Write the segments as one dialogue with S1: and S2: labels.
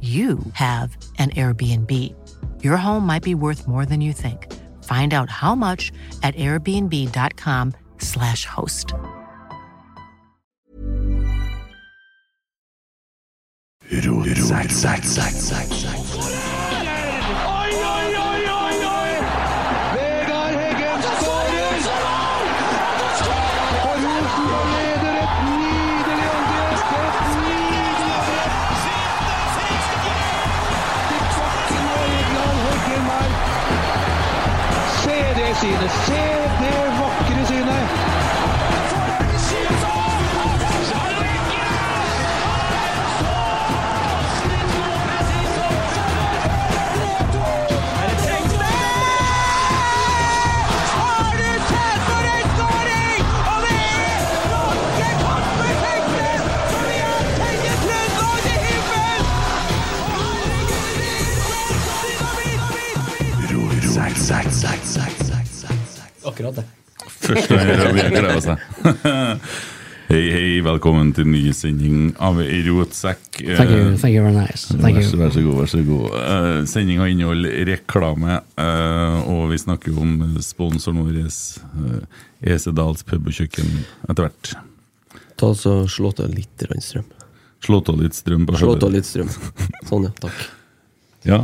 S1: you have an Airbnb. Your home might be worth more than you think. Find out how much at airbnb.com/slash host.
S2: Zack, zack, zack, zack, zack.
S3: Oi, oi, oi, oi, oi! Vegard Heggen skårer! Og Rosenborg leder et nydelig angrep! Et nydelig angrep! Til bakken og Egil Heggen her. Se det synet! Se det vakre synet!
S2: Zack, zack, zack, zack, zack, zack, zack.
S4: Akkurat det.
S5: Første gang Roger gleder seg. Hei, hei, velkommen til ny sending av Rotsekk. Eh,
S4: Thank you, thank you very nice. Thank
S5: Vær så,
S4: you.
S5: vær så god, vær så god. Eh, Sendinga inneholder reklame, eh, og vi snakker jo om sponsoren vår, eh, Esedals pub og kjøkken, etter hvert.
S4: Ta oss og slå til litt rann strøm.
S5: Slå av litt strøm
S4: Slå
S5: på skjøpet.
S4: til litt strøm. Sånn, ja. Takk.
S5: Ja,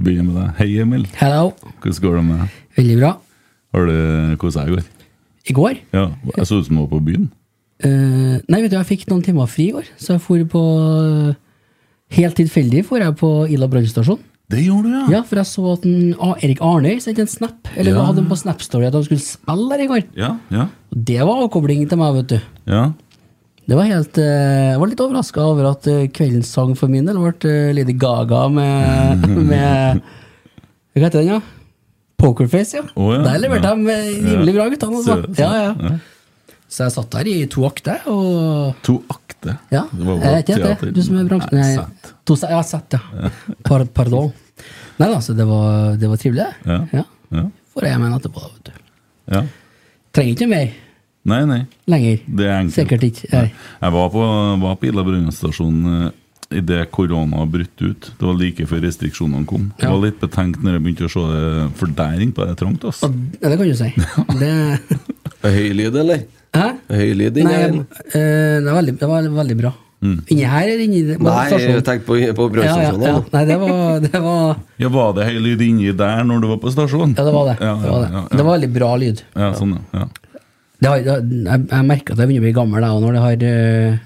S5: begynner med deg. Hei, Emil.
S6: Hello.
S5: Hvordan går det med deg?
S6: Veldig bra.
S5: Har du kosa deg i går?
S6: I går
S5: Ja, jeg så ut som du var på byen.
S6: eh, Nei, vet du, jeg fikk noen timer fri i går, så jeg for på eh, Helt tilfeldig for jeg på Ila brannstasjon.
S5: Det gjorde du,
S6: Ja, for jeg så at en, ah, Erik Arnøy sendte en snap, eller
S5: Ja.
S6: hadde en på Snap Story at han skulle spille der i går.
S5: Ja, ja,
S6: Og Det var avkobling til meg, vet du.
S5: ja.
S6: Det var helt, eh, jeg var litt overraska over at eh, kveldens sang for min del ble eh, Lady Gaga med, med Hva heter den, ja? Pokerface, ja.
S5: Å, ja.
S6: Der leverte
S5: Ja.
S6: de eh, rimelig bra, guttene. Altså.
S5: Sø- sø-
S6: Ja, ja. Så jeg satt der i to akter, og
S5: To akter.
S6: Ja,
S5: Det var
S6: jeg vet ikke
S5: teater.
S6: det. Du som er i bransjen.
S5: Nei,
S6: Nei,
S5: sant.
S6: to se- ja, sett, ja. Par, pardon. Nei da, så det var, det var trivelig.
S5: Ja.
S6: Ja.
S5: Ja.
S6: Får jeg hjem igjen etterpå, da, vet du.
S5: ja.
S6: Trenger ikke mer
S5: Nei, nei.
S6: lenger.
S5: Det er enkelt.
S6: Sikkert ikke.
S5: Nei.
S6: Nei.
S5: Jeg var på, var på Ila brannstasjon idet korona brøt ut. Det var like før restriksjonene kom. Jeg
S6: Ja.
S5: var litt betenkt når jeg begynte å se det, for der innpå er det trangt. ass.
S6: Ja, det kan du si. Det,
S4: Er Høy lyd, eller?
S6: hæ?
S4: Er Høy lyd inni
S6: Nei,
S4: her?
S6: jeg- eh, det, var veldig, det var veldig bra.
S5: Mm.
S6: Inni her eller inni
S4: Nei, jeg
S6: stasjonen?
S4: tenkte på, på
S6: ja, ja,
S4: brannstasjonen.
S6: ja. Nei, det var, det var
S5: Ja, Var det høy lyd inni der når du var på stasjonen?
S6: Ja, det var det.
S5: Ja,
S6: Det var,
S5: ja,
S6: det.
S5: ja.
S6: Det var veldig bra lyd.
S5: ja, sånn, ja. ja.
S6: Det har, det, har- jeg jeg merker at jeg begynner å bli gammel, jeg òg, når det har eh,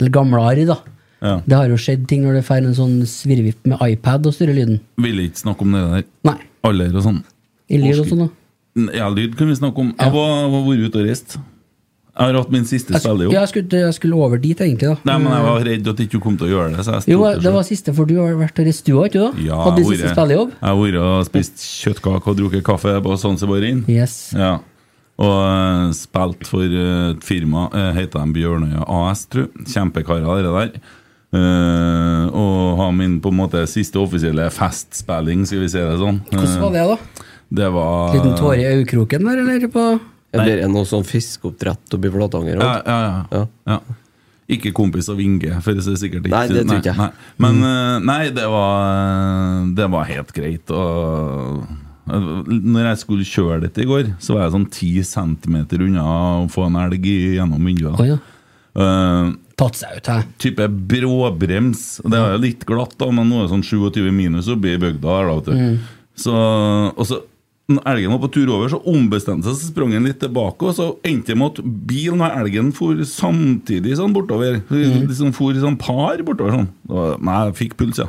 S6: Eller gamlere, da.
S5: Ja.
S6: Det har jo skjedd ting når det får en sånn svirrevipp med iPad og styrer lyden.
S5: Ville ikke snakke om det der.
S6: Nei.
S5: Alder og sånn.
S6: I lyd og sånn, da.
S5: N- Ja, lyd kan vi snakke om. Jeg var, var vært ute og reist. Jeg har hatt min siste
S6: Jeg, sk-
S5: spillejobb.
S6: ja, jeg, skulle, jeg skulle over dit, egentlig. da Eh,
S5: Nei, men jeg var redd at du ikke kom til å gjøre det. Så jeg
S6: Jo,
S5: stolte
S6: det
S5: selv.
S6: var siste, for du har vært og reist, du òg, ikke du?
S5: Ja,
S6: Hadde du
S5: jeg
S6: siste
S5: har vært-
S6: spillejobb?
S5: Jeg har vært og spist kjøttkake og drukket kaffe på Zanzibarin.
S6: Yes.
S5: Ja. Og eh, spilt for eh, et firma, eh, heter de Bjørnøya AS, tror jeg. Kjempekarer, dere der. Eh, og ha min på en måte siste offisielle festspilling, skal vi si det sånn.
S6: Hvordan var det, da?
S5: Det var
S6: Liten tåre i øyekroken der, eller? På
S4: Eller er det noe sånn fiskeoppdrett oppe i Flatanger?
S5: Ja,
S4: vet du?
S5: ja, ja.
S4: Ja.
S5: ja. Ikke kompis av Inge, for det er sikkert ikke
S4: Nei, det tror ikke jeg. Mm.
S5: Nei, nei. Men eh, nei, det var, eh, det var helt greit. Og eh, når jeg skulle kjøre dette i går, så var jeg sånn 10 cm unna å få en elg i- gjennom vinduet.
S6: Oi, ja.
S5: Eh,
S6: Tatt seg ut, hæ?
S5: type bråbrems. Det er jo litt glatt, da, men nå er det sånn 27 minus oppe i bygda. her, da, vet du.
S6: Mm.
S5: Så, og så, når elgen var på tur over, så ombestemte seg, så sprang han litt tilbake. Og så endte det med at bilen og elgen for samtidig sånn bortover.
S6: Mhm.
S5: Liksom for i sånn par bortover sånn. Det var- Nei, jeg fikk puls, ja.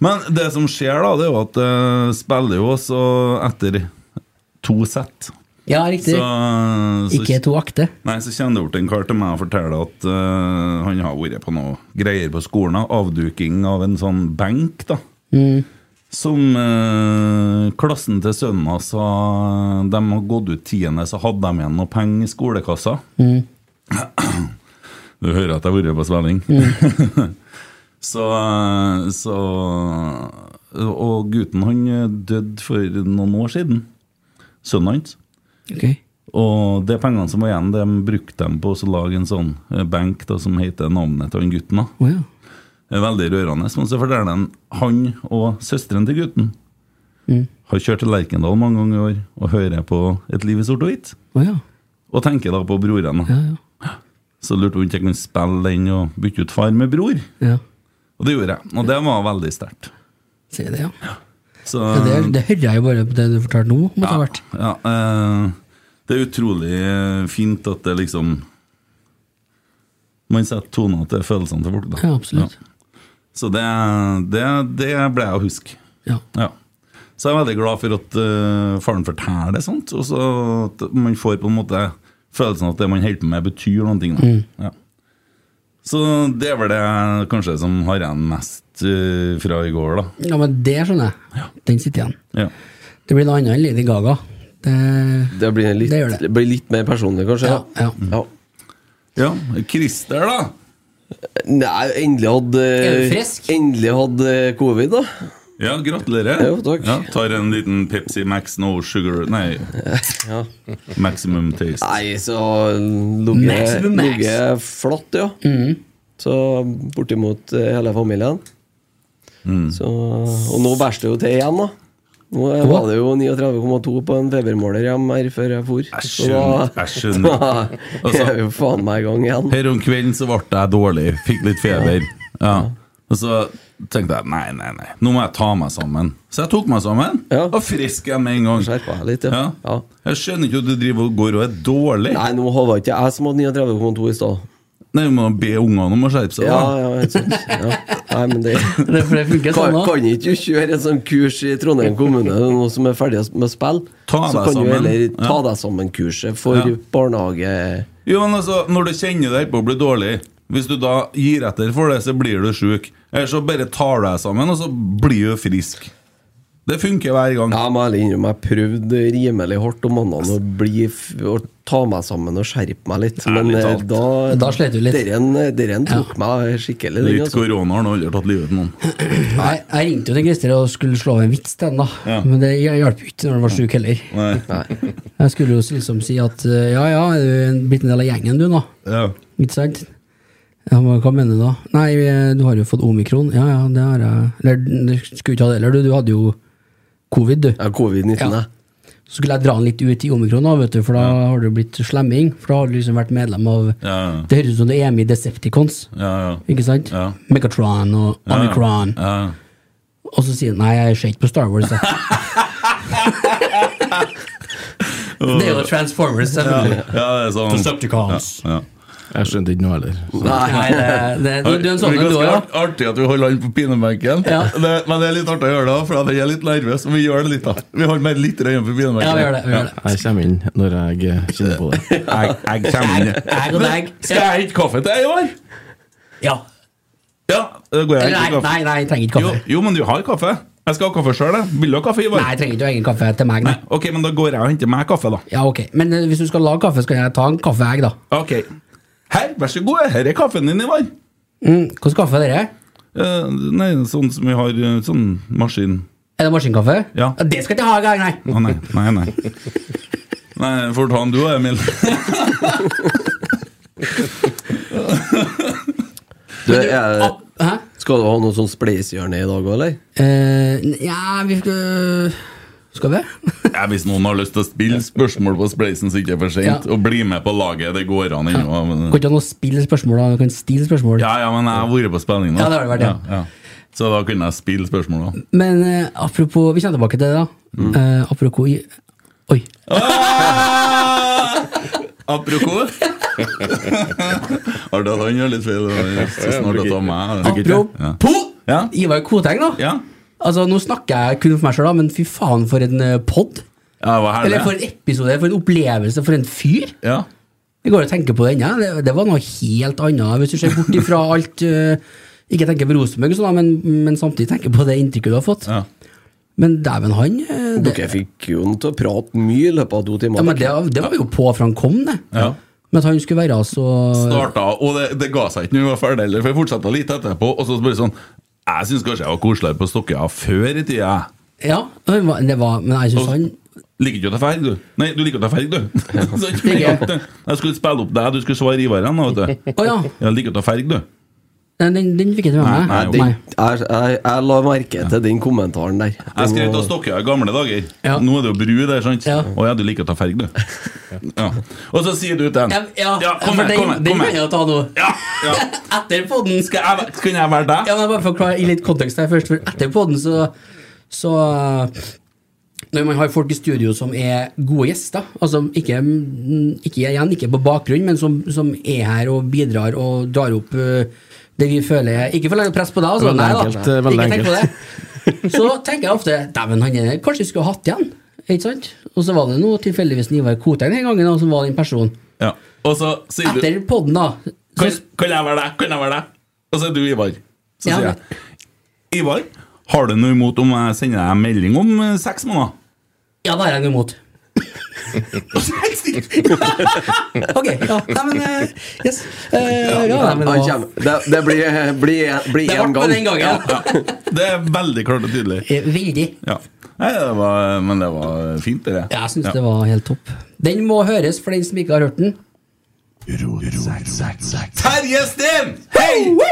S5: Men det som skjer, da, det er jo at uh, spiller jo også etter to sett.
S6: Ja, riktig.
S5: Så- så-
S6: Ikke to akte.
S5: Nei, så kjenner bort en kar til meg og forteller at eh, han har vært på noe greier på skolen. da. Avduking av en sånn benk, da. Som eh, klassen til sønnen hans sa De har gått ut tiende, så hadde de igjen noe penger i skolekassa. Du hører at jeg har vært på svelling. så, eh, så Og gutten han døde for noen år siden. Sønnen hans.
S6: Ok.
S5: Og de pengene som var igjen, de brukte de på å lage en sånn eh, benk da, som heter navnet til han gutten. da.
S6: Å ja.
S5: Det er Veldig rørende. Men så forteller han han og søsteren til gutten
S6: Mm.
S5: har kjørt til Lerkendal mange ganger i år og hører på Et liv i sort og hvitt.
S6: Å ja.
S5: Og tenker da på broren. da. Så lurte hun om jeg kunne spille den og bytte ut far med bror.
S6: ja.
S5: Og det gjorde jeg. Og det var veldig sterkt.
S6: Sier det, ja.
S5: Så
S6: ja det, det hører jeg jo bare på det du fortalte nå. Måtte ha vært.
S5: Um, Ja, eh, det er utrolig eh, fint at det liksom Man setter toner til følelsene til folk, da.
S6: Ja, absolutt.
S5: Ja. Så det, det, det ble jeg å huske.
S6: Ja.
S5: Ja. Så jeg er veldig glad for at eh, faren forteller det, sant? og så at man får på en måte følelsen av at det man holder på med, betyr noen ting.
S6: Mm.
S5: Da. Ja. Så det er vel det jeg kanskje som har igjen mest eh, fra i går, da.
S6: ja, men det skjønner jeg. Den sitter igjen.
S5: Ja.
S6: Det blir noe annet enn Lady Gaga. Det,
S4: Det blir litt,
S6: Det gjør det.
S4: det blir litt mer personlig, kanskje?
S6: ja, ja.
S4: ja.
S5: ja. Christer, da!
S4: Nei, endelig hadde
S6: Er du frisk?
S4: Endelig hadde covid, da.
S5: Ja, gratulerer.
S4: Jo, takk.
S5: Ja, tar en liten Pepsi Max No Sugar Nei,
S4: Ja.
S5: Maximum Taste.
S4: Nei, så lå jeg-
S6: Maximum max. Mm.
S4: lå jeg flatt, ja. Så bortimot eh, hele familien.
S5: Mm.
S4: Så, og nå bæsjer det jo til igjen, da. Nå er- var det jo 39,2 på en febermåler hjemme her før jeg for.
S5: Jeg
S4: Så da-
S5: skjønner. Jeg skjønner. Altså,
S4: da er jeg jo faen meg i gang igjen.
S5: Her om kvelden så ble jeg dårlig, fikk litt feber. Ja. Og så tenkte jeg nei, nei, nei, nå må jeg ta meg sammen. Så jeg tok meg sammen,
S4: Ja.
S5: og frisk jeg med en gang.
S4: Skjerpa jeg litt, ja.
S5: Ja.
S4: Ja.
S5: Jeg skjønner ikke at du driver og går og er dårlig.
S4: Nei, nå var det ikke jeg som hadde 39,2 i stad.
S5: Nei, Du må be ungene om å skjerpe seg.
S4: Ja,
S5: da.
S4: ja, helt sant. Ja. Nei, men det
S6: Det, for det funker
S4: kan,
S6: sånn òg.
S4: kan ikke du kjøre en sånn kurs i Trondheim kommune nå som er ferdig med spill?
S5: Ta
S4: så
S5: deg
S4: kan du
S5: sammen.
S4: heller ta
S5: Ja.
S4: deg sammen-kurset for
S5: Ja.
S4: barnehage...
S5: Jo, men altså, Når du kjenner deg på å bli dårlig, hvis du da gir etter for det, så blir du sjuk. Eller så bare tar du deg sammen, og så blir du frisk. Det funker hver gang.
S4: Ja, jeg må ærlig innrømme, jeg prøvde rimelig hardt om morgenen å, bli, f- å ta meg sammen og skjerpe meg litt. Men
S5: Ærlig
S4: eh,
S5: talt.
S4: da
S6: Da slet du litt.
S4: Den, den tok meg skikkelig. den,
S5: Litt
S4: altså.
S5: korona har nå aldri tatt livet av noen.
S6: Jeg, jeg ringte jo til Christer og skulle slå av en vits til han, da.
S5: Ja.
S6: Men det hjalp jo ikke når han var sjuk heller.
S5: Nei.
S6: Jeg skulle jo liksom si at eh, ja ja, er du en- blitt en del av gjengen du nå?
S5: Ja.
S6: Ikke sant? Ja, men Hva mener du da? Nei, eh, du har jo fått omikron. Ja ja, det har jeg. Eller du skulle ikke ha det heller, du. Du hadde jo covid, du.
S4: Ja, Covid-19,
S6: Ja.
S4: ja.
S6: Så skulle jeg dra den litt ut i omikron, da, vet du, for da har du blitt slemming. For da har du liksom vært medlem av
S5: Ja.
S6: Det høres ut som du er med i Decepticons,
S5: Ja, ja.
S6: ikke sant?
S5: Ja.
S6: Megatron og Omicron.
S5: Ja.
S6: Og så sier han nei, jeg ser ikke på Star Wars. Jeg. det er jo Transformers, selvfølgelig.
S5: ja, det er sånn.
S6: Decepticons.
S5: Ja.
S7: Jeg skjønte ikke noe heller.
S6: Nei, det, det, du, du er en sånn
S5: det
S6: en, du
S5: er ganske
S6: òg, ja.
S5: art- artig at vi holder han på pinebenken.
S6: Ja.
S5: Det- Men det er litt artig å gjøre det, for at jeg er litt nervøs. Men vi gjør det litt, da. Vi holder meg litt igjen på pinebenken.
S6: Ja, vi gjør det. Vi gjør det.
S7: Jeg kommer inn når jeg eh, kjenner på det.
S5: Jeg, jeg kommer inn.
S6: Egg og egg.
S5: Skal jeg hente kaffe til deg i år?
S6: Ja.
S5: Ja, da går jeg
S6: Eller nei,
S5: og henter kaffe.
S6: nei, nei, jeg trenger ikke
S5: Jo,
S6: kaffe.
S5: jo, men du har kaffe. Jeg skal ha kaffe sjøl. Vil du ha kaffe, Ivar?
S6: Nei, jeg trenger ikke egen kaffe til meg. Nei.
S5: Ok, men da går jeg og henter meg kaffe, da.
S6: Ja, ok. Men eh, hvis du skal lage kaffe, skal jeg ta en kaffeegg, da.
S5: Ok. Her, vær så god. Her er kaffen din, Ivar.
S6: Mm, Hvordan kaffe er det?
S5: Eh, nei, sånn som vi har eh, sånn maskin
S6: Er det maskinkaffe?
S5: Ja.
S6: Det skal jeg ikke ha i gang, nei!
S5: Å nei, nei, nei. Nei, får ta den du òg, Emil.
S4: Du, er,
S6: Ah, hæ?
S4: skal du ha noe sånn spleisehjørne i dag òg, eller?
S6: Eh, ja, vi skal Skal vi?
S5: Ja, hvis noen har lyst til å spille spørsmål på Spleisen, så ikke det er for sent.
S6: Ja.
S5: Og bli med på laget, det går an ennå. men-
S6: Kan ikke ha noe spill spørsmål, da. Vi kan stille spørsmål.
S5: Ja, ja, men jeg har vært på spilling nå.
S6: Ja, det har du vært, ja.
S5: Så da kunne jeg spille spørsmål, da.
S6: Men eh, apropos Vi kommer tilbake til det, da.
S5: Mm.
S6: Eh, apropos i- Oi.
S5: Apropos Har du hatt han gjør litt feil? og så Snart at det var meg. Ja.
S6: Apropos
S5: Ja.
S6: Ivar Koteng, da.
S5: ja.
S6: Altså, Nå snakker jeg kun for meg sjøl, men fy faen, for en eh, pod.
S5: Ja, det var
S6: Eller
S5: herlig.
S6: for en episode, for en opplevelse, for en fyr.
S5: Ja.
S6: Jeg går og tenker på det ennå. Det, det var noe helt annet. Hvis du ser bort ifra alt eh, Ikke tenker på Rosenborg, og sånn, da, men, men samtidig tenker på det inntrykket du har fått.
S5: Ja.
S6: Men dæven, han eh, det,
S4: Dere fikk jo han til å prate mye i løpet av to
S6: ja,
S4: timer.
S6: men det, det var vi jo på fra han kom, det.
S5: Ja.
S6: Men at han skulle være så
S5: Starta, og det, det ga seg ikke når vi var ferdig heller, for jeg fortsatte litt etterpå. Og så bare sånn Jeg syns kanskje jeg var koseligere på Stokkøya før i tida.
S6: Ja, han var- det var, men jeg syns han
S5: Liker ikke å ta ferg, du. Nei, du liker å ta ferg, du. Så ikke
S6: Liker jeg.
S5: at, eh, Jeg skulle spille opp deg, du skulle svare Ivar igjen, da, vet du.
S6: Å ja!
S5: Jeg liker å ta ferg, du.
S6: Den, den- den fikk jeg ikke med
S5: Nei,
S6: meg.
S5: nei,
S6: Nei.
S4: Jeg, jeg, jeg la merke til den kommentaren der.
S5: Jeg skrev til Stokkøya i gamle dager.
S6: Ja.
S5: Nå er det jo bru der, sant?
S6: Ja.
S5: Å ja, du liker å ta ferg, du. Ja. Og så sier du til
S6: Ja,
S5: den.
S6: ja,
S5: kom
S6: for
S5: her,
S6: den,
S5: kom her.
S6: den
S5: Kom
S6: kan jeg
S5: her.
S6: jo ta nå.
S5: Ja, ja.
S6: Etter podden skal
S5: Skal jeg, kan jeg være deg?
S6: Ja, men bare for å klare i litt kontekst her først. For etter podden så, så Når man har folk i studio som er gode gjester, altså ikke, ikke igjen, ikke på bakgrunn, men som, som er her og bidrar og drar opp eh, det vi føler er- Ikke for å legge press på deg, altså.
S7: Veldig
S6: Nei da.
S7: enkelt, det er veldig
S6: Ikke tenk på det. Så tenker jeg ofte Dæven, han er Kanskje vi skulle hatt igjen? Ikke sant? Og så var det nå tilfeldigvis Ivar Koteng den gangen da, som var den personen.
S5: Ja. Og så sier du
S6: Etter podden, da. Så,
S5: kan, kan jeg være deg? Kan jeg være deg? Og så er du Ivar. Så
S6: Ja,
S5: sier jeg Ivar, har du noe imot om jeg sender deg en melding om eh, seks måneder?
S6: ja, da er jeg nå imot.
S5: Og så er jeg stille.
S6: Ok, ja, nei, men eh, Yes. Eh, ja, nei,
S4: Han
S6: men det var-
S4: kommer. Det, det blir, blir, blir
S6: Det
S4: en
S6: ble
S4: gang.
S6: med den gangen.
S5: Ja, det er veldig klart og tydelig.
S6: Eh, Veldig.
S5: Ja. Nei, det var, men det var fint, det.
S6: Jeg syns det var helt topp. Den må høres for den som ikke har hørt den.
S5: Terje Steen! Hei!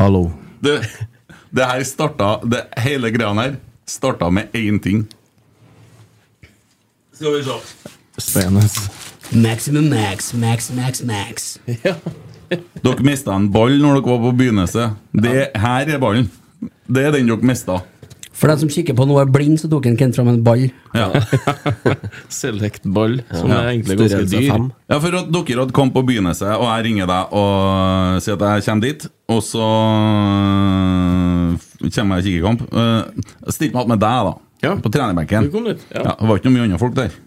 S7: Hallo.
S5: Du, det her starta det, Hele greia her starta med én ting. Skal vi se.
S7: Spennende.
S6: Maximum max, max, max, max.
S5: Dere mista en ball når dere var på begynnelsen. Det her er ballen. Det er den dere mista.
S6: For den som kikker på nå er blind, så tok en Kent fram en ball.
S5: Ja.
S7: Select ball, som
S5: Ja.
S7: er egentlig ganske
S4: Størrelse
S7: dyr.
S4: fem.
S5: ja, for at dere hadde kamp på begynnelsen, og jeg ringer deg og sier at jeg kommer dit, og så eh, kommer jeg i kikkekamp. Uh, Still meg opp med deg, da.
S7: Ja.
S5: På trenerbenken.
S7: Du kom dit, ja.
S5: Ja, det var ikke noe mye andre folk der.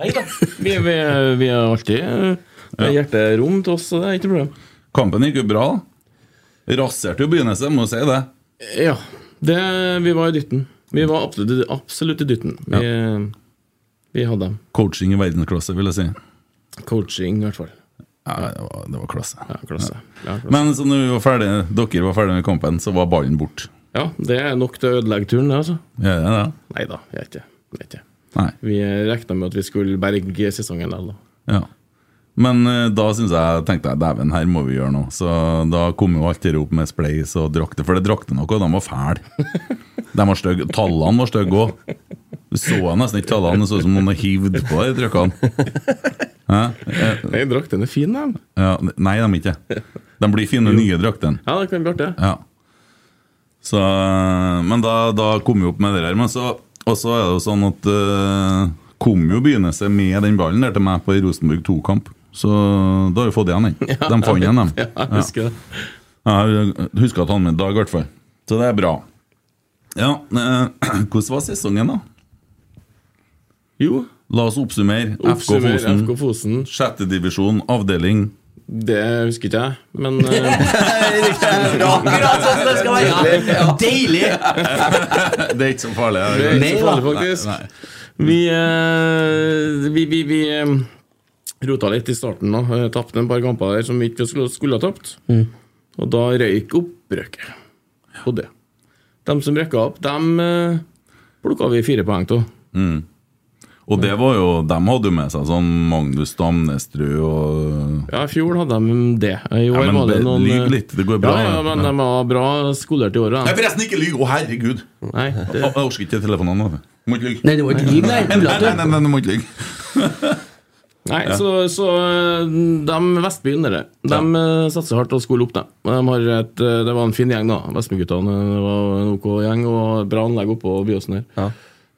S7: Vi, vi, vi er alltid eh, det er hjerterom til oss, så det er ikke noe problem.
S5: Kampen gikk jo bra. da. Raserte jo begynnelsen, må jeg si det.
S7: Ja, det, vi var i dytten. Vi var absolutt, absolutt i dytten. Vi, eh, vi hadde dem.
S5: Coaching i verdensklasse, vil jeg si.
S7: Coaching, i hvert fall.
S5: Ja, det var, det var klasse.
S7: Ja, klasse. Ja, klasse.
S5: Men så når vi var ferdig, dere var ferdige med kampen, så var ballen borte.
S7: ja, det er nok til å ødelegge turen, det, altså.
S5: Ja, det er det.
S7: Nei da, jeg er ikke jeg er ikke.
S5: Nei.
S7: Vi regna med at vi skulle berge sesongen likevel, da.
S5: Ja. Men eh, da synes jeg, tenkte jeg dæven, her må vi gjøre noe. Så da kom jo alt det opp med Spleis og drakter, for det drakter noe, og de var fæle. De var stygge. Tallene var stygge òg. Du så nesten ikke tallene, det så ut som noen hadde hivd på de trykkene.
S7: Nei, drakten er fin, den.
S5: Ja, nei, de er ikke det. De blir fine nye draktene.
S7: Ja, det kan bli artig.
S5: Ja. Så, eh, men da, da kom vi opp med det der. Men så, og så er det jo sånn at eh, kom jo begynnelsen med den ballen der til meg på en Rosenborg 2-kamp. Så da har vi fått igjen den. de fant igjen dem.
S7: Ja, jeg husker det.
S5: Ja, Jeg husker at han med Dag, i hvert fall. Så det er bra. Ja, eh, Hvordan var sesongen, da?
S7: Jo,
S5: La oss oppsummere. FK
S7: oppsummer
S5: Fosen,
S7: FK Fosen.
S5: sjette divisjon, avdeling.
S7: Det husker ikke jeg, men eh,
S6: Akkurat sånn som det skal være! Ja. Deilig!
S5: Det er ikke så farlig.
S7: det er ikke
S6: Nei
S7: så
S6: da.
S7: farlig, faktisk. Vi, eh, vi, vi, vi eh, rota litt i starten. da Eh, Tapte en par kamper der som vi ikke skulle, skulle ha tapt. Og da røyk opprøket på det. De som røkka opp, dem eh, plukka vi fire poeng av.
S5: Mm. Og det var jo, de hadde jo med seg sånn Magnus Damnestrø og
S7: Ja, i fjor hadde de det. I år
S5: men
S7: var det
S5: det-
S7: noen
S5: lyg
S7: eh,
S5: litt, det går bra,
S7: Ja, ja
S5: ja.
S7: men de var bra skolert i året.
S5: Nei,
S7: de.
S5: forresten, ikke lyg! Å, herregud!
S7: Nei, det,
S5: Jeg orker ikke telefonene. vet du. Du Må ikke lyge.
S6: Nei, det var ikke liv der.
S5: Nei, nei,
S6: Tullete.
S5: nei, nei, du må ikke lyge.
S7: nei så, så eh, de Vestbyen, dere, de eh, satser hardt og skoler opp, dem. Og De har et, eh, det var en fin gjeng, da. Vestbyguttene eh, var en ok gjeng, og bra anlegg oppå Byåsen her.
S4: Ja.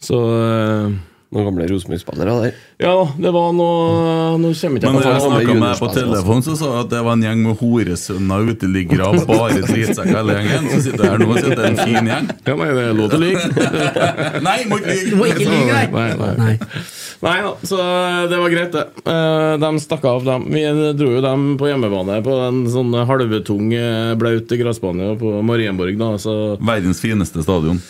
S7: Så eh,
S4: Noen gamle Rosenborg-spillere der.
S7: Ja, det var noe Nå kommer ikke
S5: Men når
S7: jeg
S5: jeg
S7: på
S5: snakka med deg på
S4: juniorspillere,
S5: telefon, så sa jeg at det var en gjeng med horesønner og uteliggere og bare drittsekker hele gjengen. Så sitter jeg her nå og sier at det er en fin gjeng.
S7: Ja, men det er lov til å like.
S5: Nei, må ikke
S6: Du må
S5: lyge!
S6: ikke lyve der!
S7: Nei, nei.
S6: Nei.
S7: Nei da, så det var greit, det. Eh, De stakk av, dem. Vi dro jo dem på hjemmebane på en sånn halvtung, eh, blaut gressbane på Marienborg, da. Så
S5: Verdens fineste stadion.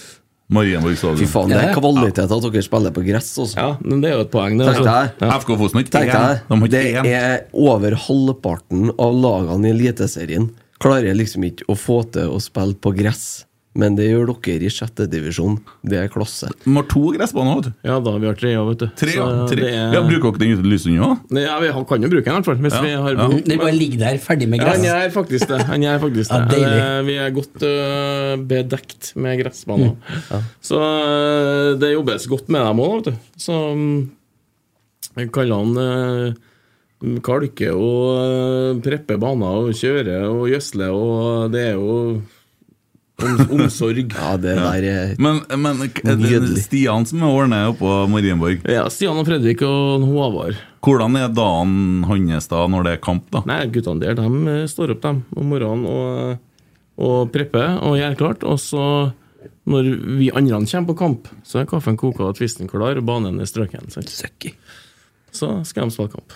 S5: Marienborg
S4: Fy
S5: stadion.
S4: faen, det
S6: Ja.
S4: er kvalitet at dere spiller på gress, altså.
S7: ja, men det er jo et poeng, det.
S4: Tenk
S7: altså.
S4: deg.
S5: FK Fosen har ikke
S4: Tenk deg,
S5: én. De har
S4: det
S5: ikke én.
S4: er over halvparten av lagene i Eliteserien klarer liksom ikke å få til å spille på gress. Men det gjør dere i sjette divisjon. Det er klasse.
S5: De har to gressbaner. vet du.
S7: Ja, da vi har tre, ja, vet du.
S5: Tre, ja.
S7: Så
S5: tre.
S7: det er-
S5: Ja, Bruker dere den uten Lysund òg?
S7: Nei, Ja, vi har- kan jo bruke den, i hvert fall. Hvis
S5: Ja,
S7: vi har
S5: ja.
S7: behov.
S6: Den bare ligger der, ferdig med
S7: Ja, han
S6: gress.
S7: gjør faktisk det. Han gjør faktisk
S6: Ja,
S7: det.
S6: deilig.
S7: Eh, Vi er godt eh, bedekt med gressbaner.
S6: Mm.
S7: Så eh, det jobbes godt med dem òg, vet du. Så mm, jeg kaller han uh, kalke og eh, preppe baner og kjøre og gjødsle, og det er jo om, omsorg.
S4: Ja, det der er
S5: Men, men er det
S4: Nydelig.
S5: Stian som ordner oppå Marienborg,
S7: Ja, Stian og Fredrik og Håvard.
S5: hvordan er dagen hans da når det er kamp, da?
S7: Nei, guttene der, de eh, står opp dem om morgenen og, eh, og prepper og gjør klart. Og så, når vi andre kommer på kamp, så er kaffen koka og tvisten klar, og banen er strøken. sant?
S4: Søkki.
S7: Så skal de spille kamp.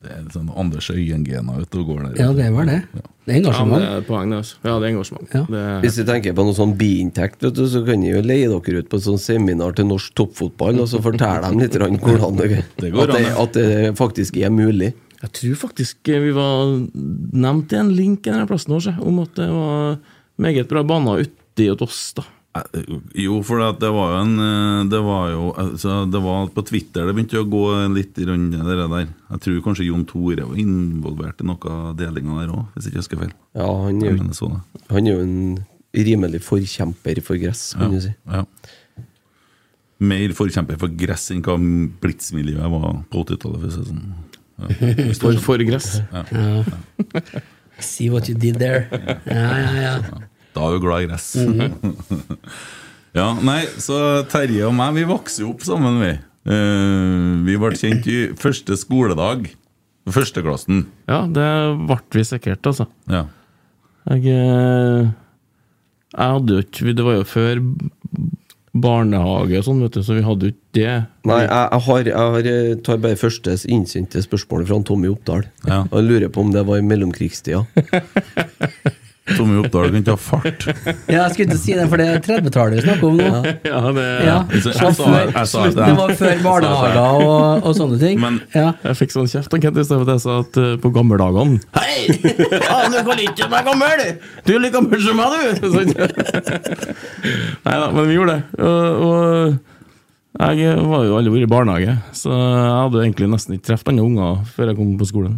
S5: Det er litt sånn Anders Øyen-gener ute og går der.
S6: Ja, det var det. Det er
S7: Ja, men det
S6: engasjement.
S7: er et poeng, det. altså. Ja, det er engasjement.
S6: Ja.
S7: Det,
S4: Hvis vi tenker på noe sånn biinntekt, vet du, så kan vi jo leie dere ut på et sånt seminar til norsk toppfotball, og så fortelle dem litt grann hvordan det,
S5: Det går
S4: at, det,
S5: an, ja.
S4: at det faktisk er mulig.
S7: jeg tror faktisk eh, vi var nevnt i en link i denne plassen også, om at det var meget bra baner uti hos oss. da.
S5: Eh, Jo, for at det var jo en eh, Det var jo altså, Det var på Twitter det begynte å gå litt i rundt det der. Jeg tror kanskje Jon Tore var involvert i noe av delinga der òg, hvis ikke jeg husker feil.
S4: Ja, han er
S5: Jeg
S4: jo,
S5: mener så det.
S4: han er jo en rimelig forkjemper for gress, kan du si.
S5: Ja. Mer forkjemper for gress enn hva blitsmiljøet var på 80-tallet. for å si det sånn.
S7: For, for gress.
S6: See what you did there. Ja, ja, ja.
S5: Da er jo glad i gress. ja, nei, så Terje og meg, vi vokste jo opp sammen, vi. Eh, vi ble kjent i første skoledag. Førsteklassen.
S7: Ja, det ble vi sikkert, altså.
S5: Ja.
S7: Jeg, eh, jeg hadde jo ikke Det var jo før barnehage og sånn, vet du, så vi hadde jo ikke det.
S4: Nei, jeg, jeg, har, jeg har, eh, tar bare første innsendte spørsmål fra han Tommy Oppdal.
S5: Ja.
S4: Og jeg lurer på om det var i mellomkrigstida.
S5: Tommy Oppdal kan ikke ha fart.
S6: ja jeg skulle ikke si det, for det er 30-tallet vi snakker om nå.
S7: Ja, det,
S6: Ja.
S5: Så
S6: Det var
S5: jeg sa-
S6: før-
S5: jeg sa at
S6: Det var før barnehager og, og sånne ting.
S5: Men-
S6: ja.
S7: Jeg fikk sånn kjeft av Kent i stedet for at jeg sa at eh, på gammeldagene Hei! Faen, du kan ikke være gammel! Du er like gammel som meg, du! Sånn. Nei da, men vi gjorde det. Og, og jeg var jo aldri vært i barnehage, så jeg hadde jo egentlig nesten ikke truffet andre unger før jeg kom på skolen.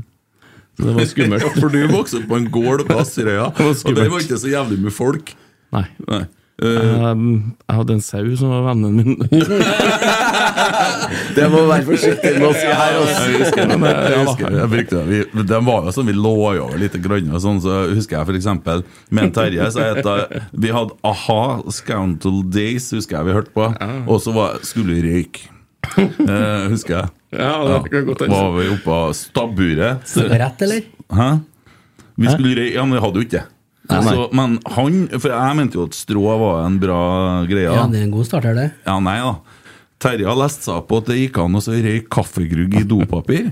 S7: Så det var
S5: Ja,
S7: skummelt.
S5: for du vokste opp på en gård på Asterøya,
S7: Det var
S5: og
S7: skummelt.
S5: der var ikke så jævlig mye folk.
S7: Nei.
S5: Nei. Eh,
S7: Jeg, jeg hadde en sau som var vennen min.
S4: Det må være forsiktig med å si her, altså.
S5: Jeg husker det. eh, Jeg husker det. Jeg brukte det. Vi, de var jo sånn, vi lå jo over litt grann og sånn, så husker jeg for eksempel med en Terje så het det Vi hadde A-ha, Scoundrel Days, husker jeg vi hørte på, og så var, skulle vi røyke. Eh, husker jeg.
S7: Ja, det kan godt hende.
S5: var vi oppe av stabburet.
S6: Så det var rett, eller?
S5: Hæ? Vi skulle røy- Ja, men vi hadde jo ikke det. Så, men han For jeg mente jo at strå var en bra greie.
S6: Ja, det er en god start her, det.
S5: Ja, nei da. Terje har lest seg opp på at det gikk an å så røyke kaffegrugg i dopapir.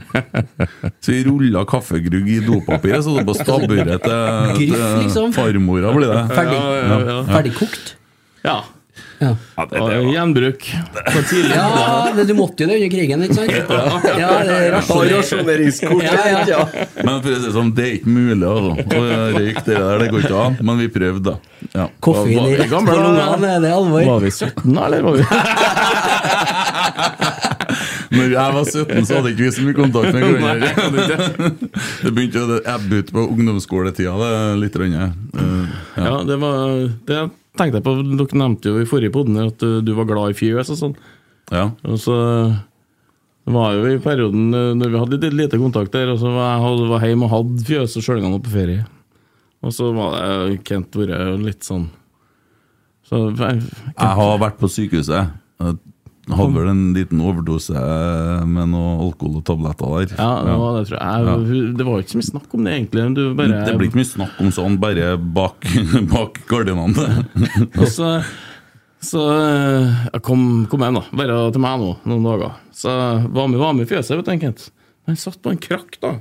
S5: Så vi rulla kaffegrugg i dopapiret, så det på stabburet til,
S6: Gryff,
S5: til
S6: liksom.
S5: farmora blir det.
S6: Ferdig.
S7: ja, ja, ja.
S6: Ferdigkokt.
S7: Ja.
S6: Ja.
S5: Ja, det,
S7: Ja,
S5: det var-
S7: Gjenbruk fra tidlig.
S6: Ja, det, du måtte jo det under krigen, ikke sant? Ja, det er rasjonering.
S4: Rasjoneringskort.
S6: Ja, ja.
S4: ja.
S5: Men for å si det sånn, det er ikke mulig, altså. Å røyke det der, det går ikke an. Men vi prøvde, da. Ja.
S6: Koffein
S7: Var
S6: i
S7: vi
S6: rett på
S7: gamle da?
S6: lungene, er det
S7: Var
S6: alvor?
S7: vi 17 da, eller? Var vi?
S5: Når jeg var 17, så hadde ikke vi så mye kontakt med hverandre. Det begynte å ebbe ut på ungdomsskoletida det litt. grann, ja. Eh,
S7: Ja, det var Det tenkte jeg på. Dere nevnte jo i forrige podden at uh, du var glad i fjøs og sånn.
S5: Ja.
S7: Og så var jo i perioden uh, når vi hadde litt lite kontakt der, og så var jeg hadde- var hjemme og hadde fjøset sjøl engang på ferie. Og så var det Kent vært litt sånn Så jeg,
S5: Jeg har vært på sykehuset. Jeg hadde vel en liten overdose eh, med noe alkohol og tabletter der.
S7: Ja, det var det, tror jeg. jeg. hun- Det var jo ikke så mye snakk om det, egentlig. men Du bare,
S5: Det blir ikke mye snakk om sånn, bare bak, bak gardinene.
S7: Og så, så eh, jeg kom, kom hjem, da. Bare til meg nå, noen dager. Så jeg var med, var med i fjøset, vet du, en Kent. Men jeg satt på en krakk, da.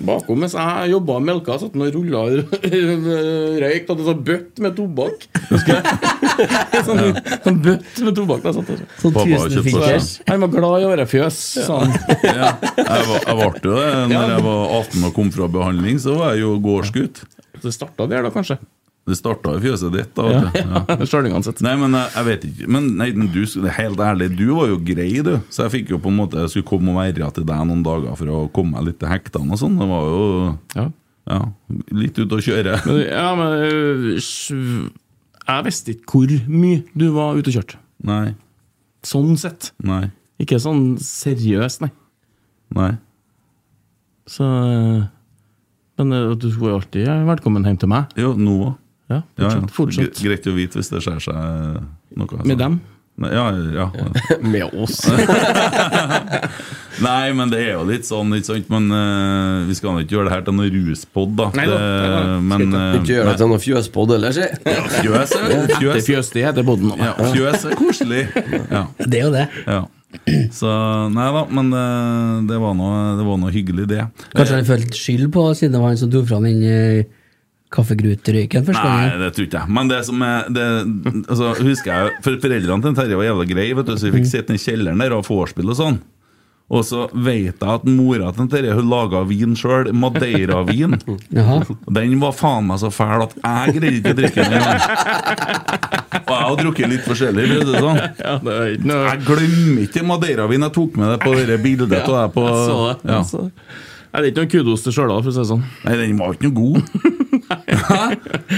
S7: Bakom mens jeg jobba og melka, satt han og rulla røyk. Hadde sånn bøtt med tobakk. Husker jeg? Sånn, sånn bøtt med tobakk. Da, satt jeg sånn.
S6: Sånn
S5: Pappa har kjøpt
S6: tusenfinkers.
S5: seg.
S7: Han var glad i åre fjøs, sa han.
S5: Ja, jeg var- jeg ble jo det. Når jeg var 18 og kom fra behandling, så var jeg jo gårdsgutt.
S7: Så det starta der, da, kanskje.
S5: Det starta i fjøset ditt. da, vet du. Ja.
S7: Sjølingene sitt.
S5: Nei, men jeg, jeg vet ikke Men nei, men du, det er helt ærlig, du var jo grei, du. Så jeg fikk jo på en måte Jeg skulle komme og være til deg noen dager for å komme meg litt til hektene og sånn. Det var jo
S7: Ja.
S5: ja, litt ute å kjøre.
S7: Men, ja, men eh, sj- Jeg visste ikke hvor mye du var ute og kjørte.
S5: Nei,
S7: Sånn sett.
S5: nei,
S7: Ikke sånn seriøst, nei.
S5: nei.
S7: Så, eh, men eh, du er jo alltid velkommen hjem til meg.
S5: Jo, nå òg.
S7: Ja,
S5: Ja, ja.
S7: fortsatt. fortsatt.
S5: Gre- Greit å vite hvis det skjer seg noe. altså.
S7: Med dem.
S5: Nei, Ja, ja. ja.
S7: Med oss.
S5: Nei, men det er jo litt sånn, ikke sant? Men eh, vi skal nå ikke gjøre det her til noen ruspod, da.
S7: Nei da, nei da.
S5: men eh,
S4: Ikke gjør det til noe fjøspod heller, si.
S5: ja, Fjøs er
S7: Det
S5: fjøs.
S7: fjøste heter boden.
S5: Ja, fjøs er koselig. Ja,
S6: Det er jo det.
S5: ja. Så nei da, men eh, det var noe, det var noe hyggelig, det.
S6: Kanskje han følte skyld på, siden det var han som tok fram den eh, kaffegruterøyken første
S5: Nei,
S6: gangen.
S5: det tror ikke jeg. Men det som er det, altså, husker jeg, jo- for Foreldrene til Terje var jævla greie, vet du, så vi fikk sitte i kjelleren der og ha vorspiel og sånn. Og så vet jeg at mora til Terje hun laga vin sjøl, madeiravin.
S6: Jaha.
S5: Den var faen meg så fæl at jeg greide ikke å drikke den engang. Og jeg har drukket litt forskjellig. for å si det Sånn.
S7: det er ikke noe
S5: Jeg glemmer ikke Madeiravin jeg tok med deg på det bildet. til deg på,
S7: Jeg så det.
S5: ja.
S7: Jeg så det. Nei, det er ikke noe kudos til Stjørdal, for å si det sånn.
S5: Nei, den var ikke noe god. Hæ?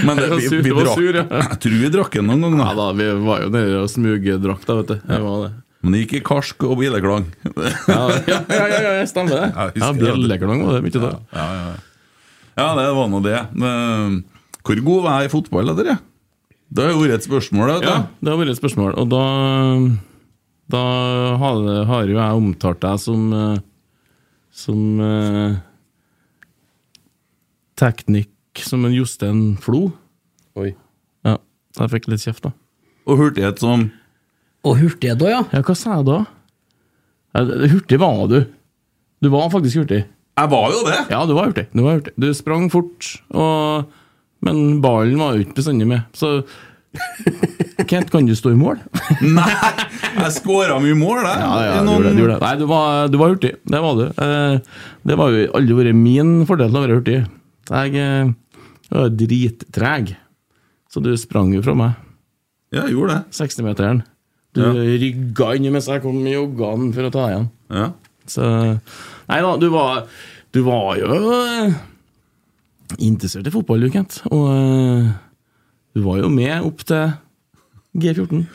S5: Men det,
S7: Jeg var
S5: vi,
S7: sur,
S5: vi
S7: det var
S5: drakk,
S7: sur, ja.
S5: jeg tror vi drakk den noen
S7: Nei
S5: ganger.
S7: da, vi var jo nede og smugdrakk, da, vet du. Det var det.
S5: Men det gikk i karsk og bileklang.
S7: Ja, ja, ja, ja, ja, stemmer det.
S5: Ja, jeg
S7: Ja,
S5: husker det.
S7: Bjelleklang var det, mye da.
S5: Ja, det var nå det. Men, eh, Hvor god var jeg i fotball, da, dere? Det har jo vært et spørsmål. Vet du.
S7: Ja, det har vært et spørsmål. Og da, da har, har jo jeg omtalt deg som eh, Som eh, teknikk Som en Jostein Flo.
S4: Oi.
S7: Ja, så jeg fikk litt kjeft, da.
S5: Og hurtighet som
S6: Og hurtig da, ja.
S7: Ja, hva sa jeg da? Ja, det- hurtig var du. Du var faktisk hurtig.
S5: Jeg var jo det!
S7: Ja, du var hurtig. Du, var hurtig. du sprang fort, og, men ballen var jo ikke bestandig med. Så Kent, kan du stå i mål?
S5: Nei! Jeg skåra mye mål, jeg.
S7: Ja, ja,
S5: I
S7: du
S5: noen-
S7: gjorde det, du gjorde det. Nei, du var, du var hurtig. Det var du. Eh, Det var jo aldri vært min fordel å være hurtig. Jeg eh, var drittreg, så du sprang jo fra meg.
S5: Ja, jeg gjorde det.
S7: 60-meteren. Du
S5: Ja.
S7: rygga inn mens jeg kom i joggene for å ta igjen.
S5: Ja.
S7: Så Nei da, du var, du var jo eh, interessert i fotball, du, Kent. Og eh, du var jo med opp til G14.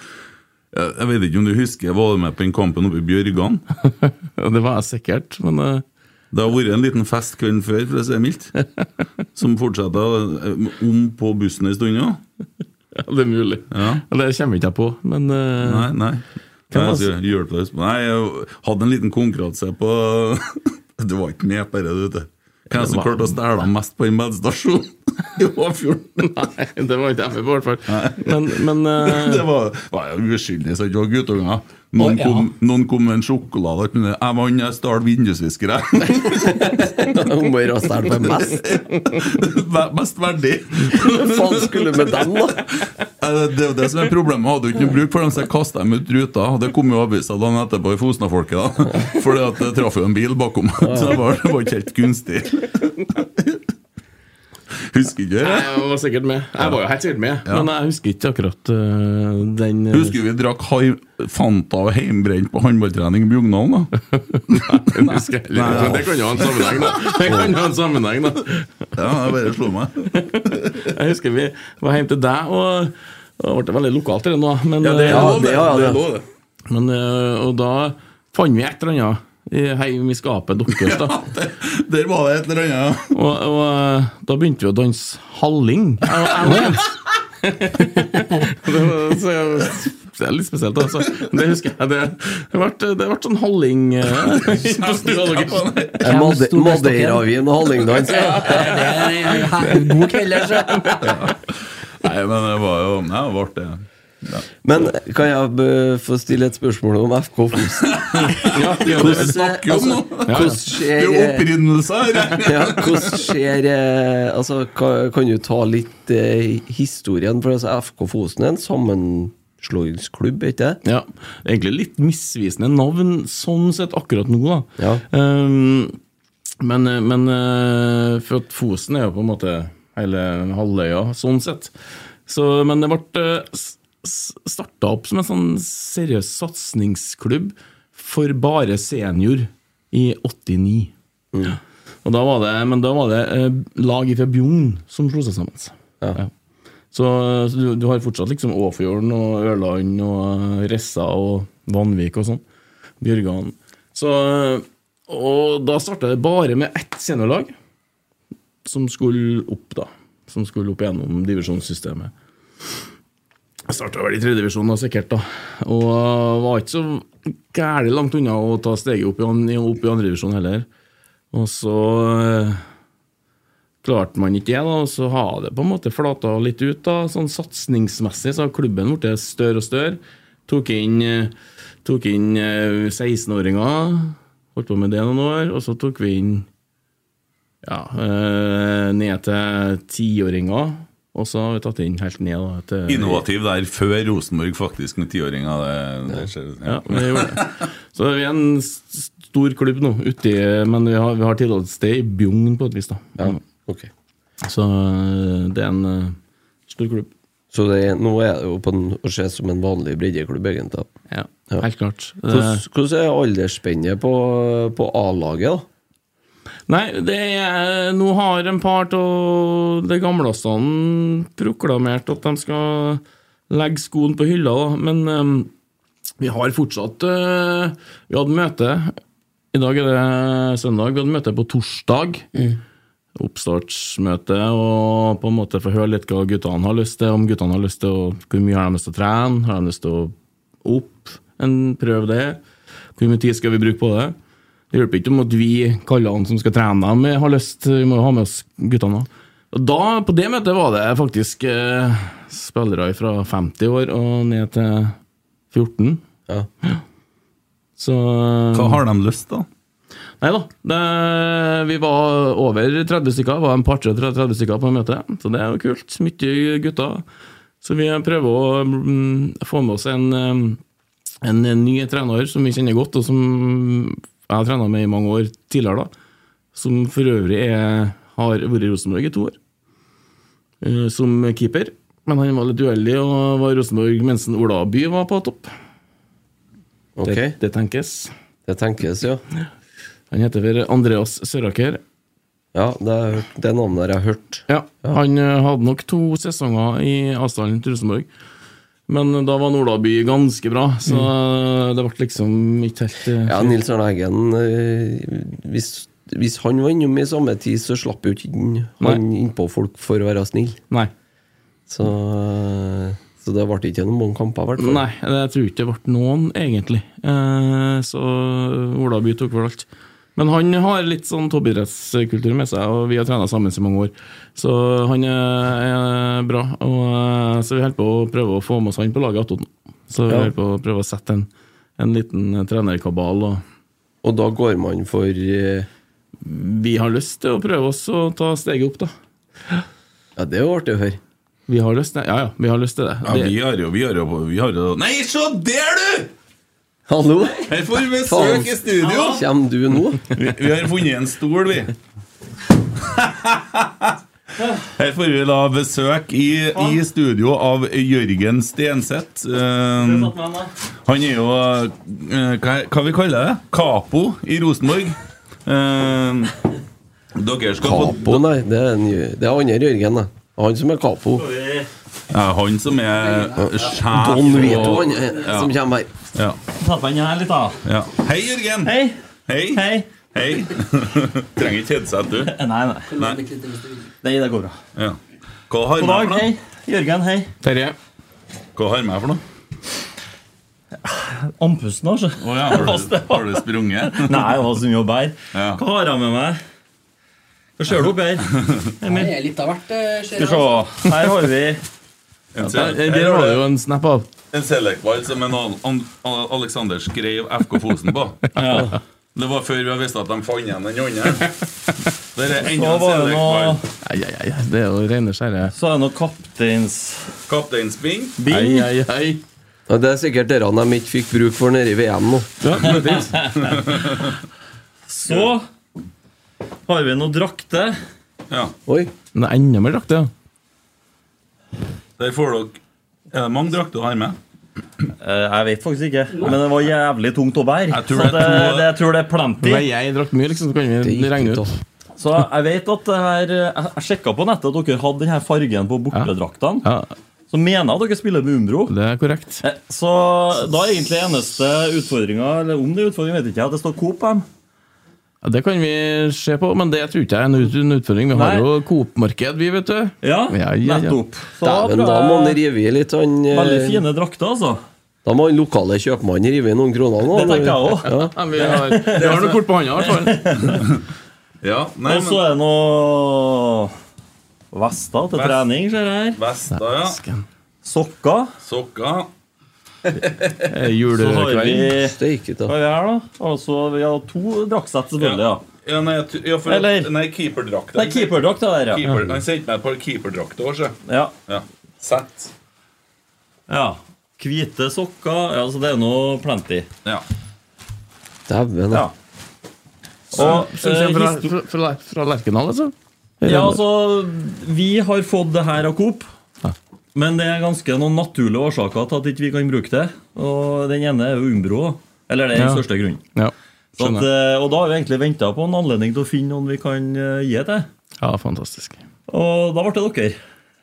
S5: Jeg jeg vet ikke om du husker, var du med på den kampen oppe i Bjørgan?
S7: Ja, Det var jeg sikkert, men eh,
S5: Det har vært en liten fest kvelden før, for å si det mildt, som fortsetta om på bussen en stund òg.
S7: ja, det er mulig.
S5: Ja.
S7: Eller det kommer ikke jeg på, men eh,
S5: Nei, nei.
S7: Hvem var
S5: Jeg skal hjelpe deg. å huske på- Nei, jeg hadde en liten konkurranse på Du var ikke med på det, du, vet du. Hvem som klarte å stjele mest på en medstasjon? Det var 14.
S7: Nei, det var ikke FF, i hvert fall. Men, men eh,
S5: Det var, var jo uskyldig, så det var guttunger. Noen,
S6: Å, ja.
S5: kom, noen kom med en sjokolade og alt mulig. Jeg vant, jeg stjal vindusviskere.
S4: Hun må jo stjele på mest.
S5: Ve- Mest verdig.
S4: Hva faen skulle du med dem, da?
S5: Eh, Det er jo det som er problemet. Jeg hadde jo ikke noe bruk for dem, så jeg kasta dem ut ruta. Det kom jo avisa dagen etterpå i Fosna-folket, da. Fordi at det traff jo en bil bakom. Så det var, det var ikke helt gunstig. Husker ikke det?
S7: jeg var sikkert med. Jeg var jo helt sikkert med, men jeg husker ikke akkurat eh, den eh,
S5: Husker vi drakk hai- Fanta og heimbrent på håndballtrening i Bjugnalen, da?
S7: Nei, husker jeg heller ikke, men Det kan jo ha en sammenheng, da. Det kan jo ha en sammenheng, da.
S5: Ja, det bare slo meg.
S7: Jeg husker vi var hjemme til deg, og og det ble veldig lokalt her nå, men,
S4: Ja,
S7: eh,
S4: lov, det, det. ja, Det er det. lov,
S7: men eh, Og da fant vi et eller annet i heim i skapet deres, da.
S5: Der var det et eller annet.
S7: Og, og eh, da begynte vi å danse halling. Jeg- jeg var dans. det var så, det er litt spesielt, altså. Det husker jeg. Det, det, ble, det ble sånn halling eh, på stua deres.
S4: Made-
S6: sto best dere?
S4: Madeiraovin og hallingdans.
S6: Det er en her- God kveld, altså.
S5: Nei, men det var jo Nei, det var artig. Ja.
S4: Men kan jeg eh, få stille et spørsmål om FK Fosen?
S7: Ja, ja,
S5: Det
S7: det,
S5: er det vi snakker om nå.
S4: Altså, Hvordan
S5: Det er
S4: skjer
S5: jo
S4: eh,
S5: opprinnelser her.
S4: ja, hvordan skjer eh, altså, kan, kan du ta litt eh, historien? For altså, FK Fosen er en sammenslåingsklubb, ikke det?
S7: ja. Egentlig litt misvisende navn sånn sett akkurat nå, da.
S4: Ja.
S7: Ehm, men, eh, men eh, for at Fosen er jo på en måte hele halvøya, sånn sett. Så, men det ble eh, starta opp som en sånn seriøs satsingsklubb for bare senior i 89.
S4: Mm.
S7: Ja. Og da var det, men da var det eh, lag fra Bjugn som slo seg sammen.
S4: Ja.
S7: Så, så du, du har fortsatt liksom Åfjorden og Ørland og Ressa og Vanvik og sånn. Bjørgan. Så, eh, og da starta det bare med ett seniorlag som skulle opp, da. Som skulle opp gjennom divisjonssystemet. Jeg starta vel i tredjedivisjon, sikkert, da. Og var ikke så gærent langt unna å ta steget opp i, an- opp i andredivisjon heller. Og så eh, klarte man ikke det, da, og så har det på en måte flata litt ut. da, Sånn satsingsmessig så har klubben blitt større og større. Tok inn, eh, tok inn eh, 16-åringer, holdt på med det noen år, og så tok vi inn ja, eh, ned til tiåringer. Og så har vi tatt inn helt ned da, til
S5: Innovativ der før Rosenborg, faktisk, med tiåringer. Det, det skjer.
S7: Ja, vi gjorde det. Så vi er en s- stor klubb nå, uti, men vi har, vi har tilholdssted i Bjugn på et vis. da.
S4: Ok.
S7: Så øh, det er en øh, stor klubb.
S4: Så det, er- nå er det jo på en, å se som en vanlig breddeklubb, egentlig. da.
S7: Ja,
S4: Ja.
S7: Helt klart.
S4: Hvordan,
S7: Det,
S4: hvordan er aldersspennet på, på A-laget, da?
S7: nei, det er, nå har en par av de gamlestene proklamert at de skal legge skoen på hylla, da. men øhm, vi har fortsatt øh, Vi hadde møte I dag er det søndag. Vi hadde møte på torsdag. oppstartsmøte og på en måte få høre litt hva guttene har lyst til. Om guttene har lyst til å, Hvor mye har de lyst til å trene? Har de lyst til å opp? En prøv det. Hvor mye tid skal vi bruke på det? Det hjelper ikke om at vi kallene som skal trene dem, har lyst. Vi må jo ha med oss guttene òg. Og da, på det møtet var det faktisk eh, spillere fra 50 år og ned til 14.
S4: Ja.
S7: Så
S5: Hva har de lyst til?
S7: Nei da. det- Vi var over 30 stykker. Var en par-tre 30 stykker på møtet, så det er jo kult. Mye gutter. Så vi prøver å mm, få med oss en, mm, en ny trener som vi kjenner godt, og som jeg har trena med i mange år tidligere, da. Som for øvrig er, har vært i Rosenborg i to år. eh, Som keeper. Men han var litt uheldig og var i Rosenborg mens en Ola By var på topp.
S4: Ok, det,
S7: Det, det tenkes.
S4: tenkes, ja.
S7: Han heter vel Andreas Søraker.
S4: Ja, det, har jeg hørt- det er navnet jeg har hørt.
S7: Ja, han eh, hadde nok to sesonger i avstanden til Rosenborg. Men da var Nordaby ganske bra, så eh, det ble liksom ikke helt eh,
S4: Mm. Ja, Nils Arne Eggen eh, hvis, hvis han var innom i samme tid, så slapp jo ikke inn, han innpå folk for å være snill.
S7: Nei.
S4: Så, eh, så det ble ikke noen mange kamper, i hvert fall.
S7: Nei, jeg tror ikke det ble noen, egentlig. Eh, Så eh, Olaby tok vel alt. Men han har litt sånn toppidrettskultur med seg, og vi har trena sammen i mange år. Så han er, er bra. Og, eh, så vi holder på å prøve å få med oss han på laget attåt. Så vi
S4: Ja.
S7: holder på å prøve å sette en, en liten eh, trenerkabal. og
S4: Og da går man for eh,
S7: vi har lyst til å prøve oss å ta steget opp, da.
S4: Ja, det er jo artig å høre.
S7: Vi har lyst til Ja, ja, vi har lyst til det.
S5: Ja,
S7: det
S5: vi har jo, vi har jo, vi har jo Nei, se der, du!
S4: Hallo!
S5: Her får vi besøk i studio.
S4: Kommer du nå?
S5: Vi, vi har funnet en stol, vi. Her får vi da besøk i, i studio av Jørgen Stenseth. Um, han er jo eh, Hva, hva vi kaller det? Kapo i Rosenborg. Um, dere skal få
S4: Kapo, nei. Det er, en, det er andre Jørgen, da. Han som er kapo.
S5: ja, Han som er sjef
S4: Don Vito,
S5: og-
S4: han eh,
S5: ja,
S4: som kommer her.
S5: ja,
S8: Ta på den her litt, da.
S5: ja. Hei, Jørgen.
S8: Hei.
S5: Hei.
S8: Hei.
S5: Hei. Trenger ikke headset, du.
S8: Nei, nei.
S5: Nei.
S8: Nei, det går bra.
S5: Ja. Hva
S8: God
S5: har jeg med
S8: dag.
S5: for
S8: Hei.
S5: noe?
S8: Jørgen, hei.
S7: Terje.
S5: Hva har jeg med for noe?
S8: Andpusten, altså.
S5: Å ja, har du, har du sprunget?
S8: Nei, det var så mye å bære.
S5: Ja.
S8: Hva har jeg med meg? Hva ser du opp her?
S6: Det er litt av hvert. eh, ser
S8: Skal
S6: jeg.
S8: se. Her har vi
S5: En
S7: Der,
S5: select-
S7: der var det jo en snap av.
S5: En Select-ball som en Al- An- Al- Alexander skrev FK Fosen på. Det var før vi visste at de fant igjen den andre. Der er enda
S8: Så
S5: en
S8: var det noe
S5: Select-ball.
S7: Ai, ai, ai, det er jo rene skjære.
S8: Så er det noe kapteins...
S5: Kapteinspinn.
S7: Ai, ai, ai.
S4: Ja, det er sikkert dere de ikke fikk bruk for nede i VM nå.
S7: Ja, det er fint.
S8: Så har vi noe drakte.
S5: Ja.
S4: Oi.
S7: Men det er enda mer drakt, ja.
S5: Der får dere Er det mange drakter å ha med?
S8: Eh, Jeg vet faktisk ikke, men det var jævlig tungt å bære.
S5: Jeg
S8: så
S5: tror det er to-
S8: det, jeg tror det er plenty.
S7: Men jeg drakk mye, liksom, så kan vi regne ut.
S8: Så jeg vet at det her eh, Jeg jeg sjekka på nettet at dere hadde denne fargen på bortedraktene.
S7: Ja,
S8: Så mener jeg at dere spiller med Umbro.
S7: det er korrekt.
S8: Eh, Så da er egentlig eneste utfordringa, eller om det er utfordring, vet jeg ikke, at det står Coop på dem.
S7: Ja, det kan vi se på, men det tror ikke jeg er en ut- en utfordring. Vi har
S8: Nei.
S7: jo Coop-marked, vi, vet du.
S8: Ja,
S7: Ja, ja, ja.
S8: nettopp. Så da
S4: Dæven,
S8: tror
S4: da må han
S8: jeg-
S4: rive i litt, han eh,
S8: Veldig fine drakter, altså.
S4: Da må han lokale kjøpmannen rive i noen kroner nå.
S8: Det tenker jeg òg.
S7: Ja, vi har, vi har noe kort på hånda, i hvert fall.
S5: Ja. Nei,
S8: Og så
S5: men
S8: er det noe Vester til
S5: Vest.
S8: trening, ser jeg her.
S5: Vester, ja.
S7: Asken.
S8: Sokker.
S5: Sokker.
S8: Så
S7: Eh,
S8: har vi
S7: Julekvelden.
S4: Steike ta.
S8: Hva er det her, da? Altså, vi har to draktsett, selvfølgelig. ja
S5: Ja, nei, jeg tr- ja, for,
S8: Eller-
S5: nei keeperdrakt.
S8: Nei, keeperdrakt er det der, ja.
S5: Keeper, han sendte meg et par keeperdrakter også.
S8: ja.
S5: Ja. Sett.
S8: ja. Hvite sokker. Ja, så det er nå plenty.
S5: Ja.
S4: Dæven, da.
S8: Ja. Og
S7: Som
S8: eh,
S7: kommer
S8: histo-
S7: fra, fra, fra Lerkendal, altså.
S8: Ja, altså, vi har fått det her av Coop.
S7: Ja.
S8: Men det er ganske noen naturlige årsaker til at ikke vi kan bruke det. Og den ene er jo Umbro. da. Eller det er den
S7: Ja.
S8: største grunnen.
S7: Ja,
S8: Så at,
S7: skjønner.
S8: eh, og da har vi egentlig venta på en anledning til å finne noen vi kan eh, gi til.
S7: Ja, fantastisk.
S8: Og da ble det dere.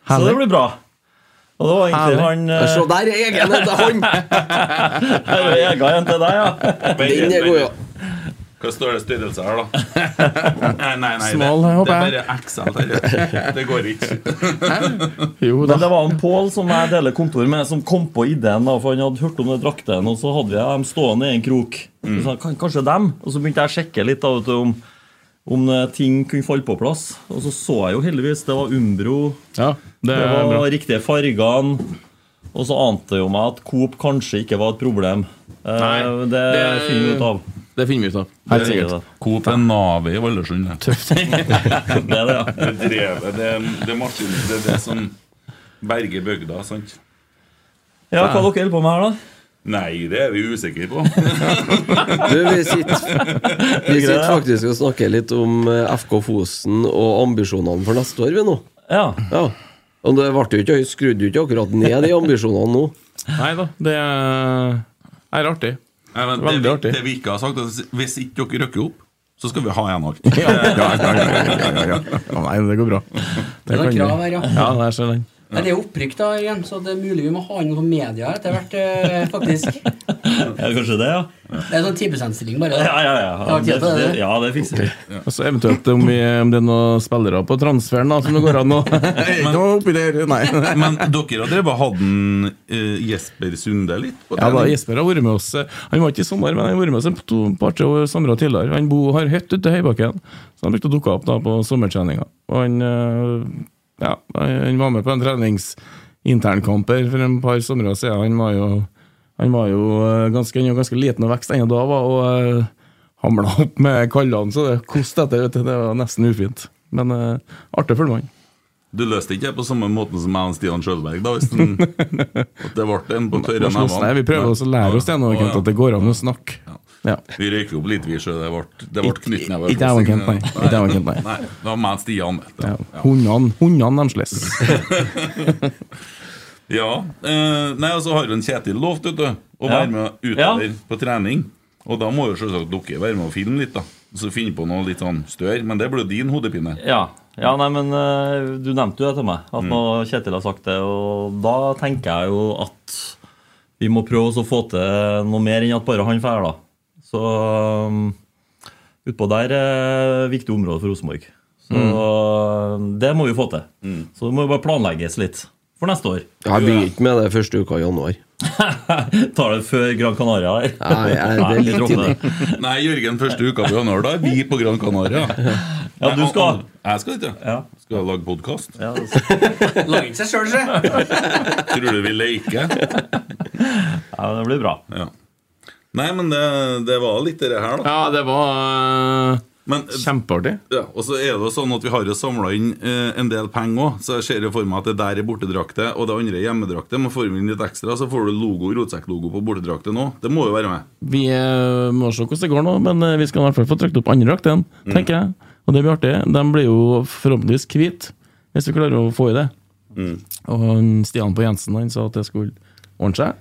S8: Så
S7: Herlig.
S8: det blir bra. Og det var egentlig
S7: Herlig.
S8: han
S4: Ja,
S8: eh,
S4: Se der er egen etter han!
S8: her er Ega igjen til deg, ja.
S4: Den er god, ja.
S5: Hva står det størrelse her, da? Nei, nei, nei
S7: Smal,
S5: det,
S7: håper
S5: det
S7: jeg.
S5: er bare XL. Terje. Det går ikke.
S7: Jo
S8: Men
S7: da.
S8: det var en Pål som jeg deler kontor med, som kom på ideen. da, for Han hadde hørt om den drakten, og så hadde vi dem stående i en krok. Så
S7: Mm.
S8: sa han, kan, kanskje dem? Og så begynte jeg å sjekke litt da, vet du, om, om eh, ting kunne falle på plass. Og så så jeg jo heldigvis det var Umbro,
S7: Ja, det
S8: det
S7: er
S8: var
S7: bra.
S8: riktige fargene. Og så ante jo meg at Coop kanskje ikke var et problem. Eh,
S7: Nei,
S8: det
S7: det-
S8: finner vi ut av.
S7: Det finner vi ut av. Helt
S8: Det-
S7: sikkert.
S5: Coop er navet i Valdresund. Det
S8: Det er det, ja.
S5: drevet, det, det, er maskin, det er det som berger bygda, sant?
S8: ja. Hva dere holder på med her, da?
S5: Nei, det er vi usikre på.
S4: Du, vi sitter, vi sitter faktisk og snakker litt om eh, FK Fosen og ambisjonene for neste år, vi nå.
S8: Ja,
S4: Ja. Og det ble jo ikke, jeg skrudde jo ikke akkurat ned de ambisjonene nå.
S7: Nei da, det er, er artig.
S5: Nei, men det,
S7: Veldig
S5: vi-
S7: artig.
S5: det vi ikke har sagt, er at hvis ikke dere røkker opp, så skal vi ha igjen alt. Ja, ja, ja, ja, ja, ja.
S7: Å nei, det går bra.
S6: Det
S7: Det kan
S6: var
S7: vi.
S6: krav her, ja.
S7: Ja, der ser den.
S6: Nei, det er jo opprykk da igjen, så det er mulig vi må ha inn noen media her etter hvert, eh, faktisk.
S8: Ja, kanskje det, ja.
S6: Det er sånn 10%-stilling bare. da.
S8: Ja, ja, ja.
S6: Det har vært
S8: Det,
S6: kjedelig,
S8: det,
S6: det.
S8: ja, det fikser vi.
S7: Og så eventuelt om, vi, om det er noen spillere på transferen da, som det går an å Ikke noe oppi der, nei.
S5: Men dere har drevet hatt en, eh, Jesper Sunde litt? på
S7: Ja, da,
S5: trening.
S7: Jesper har vært med oss eh, Han var ikke i sommer, men han har vært med oss en to par-tre år- somre tidligere. Han bo, har hytte ute i Høybakken, så han brukte å dukke opp da på sommertreninga. Og han, eh, ja, han var med på en treningsinternkamp her for en par somre siden. Han var jo, han var jo eh, ganske, han var ganske liten og vokst ennå da, var, og eh, hamla opp med kallene, så det koste etter. Vet du, det var nesten ufint. Men eh, artig for mann.
S5: Du løste ikke det på samme måten som jeg og Stian Sjølberg, da? Hvis den, at det ble en på tørre
S7: Lars Losen, nei, Vi prøver også å lære oss det nå, Kent, at det går an å snakke. Ja.
S5: Vi røyker opp litt, vi, så det ble, det ble
S7: Ikke-
S5: knyttnever.
S7: ikke jeg og Kent, nei. Ikke jeg og Kent, nei.
S5: nei. Det var meg og Stian. det.
S7: Ja. Hundene, hundene de slåss.
S5: Ja. Eh, nei, og så har jo en Kjetil lovt vet du, å
S8: Ja.
S5: være med utover på trening. Og da må jo selvsagt dere være med og filme litt, da. Så finne på noe litt sånn større. Men det blir jo din hodepine.
S8: Ja. ja, nei, men eh, du nevnte jo det til meg, at nå Kjetil har sagt det. Og da tenker jeg jo at vi må prøve oss å få til noe mer enn at bare han drar, da. Så um, utpå der er viktig område for Rosenborg. Så um, det må vi få til. Så det må jo bare planlegges litt for neste år.
S4: Jeg begynner ikke med det første uka i januar.
S8: Tar det før Gran Canaria her.
S4: Nei, jeg- det er
S8: vi
S4: litt
S8: dropper det.
S5: Nei, Jørgen, første uka på januar, da er vi på Gran Canaria.
S8: Ja, du
S5: Nei,
S8: skal.
S5: Jeg skal ikke. Skal jeg lage podkast?
S8: Ja, det skal-
S6: Lager ikke seg selv, se.
S5: Tror du vi leker?
S8: ja, det blir bra.
S5: Ja. Nei, men det, det var litt det her, da.
S7: Ja, det var
S5: Men
S7: kjempeartig.
S5: Ja, og så er det jo sånn at Vi har jo samla inn eh, en del penger òg, så jeg ser jo for meg at det der er bortedrakte, og det andre er hjemmedrakte. Men får vi inn litt ekstra, så får du logo, rotsekklogo på bortedrakte nå. Det må jo være med.
S7: Vi eh, må se hvordan det går nå, men eh, vi skal i hvert fall få trykt opp andre drakt igjen, tenker jeg. Og det blir artig. De blir jo forhåpentligvis hvite, hvis vi klarer å få i det. Og han Stian på Jensen han sa at det skulle ordne seg.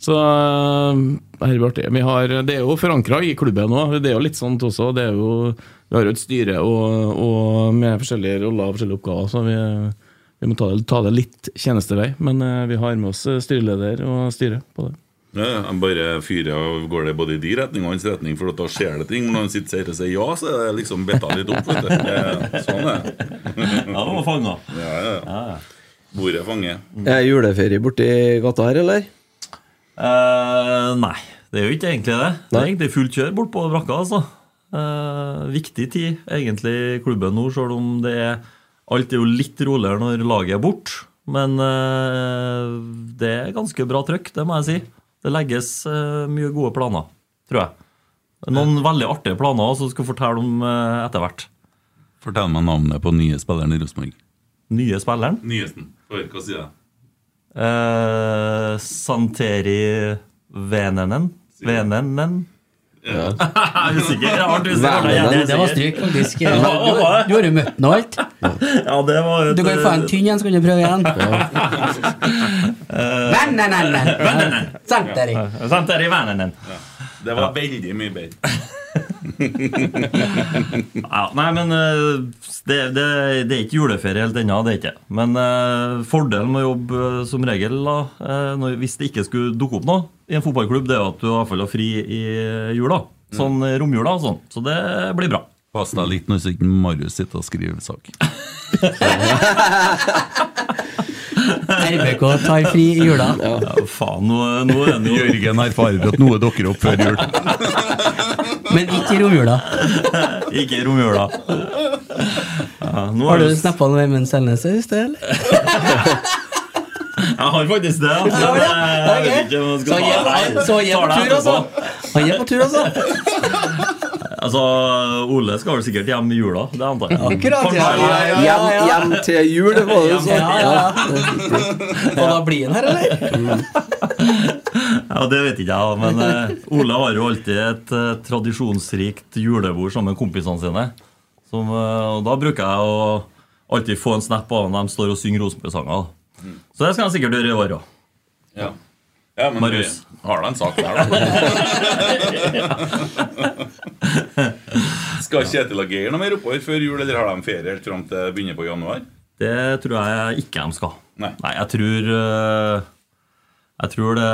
S7: Så eh, det her blir artig. Vi har, det er jo forankra i klubben òg. Det er jo litt sånt også. Det er jo, vi har jo et styre og, og med forskjellige roller og forskjellige oppgaver, så vi, vi må ta det, ta det litt tjenestevei. Men eh, vi har med oss eh, styreleder og styre på det.
S5: Ja, ja, han bare fyrer av gårde både i de retning og hans retning, for da skjer det ting. Men når han sitter her og sier ja, så er det liksom betta litt opp. Vet du. Det, er- sånn er det.
S8: Ja, det var fanga.
S5: Ja, ja, ja. Bordet fanger.
S4: Er juleferie borti gata her, eller?
S8: Eh, nei, det er jo ikke egentlig det. Det er
S4: Nei.
S8: egentlig fullt kjør bort på brakka. altså. Eh, viktig tid, egentlig, i klubben nå, selv om det er Alt er jo litt roligere når laget er borte. Men eh, det er ganske bra trøkk, det må jeg si. Det legges eh, mye gode planer, tror jeg. Noen veldig artige planer også, som skal fortelle om eh, etter hvert.
S5: Fortell meg navnet på nye spilleren i Rosenborg.
S8: Nye spilleren.
S5: Nyhesten. Hør, hva sier jeg?
S8: Eh, Santeri Venenen. Venenen. Jeg er usikker. Jeg ble usikker.
S4: Venenen.
S8: Jeg
S6: Det,
S8: er
S6: det var
S8: usikker.
S6: stryk, faktisk. Du,
S8: var det.
S6: du har jo møtt den og alt.
S8: Ja, det var et,
S6: Du kan jo få en tynn igjen, så kan du prøve igjen. Venn, venn, venn, venn. Sant, Erik.
S8: eh, Santeri Venenen.
S5: Det var veldig mye bedre.
S8: Ja, nei, men eh, det, det, det er ikke juleferie helt ennå. Det er ikke. Men eh, fordelen med å jobbe eh, som regel, da, eh, når, hvis det ikke skulle dukke opp noe i en fotballklubb, det er jo at du i hvert fall har fri i jula. Sånn eh, romjula og sånn. Så det blir bra.
S5: Pass deg litt når ikke Marius sitter og skriver sak.
S6: RBK tar fri i jula.
S8: Ja, faen, nå, nå er det jo
S5: Jørgen erfarer at noe dukker opp før jul.
S6: Men ikke i romjula.
S8: Ikke i romjula. Ja, nå
S6: Har
S8: er
S6: du
S8: det-
S6: snappa noe Vemund Selnes i sted, eller?
S8: Jeg har faktisk det. altså,
S6: Ja,
S8: men
S6: ja.
S8: Jeg vet ikke om jeg skal
S6: Så jeg,
S8: ta det her.
S6: så jeg er på
S8: Tar det
S6: tur, altså.
S8: etterpå.
S6: Han er på tur, altså.
S8: Altså, Ole skal vel sikkert hjem i jula. Det antar jeg.
S6: Akkurat, ja. ja, ja, ja,
S4: Hjem,
S6: ja.
S4: hjem til jul, det var det sånn. du sa.
S6: Ja, ja. Og da blir han her, eller?
S8: Ja, Det vet ikke jeg, da, men eh, Ole har jo alltid et eh, tradisjonsrikt julebord sammen med kompisene sine. Som, eh, og Da bruker jeg å alltid få en snap av når de står og synger Rosenborg-sanger. da. Så det skal jeg sikkert gjøre i år òg.
S5: Ja. Ja, men
S8: Marius.
S5: vi har da en sak der, da. Skal Kjetil og Geir noe mer oppover før jul, eller har de ferie helt fram til begynner på januar?
S8: Det tror jeg ikke de skal.
S5: Nei.
S8: jeg tror eh, Jeg tror det,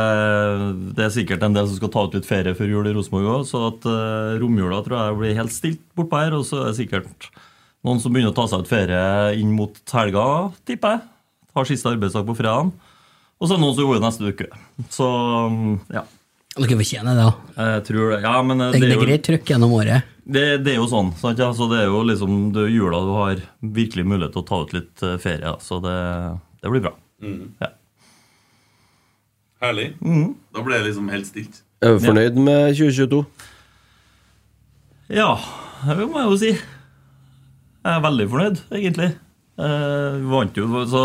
S8: det er sikkert en del som skal ta ut litt ferie før jul i Rosenborg òg, så at eh, romjula tror jeg blir helt stilt bortpå her. Og så er det sikkert noen som begynner å ta seg ut ferie inn mot helga, tipper jeg. Har siste arbeidsdag på fredagen. Og så er det noen som går i neste uke. Så mm, ja.
S6: Dere fortjener det, da.
S8: Jeg tror det. Ja, men eh,
S6: Det, det
S8: jo-
S6: er greit trøkk gjennom året.
S8: det, det er jo sånn. Sant? Ja, så det er jo liksom det er jula du har virkelig mulighet til å ta ut litt eh, ferie. da. Så det, det blir bra.
S5: Mm.
S8: Ja.
S5: Herlig. Da ble det liksom helt stilt.
S4: Er du fornøyd med 2022?
S8: Ja, det må jeg jo si. Jeg er veldig fornøyd, egentlig. Eh, vi vant jo, så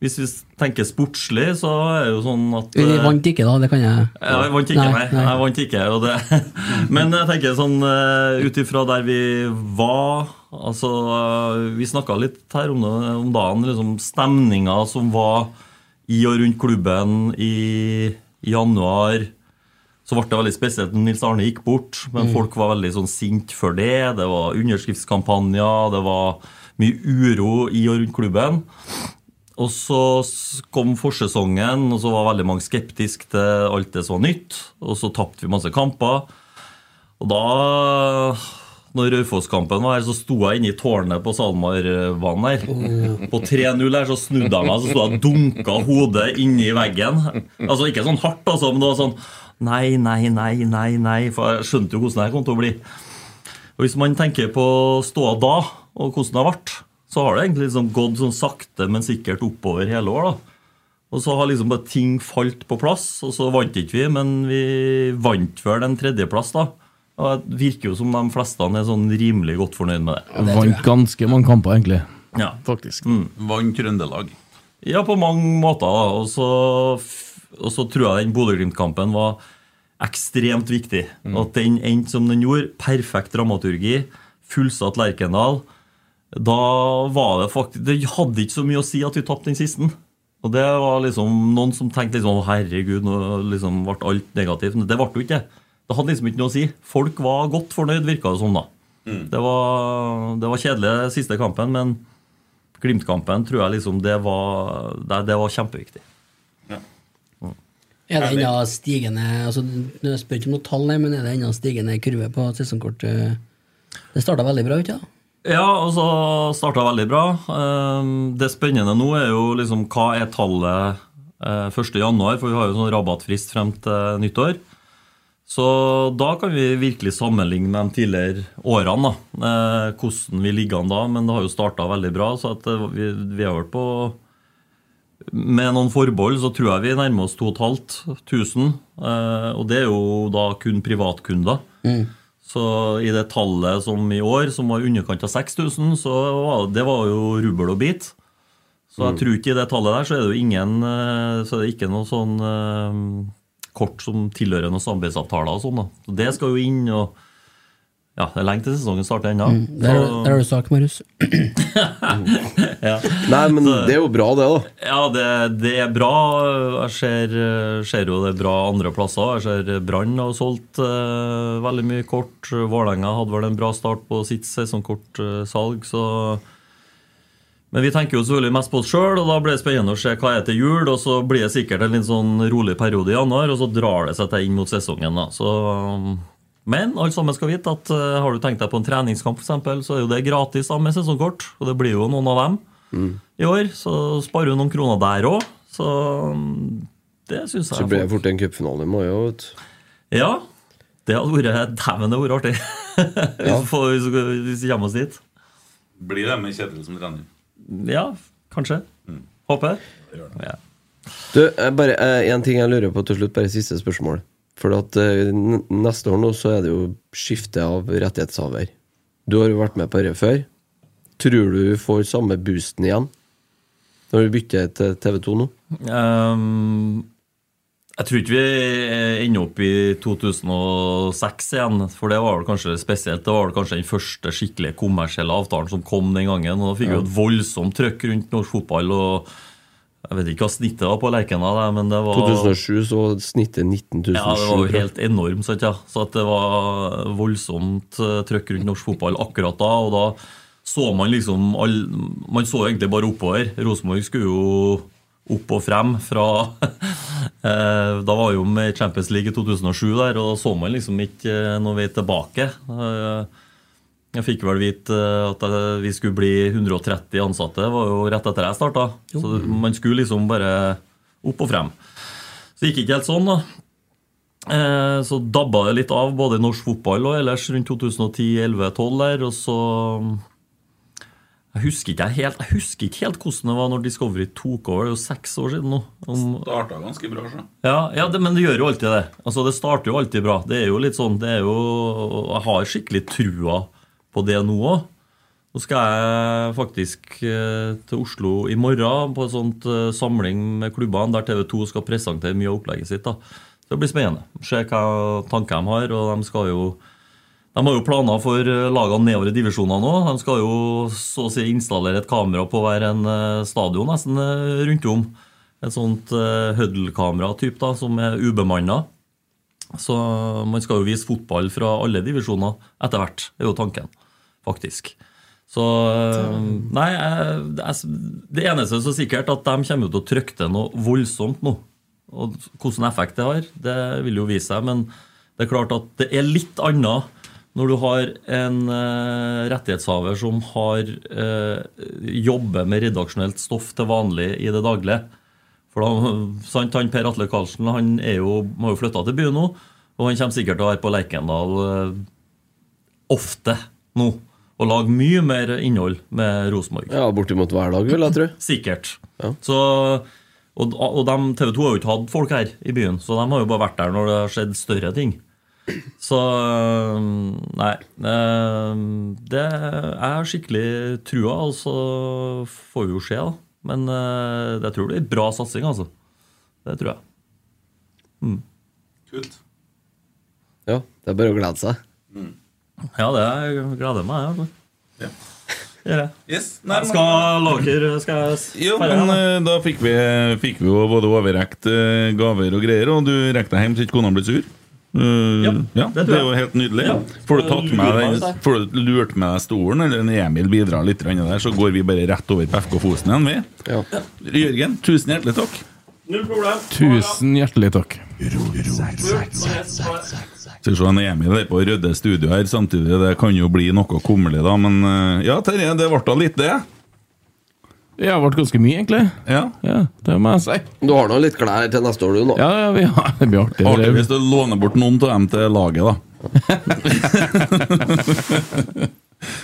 S8: hvis vi tenker sportslig, så er det jo sånn at
S6: Vi
S8: eh,
S6: vant ikke, da. Det kan jeg
S8: Ja, jeg vant ikke, nei. Jeg vant ikke, og det. Men jeg tenker sånn eh, ut ifra der vi var Altså, eh, vi snakka litt her om, det, om dagen, liksom stemninga som var i og rundt klubben i januar. Så ble det veldig spesielt når Nils Arne gikk bort, men
S7: Mm.
S8: folk var veldig sånn sint for det. Det var underskriftskampanjer, det var mye uro i og rundt klubben. Og så s- kom forsesongen, og så var veldig mange skeptiske til alt det som var nytt. Og så tapte vi masse kamper. Og da, når Raufoss-kampen var her, så sto jeg inne i tårnet på SalMar-banen her. På 3-0 her så snudde jeg meg, så sto jeg og dunka hodet inni veggen. Altså ikke sånn hardt, altså, men det var sånn Nei, nei, nei, nei, nei. For jeg skjønte jo hvordan det her kom til å bli. Og Hvis man tenker på ståa da, og hvordan det har vært, så har det egentlig liksom gått sånn sakte, men sikkert oppover hele år. da. Og så har liksom bare ting falt på plass, og så vant ikke vi, men vi vant vel en tredjeplass, da. Og Det virker jo som de fleste er sånn rimelig godt fornøyd med det.
S7: Vant ganske mange kamper, egentlig.
S8: Ja. Mm.
S7: Faktisk.
S5: Vant Trøndelag.
S8: Ja, på mange måter. da. Og så, og så tror jeg den Bodø-Glimt-kampen var ekstremt viktig. At den endte som den gjorde. Perfekt dramaturgi. Fullsatt Lerkendal. Da var det faktisk Det hadde ikke så mye å si at vi tapte den siste. Og det var liksom noen som tenkte liksom, «Å, herregud, nå liksom ble alt negativt. Men det ble jo ikke det. Det hadde liksom ikke noe å si. Folk var godt fornøyd, virka det som, da. Det, var, det var kjedelig siste kampen, men Glimt-kampen tror jeg liksom det var, det, det var kjempeviktig.
S6: Er det ennå stigende altså, Jeg spør ikke om noe tall, nei, men er det ennå stigende kurve på sesongkort? eh? Det starta veldig bra, ikke sant?
S8: Ja, altså starta veldig bra. Ehm, Det spennende nå er jo liksom hva er tallet eh, 1. januar, for vi har jo sånn rabattfrist frem til nyttår. Så da kan vi virkelig sammenligne med de tidligere årene, da. Eh, Hvordan vi ligger an da, men det har jo starta veldig bra, så at eh, vi, vi er vel på Med noen forbehold så tror jeg vi nærmer oss 2500. eh, Og det er jo da kun privatkunder. Så i det tallet som i år, som var i underkant av 6000, så var, det var jo rubbel og bit. Så jeg
S7: Mm.
S8: tror ikke i det tallet der så er det jo ingen eh, Så er det ikke noe sånn eh, kort som tilhører noen samarbeidsavtaler og sånn, da. Så det skal jo inn, og ja, det er lenge til sesongen starter ennå.
S6: Der,
S8: Mm, Så-
S6: der har du sak, Marius.
S4: Nei, men det er jo bra, det, da.
S8: Ja, det, det er bra. Jeg ser, eh, ser jo det er bra andre plasser. Jeg ser Brann har solgt eh, veldig mye kort. Vålerenga hadde vel en bra start på sitt sesongkortsalg, så men vi tenker jo selvfølgelig mest på oss sjøl, og da blir det spennende å se hva er til jul. Og så blir det sikkert en litt sånn rolig periode i januar, og så drar det seg til inn mot sesongen. da. Så, um, men alle sammen skal vite at eh, har du tenkt deg på en treningskamp, for eksempel, så er jo det gratis da med sesongkort. Og det blir jo noen av dem
S4: Mm.
S8: i år. Så sparer du noen kroner der òg. Så um, det syns jeg
S4: Så
S8: er
S4: blir det
S8: flott.
S4: fort en cupfinale i mai òg, vet du.
S8: Ja. Det hadde vært Dæven, det hadde vært artig.
S5: Ja.
S8: hvis, vi får- hvis vi- hvis vi kommer oss dit.
S5: Blir det med Kjetil som trener?
S8: Ja, kanskje.
S4: Mm.
S8: Håper. Ja.
S4: Du, eh, bare eh, en ting jeg lurer på til slutt, bare siste spørsmål. For at eh, n- neste år nå så er det jo skifte av rettighetshaver. Du har jo vært med på dette før. Tror du vi får samme boosten igjen når vi bytter til TV2 nå?
S8: Ehm, jeg tror ikke vi ender opp i 2006 igjen, for det var vel kanskje spesielt. Det var vel kanskje den første skikkelig kommersielle avtalen som kom den gangen. og Da fikk vi jo et voldsomt trøkk rundt norsk fotball. og Jeg vet ikke hva snittet var på Lerkendal, jeg, men det var
S4: 2007 så var snittet 19 700.
S8: ja, det var jo helt enormt, sant, ja. Så at det var voldsomt eh, trøkk rundt norsk fotball akkurat da. Og da så man liksom all, Man så egentlig bare oppover. Rosenborg skulle jo opp og frem fra eh, Da var jo med Champions League i 2007 der, og da så man liksom ikke eh, noen vei tilbake. Eh, Jeg fikk vel vite eh, at eh, vi skulle bli 130 ansatte, det var jo rett etter jeg starta. Så man skulle liksom bare opp og frem. Så det gikk ikke helt sånn, da. Eh, Så dabba det litt av både i norsk fotball og ellers rundt 2010-2011-2012 der. Og så Jeg husker ikke helt, jeg husker ikke helt hvordan det var når Discovery tok over. Det er jo seks år siden nå. Om,
S5: Starta ganske bra, så.
S8: ja, ja det, men det gjør jo alltid det. Altså, det starter jo alltid bra. Det er jo litt sånn, det er jo, Jeg har skikkelig trua på det nå òg. Nå skal jeg faktisk eh, til Oslo i morgen på en sånn eh, samling med klubbene der TV 2 skal presentere mye av opplegget sitt. da. Så Det blir spennende. Se hva tanker de har. og de skal jo... De har jo planer for eh, lagene nedover i divisjonene òg. De skal jo så å si installere et kamera på hver en eh, stadion nesten eh, rundt om. Et sånt eh, Huddle-kamera-typ da, som er ubemanna. Så man skal jo vise fotball fra alle divisjoner etter hvert, er jo tanken, faktisk. Så eh, Nei, jeg, det er- det eneste som er sikkert, at de kommer jo til å trykke til noe voldsomt nå. Og Hvilken effekt det har, det vil jo vise seg, men det er klart at det er litt annet når du har en eh, rettighetshaver som har eh, jobber med redaksjonelt stoff til vanlig i det daglige. For da, sant, han Per Atle Karlsen han er jo, har jo flytta til byen nå, og han kommer sikkert til å være på Lerkendal eh, ofte nå. Og lage mye mer innhold med Rosenborg.
S4: Ja, bortimot hver dag, vil jeg tro.
S8: Sikkert. Så, og og dem- TV 2 har jo ikke hatt folk her i byen, så de har jo bare vært der når det har skjedd større ting. Så øhm, Nei. øhm, Det, jeg har skikkelig trua, og så får vi jo se, da. Men øh, jeg tror det blir bra satsing, altså. Det tror jeg. Mm.
S5: Kult.
S4: Ja, det er bare å glede seg.
S8: Ja, det jeg gleder meg, jeg. altså. Gjør jeg.
S5: Yes.
S8: Jeg skal lager skal jeg
S5: Jo,
S8: feire
S5: men
S8: her, da?
S5: eh, da fikk vi, fikk vi jo både overrekt eh, gaver og greier, og du rekte hjem så ikke kona ble sur. Eh, ja, det,
S8: det tror
S5: er jo
S8: jeg.
S5: helt nydelig.
S8: Ja.
S5: Får du tatt
S8: Lurer meg
S5: med den,
S8: litt der.
S5: får du lurt med deg stolen, eller en Emil bidrar litt grann der, så går vi bare rett over på FK Fosen igjen, vi.
S4: Ja.
S5: Jørgen, tusen hjertelig takk.
S8: Null problem.
S7: Tusen hjertelig takk.
S5: Skal vi se, en Emil er på Rødde studio her samtidig. Det kan jo bli noe kummerlig, da, men eh, ja, Terje, det ble da litt, det.
S7: Jeg har vært ganske mye, egentlig.
S5: Ja.
S7: Ja, det må jeg si.
S4: Du har nå litt klær til neste år, du, nå.
S7: Ja, ja, vi har, det blir artig.
S5: Artig
S7: Det
S5: hvis du låner bort noen av dem til laget, da.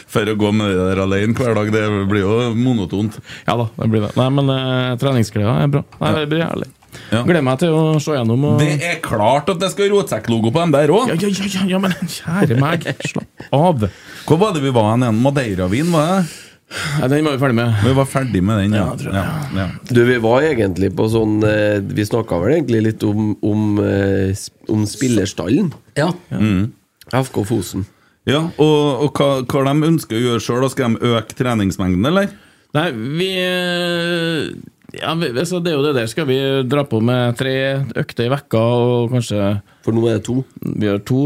S5: For å gå med det der alene hver dag, det blir jo monotont.
S7: Ja da, det blir det. Nei, men uh, treningsklær er bra. Nei, det blir herlig.
S5: Ja.
S7: Gleder meg til å se gjennom og
S5: Det er klart at det skal rotsekklogo på dem der òg!
S7: ja, ja, ja, ja, ja, men kjære meg, slapp av! Nei,
S5: Hvor var det vi var igjen? Madeiravin, var det?
S7: den var vi ferdig med.
S5: Vi var ferdig med den, ja.
S7: Ja, tror jeg.
S5: ja, ja.
S4: Du, vi var egentlig på sånn eh, Vi snakka vel egentlig litt om, om, eh, sp- om spillerstallen.
S6: Ja.
S7: Mm.
S4: FK Fosen.
S5: ja og, og hva, hva de ønsker å gjøre sjøl? Skal de øke treningsmengden, eller?
S7: Nei, vi eh, ja, vi, altså, Det er jo det der. Skal vi dra på med tre økter i vekka og kanskje
S4: For nå er det to.
S7: Vi har to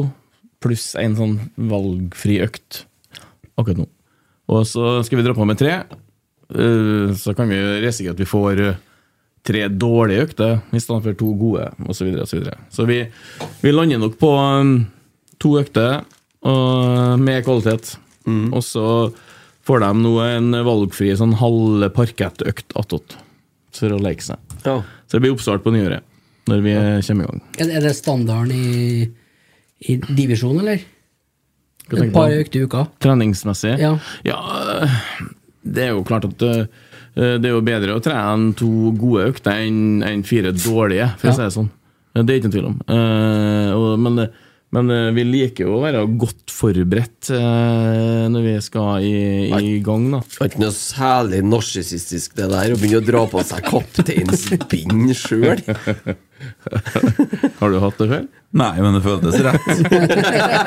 S7: pluss en sånn valgfri økt akkurat nå. Og så skal vi dra på med tre. Eh, Så kan vi jo risikere at vi får eh, tre dårlige økter i stedet for to gode, osv. Så, videre, og så, videre. så vi, vi lander nok på um, to økter og eh, med kvalitet. Og så får de nå en valgfri sånn halv parkettøkt attåt for å leke seg.
S4: Ja.
S7: Så det blir oppstart på nyåret, når vi kommer i gang.
S6: Er, er det standarden i, i divisjon, eller?
S7: Hva tenker
S6: Et
S7: du?
S6: par økter i uka?
S7: Treningsmessig?
S6: Ja.
S7: øh, det er jo klart at øh, det er jo bedre å trene to gode økter enn enn fire dårlige, for
S6: Ja.
S7: å si det sånn. Det er ikke noen tvil om. Eh, og, men, det- men eh, vi liker jo å være godt forberedt eh, når vi skal i, i gang, da.
S4: Det er ikke noe særlig narsissistisk, det der, å begynne å dra på seg kapteinsbind sjøl.
S7: Har du hatt det før?
S5: Nei, men det føltes rett.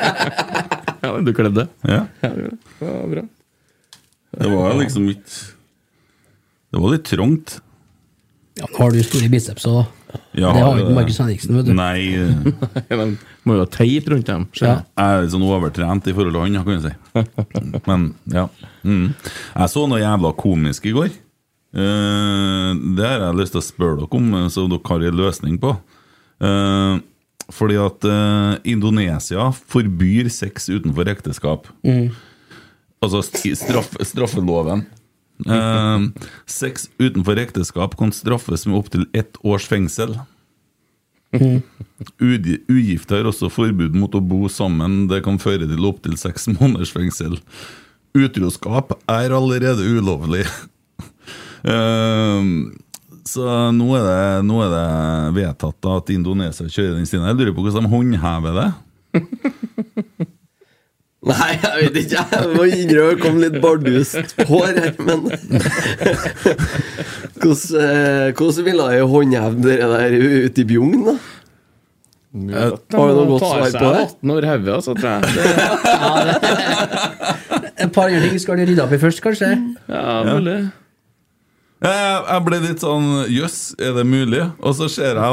S7: Ja, du kledde det.
S5: Ja.
S7: Ja, bra.
S5: Det var liksom ikke Det var litt trangt.
S6: Ja, nå har du store biceps òg, da.
S5: Ja,
S6: det har jo
S5: det-
S6: ikke Markus Henriksen, vet du.
S5: Nei.
S8: eh.
S5: De må jo ha teip rundt dem.
S6: Ja.
S5: Jeg er litt sånn overtrent i forhold til han, kan du si. Men, ja. Mm. Jeg så noe jævla komisk i går. Eh, det har jeg lyst til å spørre dere om, eh, så dere har en løsning på. Eh, fordi at eh, Indonesia forbyr sex utenfor ekteskap.
S3: Mm.
S5: Altså st- straff, straffeloven. Eh, sex utenfor ekteskap kan straffes med opptil ett års fengsel. Ugi- Ugifte har også forbud mot å bo sammen. Det kan føre til opptil seks måneders fengsel. Utroskap er allerede ulovlig. Ehm, så nå er, det, nå er det vedtatt da at Indonesia kjører den siden. Jeg lurer på hvordan de håndhever det.
S4: Nei, jeg vet ikke. Jeg må innrømme det kom litt bardust hår her, men Hvordan eh, hvordan ville jeg håndheve dere der ute i Bjugn, da?
S7: Har
S4: Har du noe godt svar på det?
S7: 18 år hodet, altså, tror jeg. Det,
S6: Et par andre ting skal du rydde opp i først, kanskje?
S5: Ja. Jeg, jeg ble litt sånn Jøss, er det mulig? Og så ser jeg da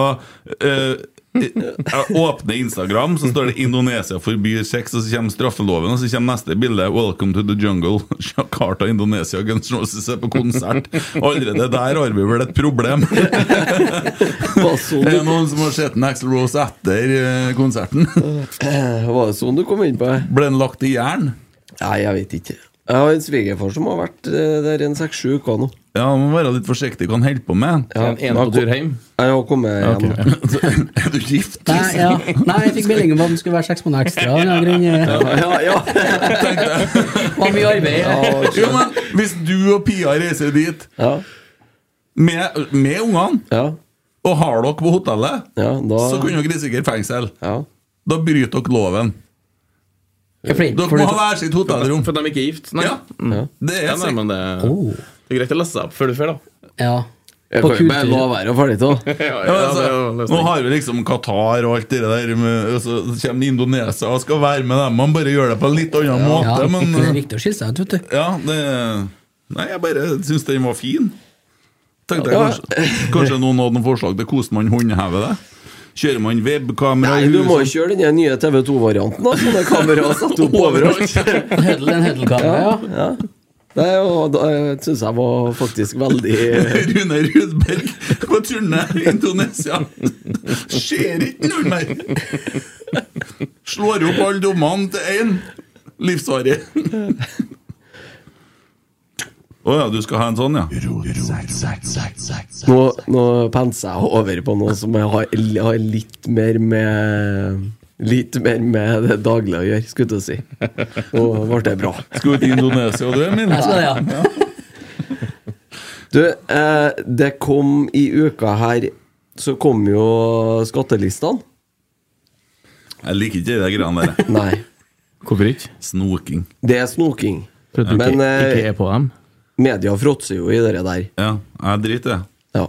S5: eh, Jeg åpner Instagram, så står det 'Indonesia forbyr sex', og så kommer straffeloven, og så kommer neste bilde 'Welcome to the jungle'. Jakarta, Indonesia, Guns N' Roses er på konsert. Allerede der har vi vel et problem.
S4: sånn
S5: er det noen som har sett en Axl Rose etter eh, konserten?
S4: Var det sånn du kom inn på det?
S5: Ble den lagt i jern?
S4: Nei, jeg vet ikke. Jeg har en svigerfar som har vært eh, der en seks-sju uker nå.
S5: Ja, man må være litt forsiktig hva han holder på med.
S4: Ja, En på tur
S5: hjem?
S4: Jeg har kommet hjem.
S5: er du gift?
S6: Nei, ja. Nei, jeg fikk melding om at den skulle være seks måneder ekstra. av en eller annen grunn. eh.
S4: Ja, ja.
S6: Var mye arbeid.
S5: Jo, men hvis du og Pia reiser dit med, med ungene og har dere på hotellet, så kunne dere risikere fengsel. Da bryter dere loven.
S7: Ja, fordi-
S5: dere
S7: fordi-
S5: må ha hver sitt hotellrom.
S7: For de er ikke gift? Nei. Mm.
S5: Ja. Det er
S7: ja, nei,
S5: sikkert.
S7: men det,
S6: Oh.
S7: det er greit å lese seg opp før du drar, da.
S6: Ja.
S4: Jeg
S7: På
S4: kan jo bare
S7: kultur.
S4: la være å ferdig til da.
S7: ja, ja, det er jo
S5: Ja, altså, nå
S7: løsning.
S5: har vi liksom Qatar og alt det der, med, og så kommer Indonesia og skal være med dem. Man bare gjør det på en litt
S6: Ja,
S5: annen måte, men eh,
S6: det er viktig å skille seg ut, vet du.
S5: Ja, det Nei, jeg bare syns den var fin. Tenkte jeg
S6: Ja.
S5: kanskje, kanskje noen hadde noen forslag til hvordan man håndhever det? Kjører man webkamera
S4: Nei,
S5: i
S4: du må jo
S5: huset?
S4: kjøre den nye TV2-varianten, da. Sånne kameraer satt opp overalt.
S6: Huddle en huddle-kamera, ja.
S4: ja. Det er jo- det syns jeg var faktisk veldig
S5: Rune Rudberg på turné i Indonesia. Skjer ikke noe mer! Slår opp alle dommene til én. Livsvarig. Å ja, du skal ha en sånn, ja?
S4: Nå, nå penser jeg over på noe som jeg har, har litt mer med Litt mer med det daglige å gjøre, skulle jeg til å si. Nå ble det bra.
S5: Skal du til Indonesia, du, Emil?
S4: Jeg skal det, ja. Du, eh, det kom i uka her Så kom jo skattelistene.
S5: Jeg liker ikke de greiene der. jeg.
S4: Nei.
S7: Hvorfor ikke?
S5: Snoking.
S4: Det er snoking.
S7: For at du ikke- ikke er
S4: på dem? Media fråtser jo i det der.
S5: Ja, jeg driter i det.
S4: Ja.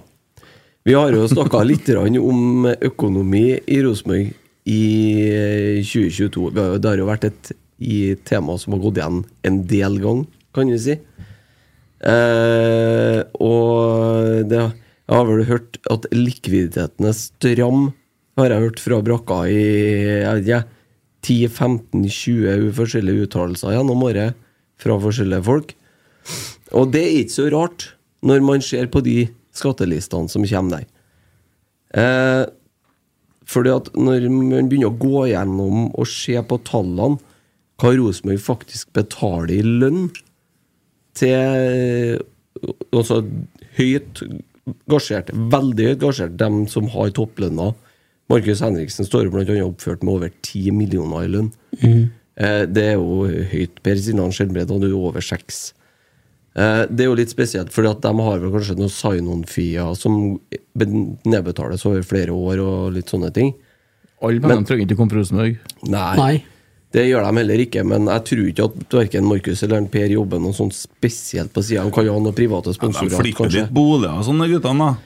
S4: Vi har jo snakka litt grann om økonomi i Rosenborg i eh, 2022. Vi har jo- Det har jo vært et i tema som har gått igjen en del gang, kan vi si. Eh, og det, jeg har vel hørt at likviditeten er stram, har jeg hørt fra brakka i jeg vet ikke, 10-15-20 forskjellige uttalelser gjennom året fra forskjellige folk. Og det er ikke så rart når man ser på de skattelistene som kommer der. Eh, fordi at når man begynner å gå gjennom og se på tallene, hva Rosenborg faktisk betaler i lønn til Altså høyt gasjert, veldig høyt gasjert, dem som har topplønna. Markus Henriksen står blant annet oppført med over 10 millioner i lønn. Eh, Det er jo høyt, Per, siden han sjelden ble det, og du er over seks. Eh, Det er jo litt spesielt, fordi at de har vel kanskje noen sign-on-fier som be- nedbetales over flere år og litt sånne ting.
S7: Alle pengene trenger ikke å komme fra Rosenborg.
S4: Nei. Det gjør de heller ikke, men jeg tror ikke at verken Markus eller Per jobber noe sånt spesielt på sida. De kan jo ha noen private
S5: De
S4: sponsorer.
S5: flytter
S4: kanskje.
S5: litt boliger og sånne guttene, da.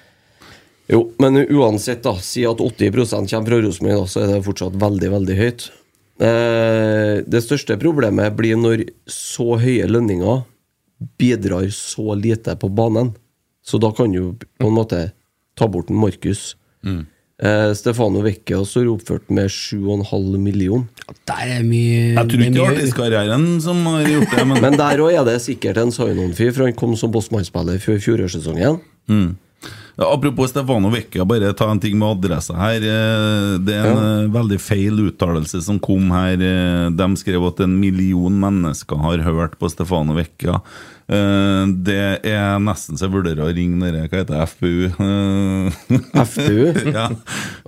S4: Jo, men uansett, da, si at 80 kommer fra Rosenborg, da, så er det fortsatt veldig, veldig høyt. Eh, det største problemet blir når så høye lønninger bidrar så lite på banen. Så da kan du på en måte ta bort en Markus Eh, Stefano Vecchia står oppført med 7,5 million.
S6: Der er mye
S5: Jeg tror ikke det er artistkarrieren som har gjort det, men,
S4: Men der òg er det sikkert en Zainon-fyr, for han kom som bossmannsspiller i fjorårssesongen.
S5: mm. ja, Apropos Stefano Vecchia, bare ta en ting med adressa her. Eh, Det er en eh, veldig feil uttalelse som kom her. Eh, De skrev at en million mennesker har hørt på Stefano Vecchia. Eh, Det er nesten så jeg vurderer å ringe dere, hva heter det, FPU?
S4: FPU?
S5: Eh, ja.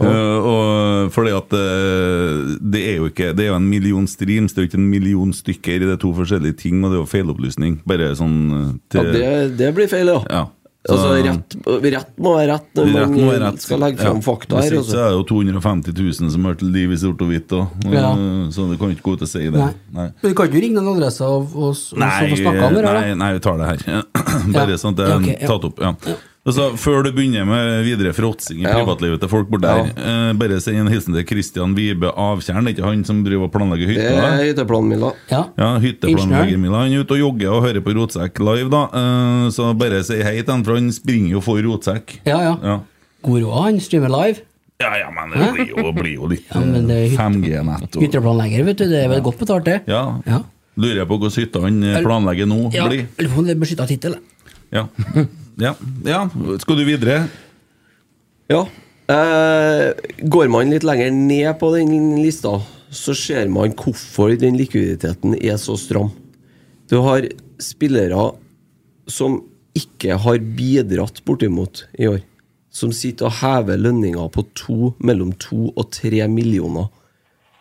S5: Eh, og fordi at eh, det er jo ikke Det er jo en million streams, det er jo ikke en million stykker. Det er to forskjellige ting, og det er jo feilopplysning. Bare sånn eh,
S4: Ja,
S5: til-
S4: det, det blir feil, ja.
S5: ja.
S4: Altså, rett, rett må være rett når
S5: Rett
S4: man
S5: må være rett.
S4: eh, skal legge fram
S5: Ja.
S4: fakta
S5: Hvis
S4: her.
S5: ikke
S4: altså.
S5: så er det jo 250 000 som hørte liv i sort og hvitt, og,
S6: Ja.
S5: eh, så du kan ikke gå ut og si det.
S6: Nei.
S5: Nei.
S6: Men du kan ikke ringe noen adresser og, og, og så
S5: Nei,
S6: få snakka om det?
S5: nei, nei, vi tar det her. Bare
S6: Ja.
S5: sånn at det er
S6: Ja, ok, ja.
S5: tatt opp. Ja. Altså, før du begynner med videre fråtsing i
S4: Ja.
S5: privatlivet til folk borti der, eh, bare send en hilsen til Christian Vibe Avtjern. Det er ikke han som driver og planlegger
S4: Det
S5: hytta?
S4: er
S5: da?
S4: hytteplanen min, da.
S6: Ja.
S5: Ja,
S6: Ingeniør.
S5: hytteplanlegger Mila. Han er ute og jogger og hører på Rotsekk live, da. Eh, Så bare si hei til han, for han springer jo for Rotsekk.
S6: Ja, ja.
S5: Ja.
S6: God råd, han streamer live.
S5: Ja, ja, men det blir jo, blir jo litt
S6: Ja, men det er hytte-
S5: 5G-nett og
S6: Hytteplanlegger, vet du. Det er vel godt betalt, det.
S5: ja.
S6: Ja.
S5: Lurer jeg på hvordan hytta han eh, planlegger nå
S6: Ja,
S5: blir.
S6: Lurer på om det er beskytta tittel.
S5: Ja. ja. Ja, skal du videre?
S4: Ja. Eh, går man litt lenger ned på den lista, så ser man hvorfor den likviditeten er så stram. Du har spillere som ikke har bidratt bortimot i år. Som sitter og hever lønninger på to, mellom to og tre millioner.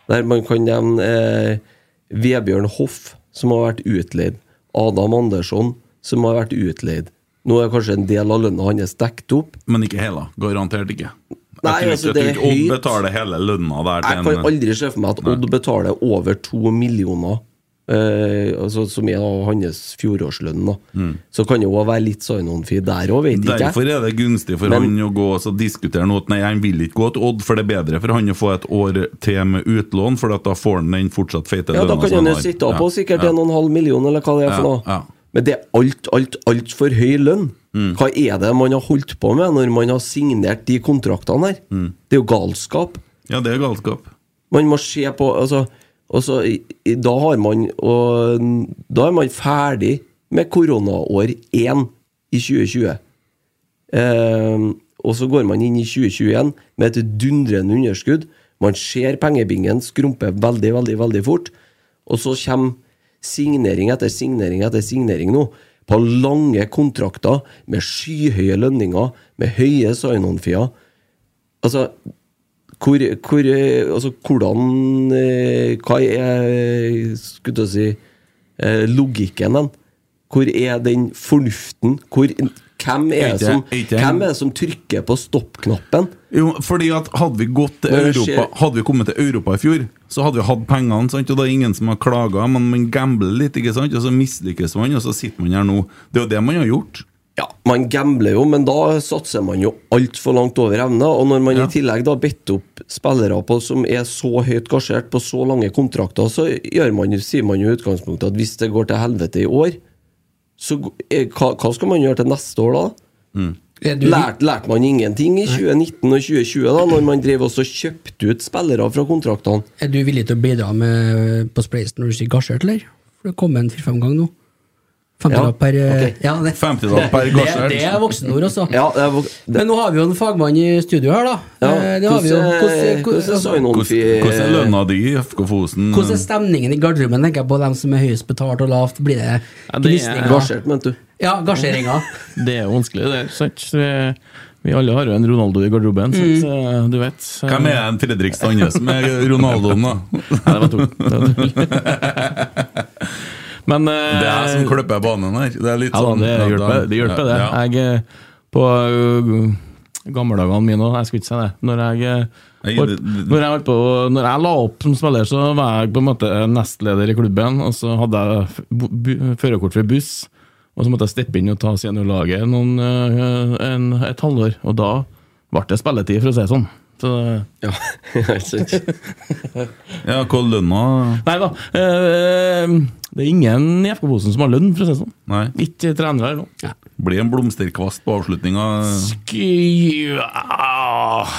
S4: Der man kan nevne eh, Vebjørn Hoff, som har vært utleid. Adam Andersson, som har vært utleid. Nå er kanskje en del av lønna hans dekket opp.
S5: Men ikke hele. Garantert ikke. Jeg
S4: Nei,
S5: tror
S4: altså,
S5: ikke- jeg
S4: det er
S5: tror ikke Odd
S4: høyt.
S5: betaler hele lønna der
S4: Jeg
S5: til
S4: kan
S5: en
S4: aldri se for meg at Odd betaler over to millioner, eh, altså, som er da hans fjorårslønn. Da. Så kan det jo være litt sign-on-fee der òg, vet ikke
S5: Mm. Derfor
S4: jeg.
S5: er det gunstig for
S4: Men-
S5: han å gå og så diskutere noe at nei, han vil ikke gå til Odd, for det er bedre for han å få et år til med utlån, for at da får han den fortsatt feite
S4: Ja, da
S5: lønna
S4: kan
S5: som
S4: han jo
S5: har.
S4: sitte
S5: Ja,
S4: på sikkert
S5: ja.
S4: 1,5 million, eller hva det er
S5: Ja,
S4: for noe.
S5: ja.
S4: Men det er alt, alt, altfor høy lønn.
S5: Mm.
S4: Hva er det man har holdt på med når man har signert de kontraktene
S5: Mm.
S4: her? Det er jo galskap.
S5: Ja, det er galskap.
S4: Man må se på altså, altså, i- i- da, har man, og, da er man ferdig med koronaår 1 i 2020. Ehm, og så går man inn i 2021 med et dundrende underskudd. Man ser pengebingen skrumpe veldig, veldig veldig fort. Og så kommer signering etter signering etter signering nå. På lange kontrakter med skyhøye lønninger, med høye sign-on-fier. Altså, hvor, hvor, eh, altså, hvordan eh, Hva er eh, skulle til å si, eh, logikken den? Hvor er den fornuften? Hvor, hvem, er
S5: Ikke-
S4: det som,
S5: ikke-
S4: hvem er det som trykker på stopp-knappen?
S5: Jo, fordi at hadde vi gått til
S4: Men det
S5: Europa
S4: skjer-
S5: Hadde vi kommet til Europa i fjor, så hadde vi hatt pengene, sant? og det er ingen som har klaga, men man gambler litt, ikke sant? og så mislykkes man, og så sitter man her nå. Det er jo det man har gjort.
S4: Ja, man gambler jo, men da satser man jo altfor langt over evne. Og når man
S5: Ja.
S4: i tillegg da bedt opp spillere på som er så høyt gasjert på så lange kontrakter, så gjør man, jo- sier man jo i utgangspunktet at hvis det går til helvete i år, så g- eh, hva, hva skal man gjøre til neste år da?
S5: Mm.
S6: Er du-
S4: Lærte lært man ingenting i 2019 og 2020, da, når man drev også kjøpte ut spillere fra kontraktene?
S6: Er du villig til å bidra med på Spleisen når du sier gasjert, eller? For det kom en fire-fem ganger nå. 50
S4: Ja,
S6: ja, per eh,
S4: ok.
S6: ja, det,
S5: 50 da per gasjert.
S6: Det, det er voksenord, altså.
S4: Ja, det, var- det,
S6: Men nå har vi jo en fagmann i studio her, da.
S4: ja.
S6: Eh, Det har vi jo. Hvordan-
S4: hvordan er
S6: Hvordan
S4: sign-on-fee-
S5: Hvordan hvordan er lønna di i FK Fosen?
S6: hvordan er stemningen i garderoben? Tenker jeg på dem som er høyest betalt og lavt. Blir det
S7: Ja, det er-
S6: gnisninger?
S4: Gasjert, mente du?
S6: Ja, gasjeringer.
S7: Det er jo vanskelig, det. er Sant? Så Vi, vi alle har jo en Ronaldo i garderoben,
S6: Mm.
S7: sant? Så, du vet. så-
S5: Hvem er en Fredrik Sandnes som er Ronaldoen, da?
S7: Nei, det var tull. Det var tull. Men eh,
S5: Det er jeg som klipper banen her. Det er litt
S7: Ja da,
S5: sånn
S7: det hjelper, det. Hjelper, det.
S5: Ja.
S7: Jeg, eh, på eh, gammeldagene mine òg, jeg skulle ikke si det Når jeg, eh,
S5: Nei,
S7: holdt-
S5: det- det-
S7: når jeg, holdt på, å- når jeg la opp som spiller, så var jeg på en måte eh, nestleder i klubben. Og så hadde jeg f- bu- bu- førerkort for buss, og så måtte jeg steppe inn og ta seniorlaget noen, eh, en, et halvår. Og da ble det spilletid, for å si det sånn. Så,
S4: ja,
S5: Ja, hva lønna
S7: Nei da. Eh, det er ingen i FK-posen som har lønn, for å si det sånn.
S5: Nei.
S7: Ikke trenere eller noe.
S5: Blir en blomsterkvast på avslutninga.
S7: Sk- ja. ah.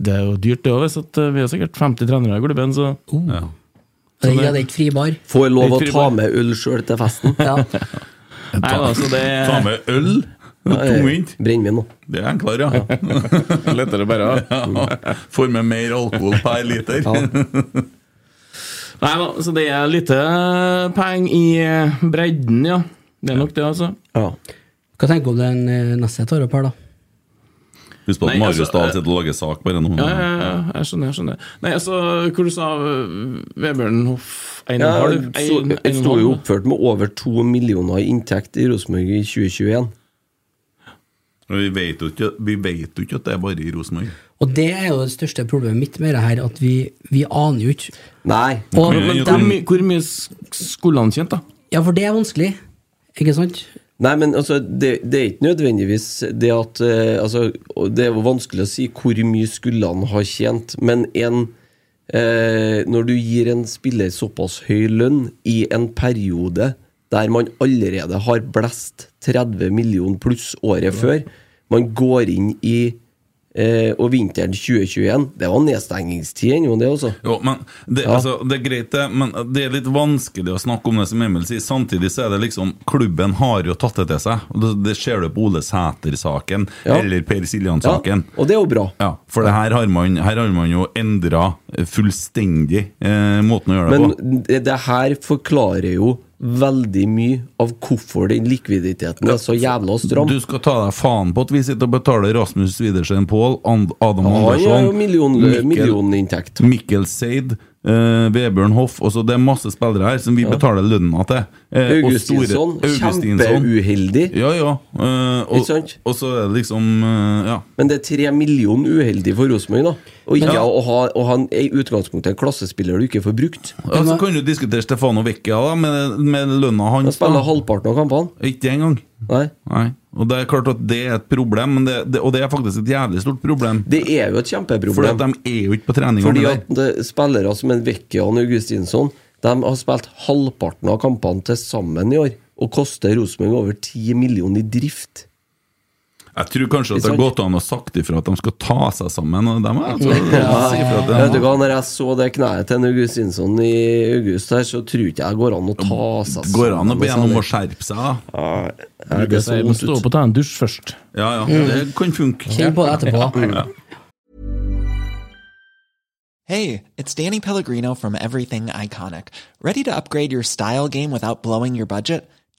S7: Det er jo dyrt, det òg. eh, Vi har sikkert 50 trenere i klubben, så
S4: Oh.
S5: ja.
S6: Det er det ikke fribar.
S4: Får lov å
S7: Litt
S4: ta
S7: fribar.
S4: med øl sjøl til festen.
S6: Ja.
S7: Nei, altså, det
S5: Ta med øl og
S4: Nei.
S5: tungvint.
S4: Brennevin nå.
S5: Det er enklere, ja.
S7: lettere bare.
S5: ja. Får med mer alkohol per liter.
S7: Nei da, så det er lite penger i eh, bredden, ja. Det er nok det, altså.
S4: Ja.
S6: Hva tenker du om den eh, neste jeg tar opp her, da?
S5: Husk på at
S7: Nei,
S5: Marius
S7: altså,
S5: Dahl
S7: eh,
S5: sitter og lager sak bare nå.
S7: Ja, ja, ja, jeg skjønner. jeg skjønner Nei, altså, Hvor du sa øh, Vebjørn Hoff en
S4: Ja,
S7: og en halv,
S4: så-
S7: en- en og
S4: Jeg
S7: en
S4: sto jo
S7: halv.
S4: oppført med over to millioner i inntekt i Rosenborg i 2021.
S5: Men Vi vet jo ikke, vi vet jo ikke at det er bare i Rosenborg.
S6: Og det er jo det største problemet mitt med det her, at vi, vi aner jo ikke.
S4: Nei.
S6: Og,
S5: Men-
S7: Men
S5: jo,
S7: hvor,
S5: men-
S7: mye- hvor mye sk- skulle han tjent, da?
S6: ja, for det er vanskelig, ikke sant?
S4: Nei, men altså, det, det er ikke nødvendigvis det at eh, altså, og Det er jo vanskelig å si hvor mye skulle han ha tjent, men en eh, Når du gir en spiller såpass høy lønn i en periode der man allerede har blest 30 millioner pluss året før Man går inn i eh, Og vinteren 2021 Det var nedstengingstid ennå, det, altså.
S5: Jo, men det,
S4: Ja.
S5: altså, det er greit, det, men det er litt vanskelig å snakke om det som Emil sier. Samtidig så er det liksom Klubben har jo tatt det til seg. Og Det, det ser du på Ole Sæter-saken,
S4: Ja.
S5: eller Per
S4: Ja,
S5: Siljan-saken.
S4: og det er jo bra.
S5: Ja, for det her har man, her har man jo endra fullstendig eh, måten å gjøre det
S4: Men
S5: på.
S4: det, det her forklarer jo veldig mye av hvorfor den likviditeten er så jævla stram.
S5: Du skal ta deg faen på at vi sitter og betaler Rasmus Widersen Pål, And- Adam
S4: Han har jo
S5: Andersson,
S4: million,
S5: Mikkel-
S4: millioninntekt.
S5: Mikkel Seid, eh, Vebjørn Hoff også, Det er masse spillere her som vi betaler lønna til. Eh, og store-
S4: Augustinsson,
S5: Augustinsson.
S4: kjempeuheldig.
S5: Ja, ja.
S4: Ikke
S5: eh, og,
S4: sant?
S5: og så er det liksom eh, Ja.
S4: Men det er tre millioner uheldig for Rosenborg, da. Og ikke
S5: Ja.
S4: å ha, å ha en, i utgangspunktet en klassespiller du ikke får brukt.
S5: Og så kan du diskutere Stefano Vecchia da, med, med lønna
S4: Han
S5: hans.
S4: spiller
S5: da.
S4: halvparten av kampene.
S5: Ikke det engang.
S4: Nei.
S5: Nei. Og det er klart at det er et problem, men det, det, og det er faktisk et jævlig stort problem.
S4: Det er jo et
S5: Fordi at
S4: kjempeproblem.
S5: de er jo ikke på trening.
S4: Fordi at det, spillere som en Vecchia og en Augustinsson De har spilt halvparten av kampene til sammen i år og koster Rosenborg over 10 millioner i drift.
S5: Jeg tror kanskje at
S4: Ikke
S5: det har
S4: sant?
S5: gått an å sagt ifra at de skal ta seg sammen. Og dem, altså, si ifra til
S4: Vet du
S5: dem.
S4: hva, Når jeg så det kneet til en Augustinsson i august, her, så tror ikke jeg går an å ta seg sammen.
S5: Går det an å be
S4: med
S5: ham om å
S4: sånne-
S5: skjerpe seg? da?
S4: Nei, det så
S7: Jeg må
S4: vondt
S7: stå
S4: ut.
S7: opp og ta en dusj først.
S5: Ja, ja, det kan funke.
S6: Mm. Kjenn på det etterpå.
S5: Ja.
S2: Hey, it's Danny Pellegrino from Everything Iconic. Ready to upgrade your style game without blowing your budget?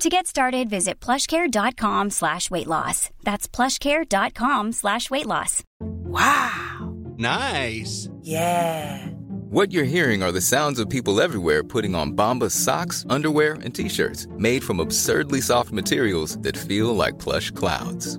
S9: To get started, visit plushcare.com slash weight loss. That's plushcare.com slash weight loss.
S10: Nice.
S11: What you're hearing are the sounds of people everywhere putting on Bombas socks, underwear, and t-shirts made from absurdly soft materials that feel like plush clouds.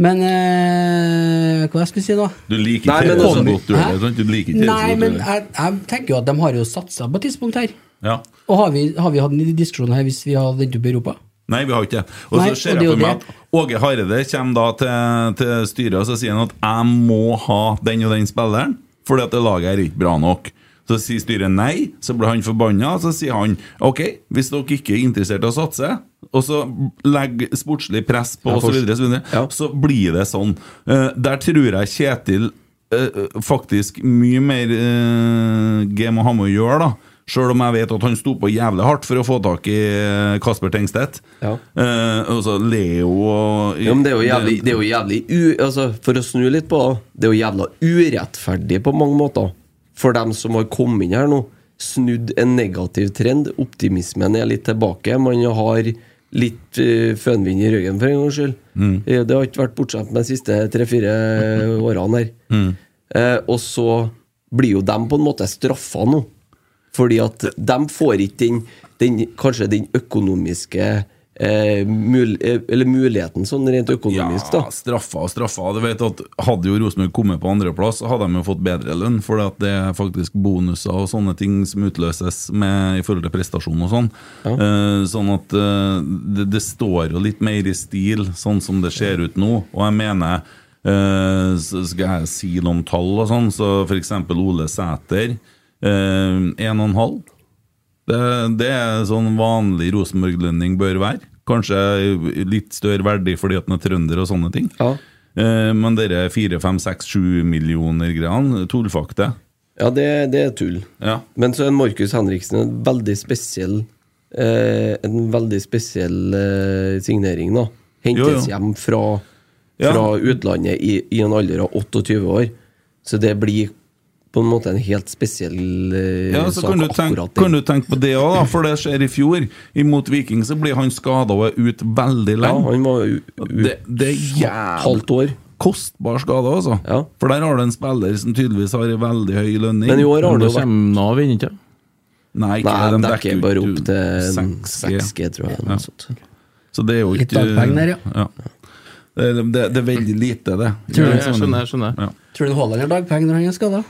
S6: Men eh, hva jeg skulle si nå?
S5: Du liker
S4: Nei,
S5: ikke
S4: men
S5: det så
S4: altså-
S5: godt, du heller. sant? Du liker ikke det så
S6: Nei,
S5: godt,
S6: men
S5: du heller.
S6: jeg, jeg tenker jo at de har jo satsa på et tidspunkt her.
S5: Ja.
S6: Og har vi, har vi hatt en diskusjon her hvis vi hadde endt opp i Europa?
S5: Nei, vi har ikke det. Og
S6: Nei,
S5: så ser
S6: og det
S5: jeg
S6: er
S5: for
S6: jo
S5: meg
S6: det.
S5: at Åge Hareide kommer da til, til styret og så sier han at jeg må ha den og den spilleren fordi at det laget her er ikke bra nok. Så sier styret nei, så blir han forbanna, så sier han ok, hvis dere ikke er interessert i å satse, og så legger sportslig press på
S4: Ja,
S5: oss, og så, videre, så, videre,
S4: Ja.
S5: så blir det sånn. Eh, der tror jeg Kjetil eh, faktisk mye mer uh, game å ha med å gjøre, da. Sjøl om jeg vet at han sto på jævlig hardt for å få tak i eh, Kasper Tengstedt.
S4: Ja.
S5: Eh, og så Leo og
S4: Ja, men det er jo jævlig, det er jo jævlig u, altså, For å snu litt på det, det er jo jævla urettferdig på mange måter. For dem som har kommet inn her nå, snudd en negativ trend. Optimismen er litt tilbake. Man har litt uh, fønvind i ryggen, for en gangs skyld.
S5: Mm.
S4: Eh, Det har ikke vært bortsett med de siste tre-fire årene her. Eh, og så blir jo dem på en måte straffa nå. Fordi at de får ikke den, den kanskje den økonomiske eh, mul eh, eller muligheten sånn rent økonomisk,
S5: Ja, straffa og straffa. Du vet at Hadde jo Rosenborg kommet på andreplass, så hadde de jo fått bedre lønn. For at det er faktisk bonuser og sånne ting som utløses med, i forhold til prestasjon og sånn. Eh, sånn at eh, det, det står jo litt mer i stil, sånn som det ser ut nå. Og jeg mener eh, så Skal jeg si noen tall og sånn, så f.eks. Ole Sæter eh, 1,5. Det, det er sånn vanlig Rosenborg-lønning bør være. Kanskje litt større verdi fordi at den er trønder og sånne ting.
S4: da. Ja.
S5: Eh, Men dere 4-5-6-7 millioner greiene, tullfakte.
S4: Ja, det, det er tull.
S5: Ja.
S4: Men så er Markus Henriksen en veldig spesiell eh, En veldig spesiell eh, signering, da. Hentes
S5: Jo, jo.
S4: hjem fra,
S5: Ja.
S4: fra utlandet i, i en alder av 28 år. Så det blir på en måte en helt spesiell eh,
S5: Ja, så
S4: sak.
S5: kan du, tenke,
S4: akkurat det.
S5: kan du tenke på det òg, da, for det skjer i fjor. Imot Viking så blir han skada og er ute veldig
S4: ja,
S5: lenge.
S4: han var u, u,
S5: Det, det er jævlig
S4: halvt år.
S5: kostbar skade, altså.
S4: Ja.
S5: For der har du en spiller som tydeligvis har en veldig høy lønning.
S4: Men i år har
S7: Men
S4: det
S7: da
S4: jo vært
S7: kommer Nav inn, ikke
S5: Nei, ikke,
S4: Nei,
S5: det,
S4: de
S5: de
S4: dekker
S5: jo
S4: bare
S5: ikke
S4: opp til en
S5: 6G.
S4: 6G, tror jeg. eller noe sånt.
S5: Så det er jo
S6: Litt
S5: ikke
S6: dagpenger der, ja.
S5: Det, er- det, det er veldig lite, det.
S7: Ja, jeg skjønner, jeg skjønner.
S5: Ja.
S6: Tror du Haaland har dagpenger når han er skada?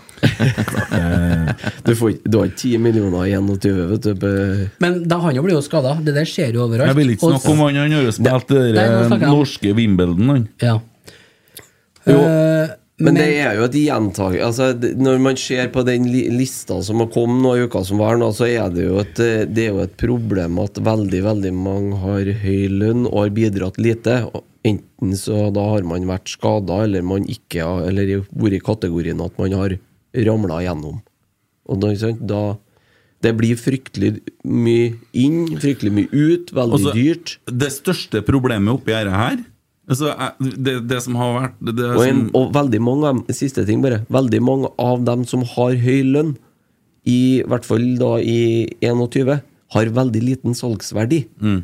S4: Du, får, ikke- du har ikke 10 millioner i 21, vet du. på-
S6: Men da han jo blir jo skada. Det der skjer jo overalt.
S5: Jeg vil ikke
S6: Og-
S5: snakke om han han har jo spilt det
S6: Nei, nå
S5: der
S6: snakker jeg om-
S5: norske Wimbledon, han.
S6: Ja.
S4: Jo,
S6: Eh,
S4: Men det er jo et gjentag... Altså, det- når man ser på den li- lista som har kommet nå i uka som var, nå, så er det, jo et, eh, det er jo et problem at veldig, veldig mange har høy lønn og har bidratt lite. Og Enten så da har man vært skada, eller man ikke har Eller vært i kategorien at man har ramla gjennom. Og da, ikke sant, da Det blir fryktelig mye inn, fryktelig mye ut, veldig
S5: Altså,
S4: dyrt.
S5: Det største problemet oppi dette her altså, jeg- det, det som har vært det, det
S4: Og, en,
S5: som,
S4: og veldig mange av dem, siste ting bare Veldig mange av dem som har høy lønn I hvert fall da i 21 Har veldig liten salgsverdi
S5: mm.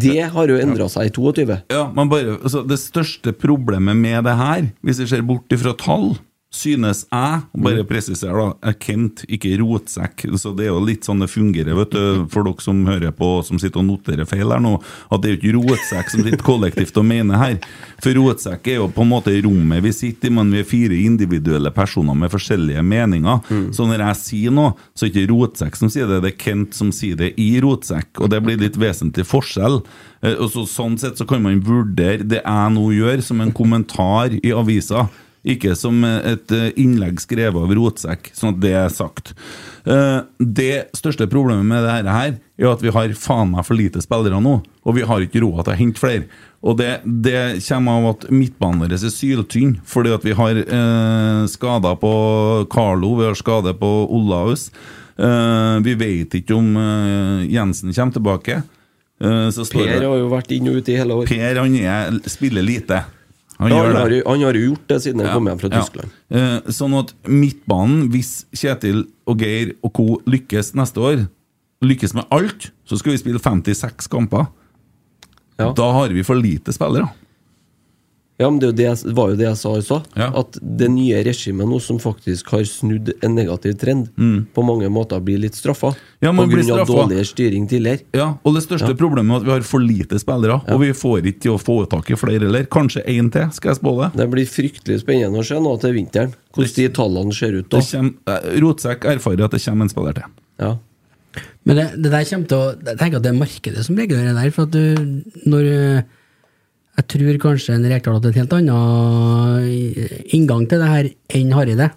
S4: Det har jo endret seg i 22
S5: ja, man bare, altså, Det største problemet med det her, hvis vi ser bort ifra tall, synes jeg og Bare presiser, da. Er Kent, ikke rotsekk. Så det er jo litt sånn det fungerer, vet du, for dere som hører på som sitter og noterer feil her nå, at det er jo ikke rotsekk som sitter kollektivt og mener her. For rotsekk er jo på en måte rommet vi sitter i, men vi er fire individuelle personer med forskjellige meninger. Så når jeg sier noe, så er det ikke Rotsekk som sier det, det er Kent som sier det i Rotsekk. Og det blir litt vesentlig forskjell. Eh, Og så, sånn sett så kan man vurdere det jeg nå gjør, som en kommentar i avisa. Ikke som eh, et eh, innlegg skrevet av Rotsekk, sånn at det er sagt. Eh, Det største problemet med dette her er at vi har faen meg for lite spillere nå, og vi har ikke råd til å hente flere. Og det, det kommer av at midtbanen vår er syltynn, fordi at vi har eh, skader på Carlo, vi har skader på Olaus. Eh, vi vet ikke om eh, Jensen kommer tilbake. Eh, så står
S4: Per har jo vært inn og ute i hele
S5: det
S4: år
S5: Per han er, spiller lite. Han
S4: ja,
S5: gjør
S4: han,
S5: det.
S4: har, jo- han har jo gjort det siden han kom hjem fra
S5: Ja.
S4: Tyskland
S5: Eh, sånn at midtbanen, hvis Kjetil og Geir og co. lykkes neste år, lykkes med alt, så skal vi spille 56 kamper.
S4: Ja.
S5: Da har vi for lite spillere.
S4: Ja, men det er jo det jeg- var jo det jeg sa i stad.
S5: Ja.
S4: At det nye regimet nå, som faktisk har snudd en negativ trend, på mange måter blir litt straffa.
S5: Mm. Ja,
S4: på
S5: man blir
S4: grunn av
S5: straffa.
S4: dårligere styring tidligere.
S5: Ja, og det største problemet er at vi har for lite spillere, og vi får ikke til å få tak i flere heller. Kanskje én til, skal jeg spå det.
S4: Det blir fryktelig spennende å se nå til vinteren, hvordan de tallene ser ut da.
S5: det kommer, eh, Rotsekk erfarer at det kommer en spiller til.
S4: Ja.
S6: Men det, det der kommer til å Jeg tenker at det er markedet som regulerer det der. For at du, når eh, Jeg tror kanskje en Rekdal hadde en helt annen inngang til det her enn Hareide.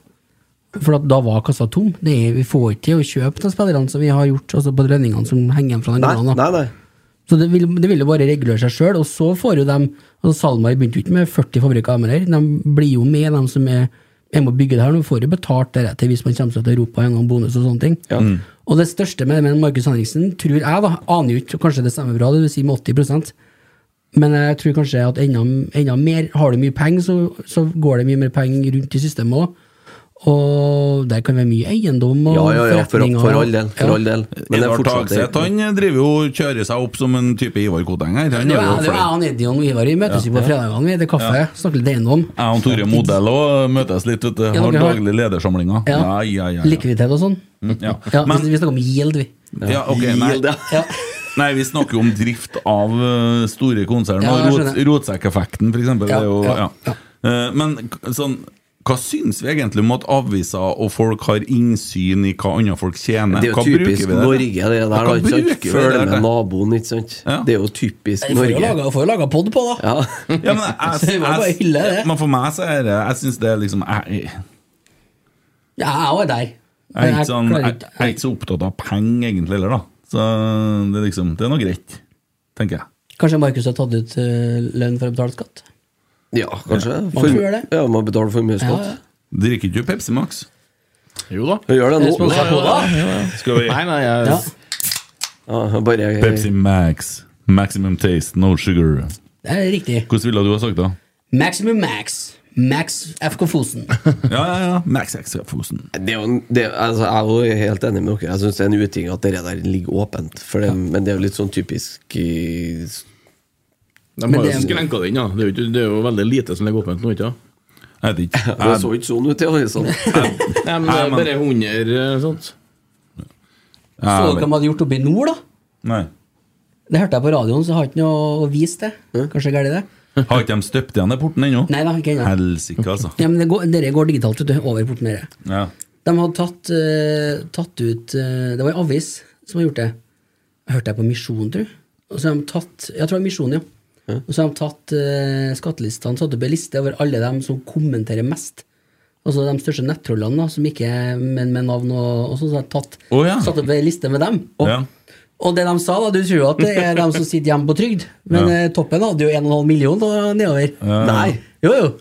S6: For at da var kassa tom. Det er, vi får ikke til å kjøpe de spillerne som vi har gjort altså på lønningene som henger igjen fra den
S4: Nei,
S6: gangen. da.
S4: nei, nei.
S6: Så det vil, det vil jo bare regulere seg sjøl. Og så får jo dem altså SalMar begynte jo ikke med 40 fabrikker av dem her. De blir jo med, de som er er med å bygge det her. De får jo betalt deretter hvis man kommer seg til Europa gjennom bonus og sånne ting.
S5: Mm.
S6: Og det største med, med Markus Henriksen, tror jeg, da, aner jo ikke, kanskje det stemmer bra, det vil si med 80 men jeg tror kanskje at enda, enda mer Har du mye penger, så, så går det mye mer penger rundt i systemet òg. Og der kan være mye eiendom og
S4: Ja, ja, ja, for,
S6: forretninger.
S4: for all del. For
S6: Ja.
S4: all del. Men det er
S5: Edvard
S4: fortsatt
S5: Tagseth han driver jo og kjører seg opp som en type Ivar Koteng her. Han
S6: Det
S5: er
S6: var
S5: jo
S6: jeg
S5: flink.
S6: og Eddie og Ivar vi møtes jo på fredagene. Vi er til kaffe, snakker litt eiendom.
S5: Jeg og Tore Modell òg møtes litt, vet du.
S6: Ja,
S5: Har
S6: dere har-
S5: daglige ledersamlinger. Ja,
S6: Ja.
S5: ja, ja. ja.
S6: Likviditet og sånn.
S5: ja.
S6: Ja,
S5: Men,
S6: vi, vi snakker om yield, vi.
S5: ja, ok, nei.
S4: Yield, ja.
S6: Ja.
S5: nei, vi snakker jo om drift av eh, store konsern.
S6: Ja,
S5: og
S6: jeg
S5: rot,
S6: skjønner.
S5: Rotsekkeffekten, for eksempel.
S6: Ja,
S5: det er jo,
S6: ja,
S5: ja. Eh, Men k- sånn hva syns vi egentlig om at aviser og folk har innsyn i hva andre folk tjener?
S4: Det er jo
S5: hva
S4: typisk
S5: bruker vi
S4: Norge,
S5: det?
S4: det der.
S5: Hva
S4: da, ikke sant?
S5: bruker vi det
S4: Følge
S5: der
S4: med
S5: til?
S4: naboen, ikke sant.
S5: Ja.
S4: Det er jo typisk
S6: Vi får jo
S4: Norge.
S6: laga- får jo laga pod på, da.
S4: Ja.
S5: Ja, men jeg,
S6: Så vi må bare hylle det.
S5: men for meg så er det Jeg syns det er liksom jeg,
S6: Ja, jeg òg er der.
S5: jeg, er ikke sånn,
S6: klarer
S5: jeg,
S6: ikke-
S5: jeg er ikke så opptatt av penger egentlig heller, da. Så det er liksom Det er nå greit, tenker jeg.
S6: Kanskje Markus har tatt ut eh, lønn for å betale skatt?
S4: ja, kanskje.
S6: Man tror det.
S4: ja, man betaler for mye
S6: Ja,
S4: skatt.
S6: ja.
S5: Drikker ikke du Pepsi Max?
S7: Jo da.
S4: Vi gjør det nå.
S6: Sponset på det.
S5: Skal vi
S7: Nei, nei, jeg
S6: Ja.
S4: Ja, bare
S5: Pepsi Max. Maximum taste, no sugar.
S6: Det er riktig.
S5: Hvordan ville du ha sagt det?
S6: Maximum max. Max FK Fosen.
S5: Ja, ja, ja. Max X Fosen.
S4: Det er jo, en- det, altså, jeg er jo helt enig med dere. Jeg syns det er en uting at det der ligger åpent. For det, Men det er jo litt sånn typisk i-
S7: De har
S6: det-
S7: jo skrenka det inn, da. Det er, jo ikke, det er jo veldig lite som ligger åpent nå, ikke sant?
S5: Jeg vet ikke.
S4: Det så ikke sånn ut i avisen.
S7: Nei, men det er bare 100 eh, sånt.
S6: Så
S5: Ja,
S6: dere hva de hadde gjort oppe i nord, da?
S5: Nei.
S6: Det hørte jeg på radioen, så jeg har ikke noe å vise til. Kanskje galt det?
S5: Har ikke de støpt igjen den porten ennå?
S6: Nei da, ikke ennå.
S5: Helsike, altså.
S6: Ja, men det går, dere går digitalt, vet du. Over porten deres.
S5: Ja.
S6: De hadde tatt, eh, tatt ut eh, Det var en avis som hadde gjort det. Jeg hørte jeg på Misjon, tror jeg. Og så har de tatt, jeg tror det er Misjon, ja. Og så har de tatt eh, skattelistene, satt opp en liste over alle dem som kommenterer mest. Altså de største nettrollene, da, som ikke men med navn og, og sånn. Så har de tatt,
S5: Å, ja.
S6: satt opp en liste med dem. Og,
S5: Ja.
S6: og det de sa, da, du tror jo at det er dem som sitter hjemme på trygd, men
S5: Ja.
S6: eh, toppen hadde jo 1,5 million da, nedover. Nei. Jo, jo.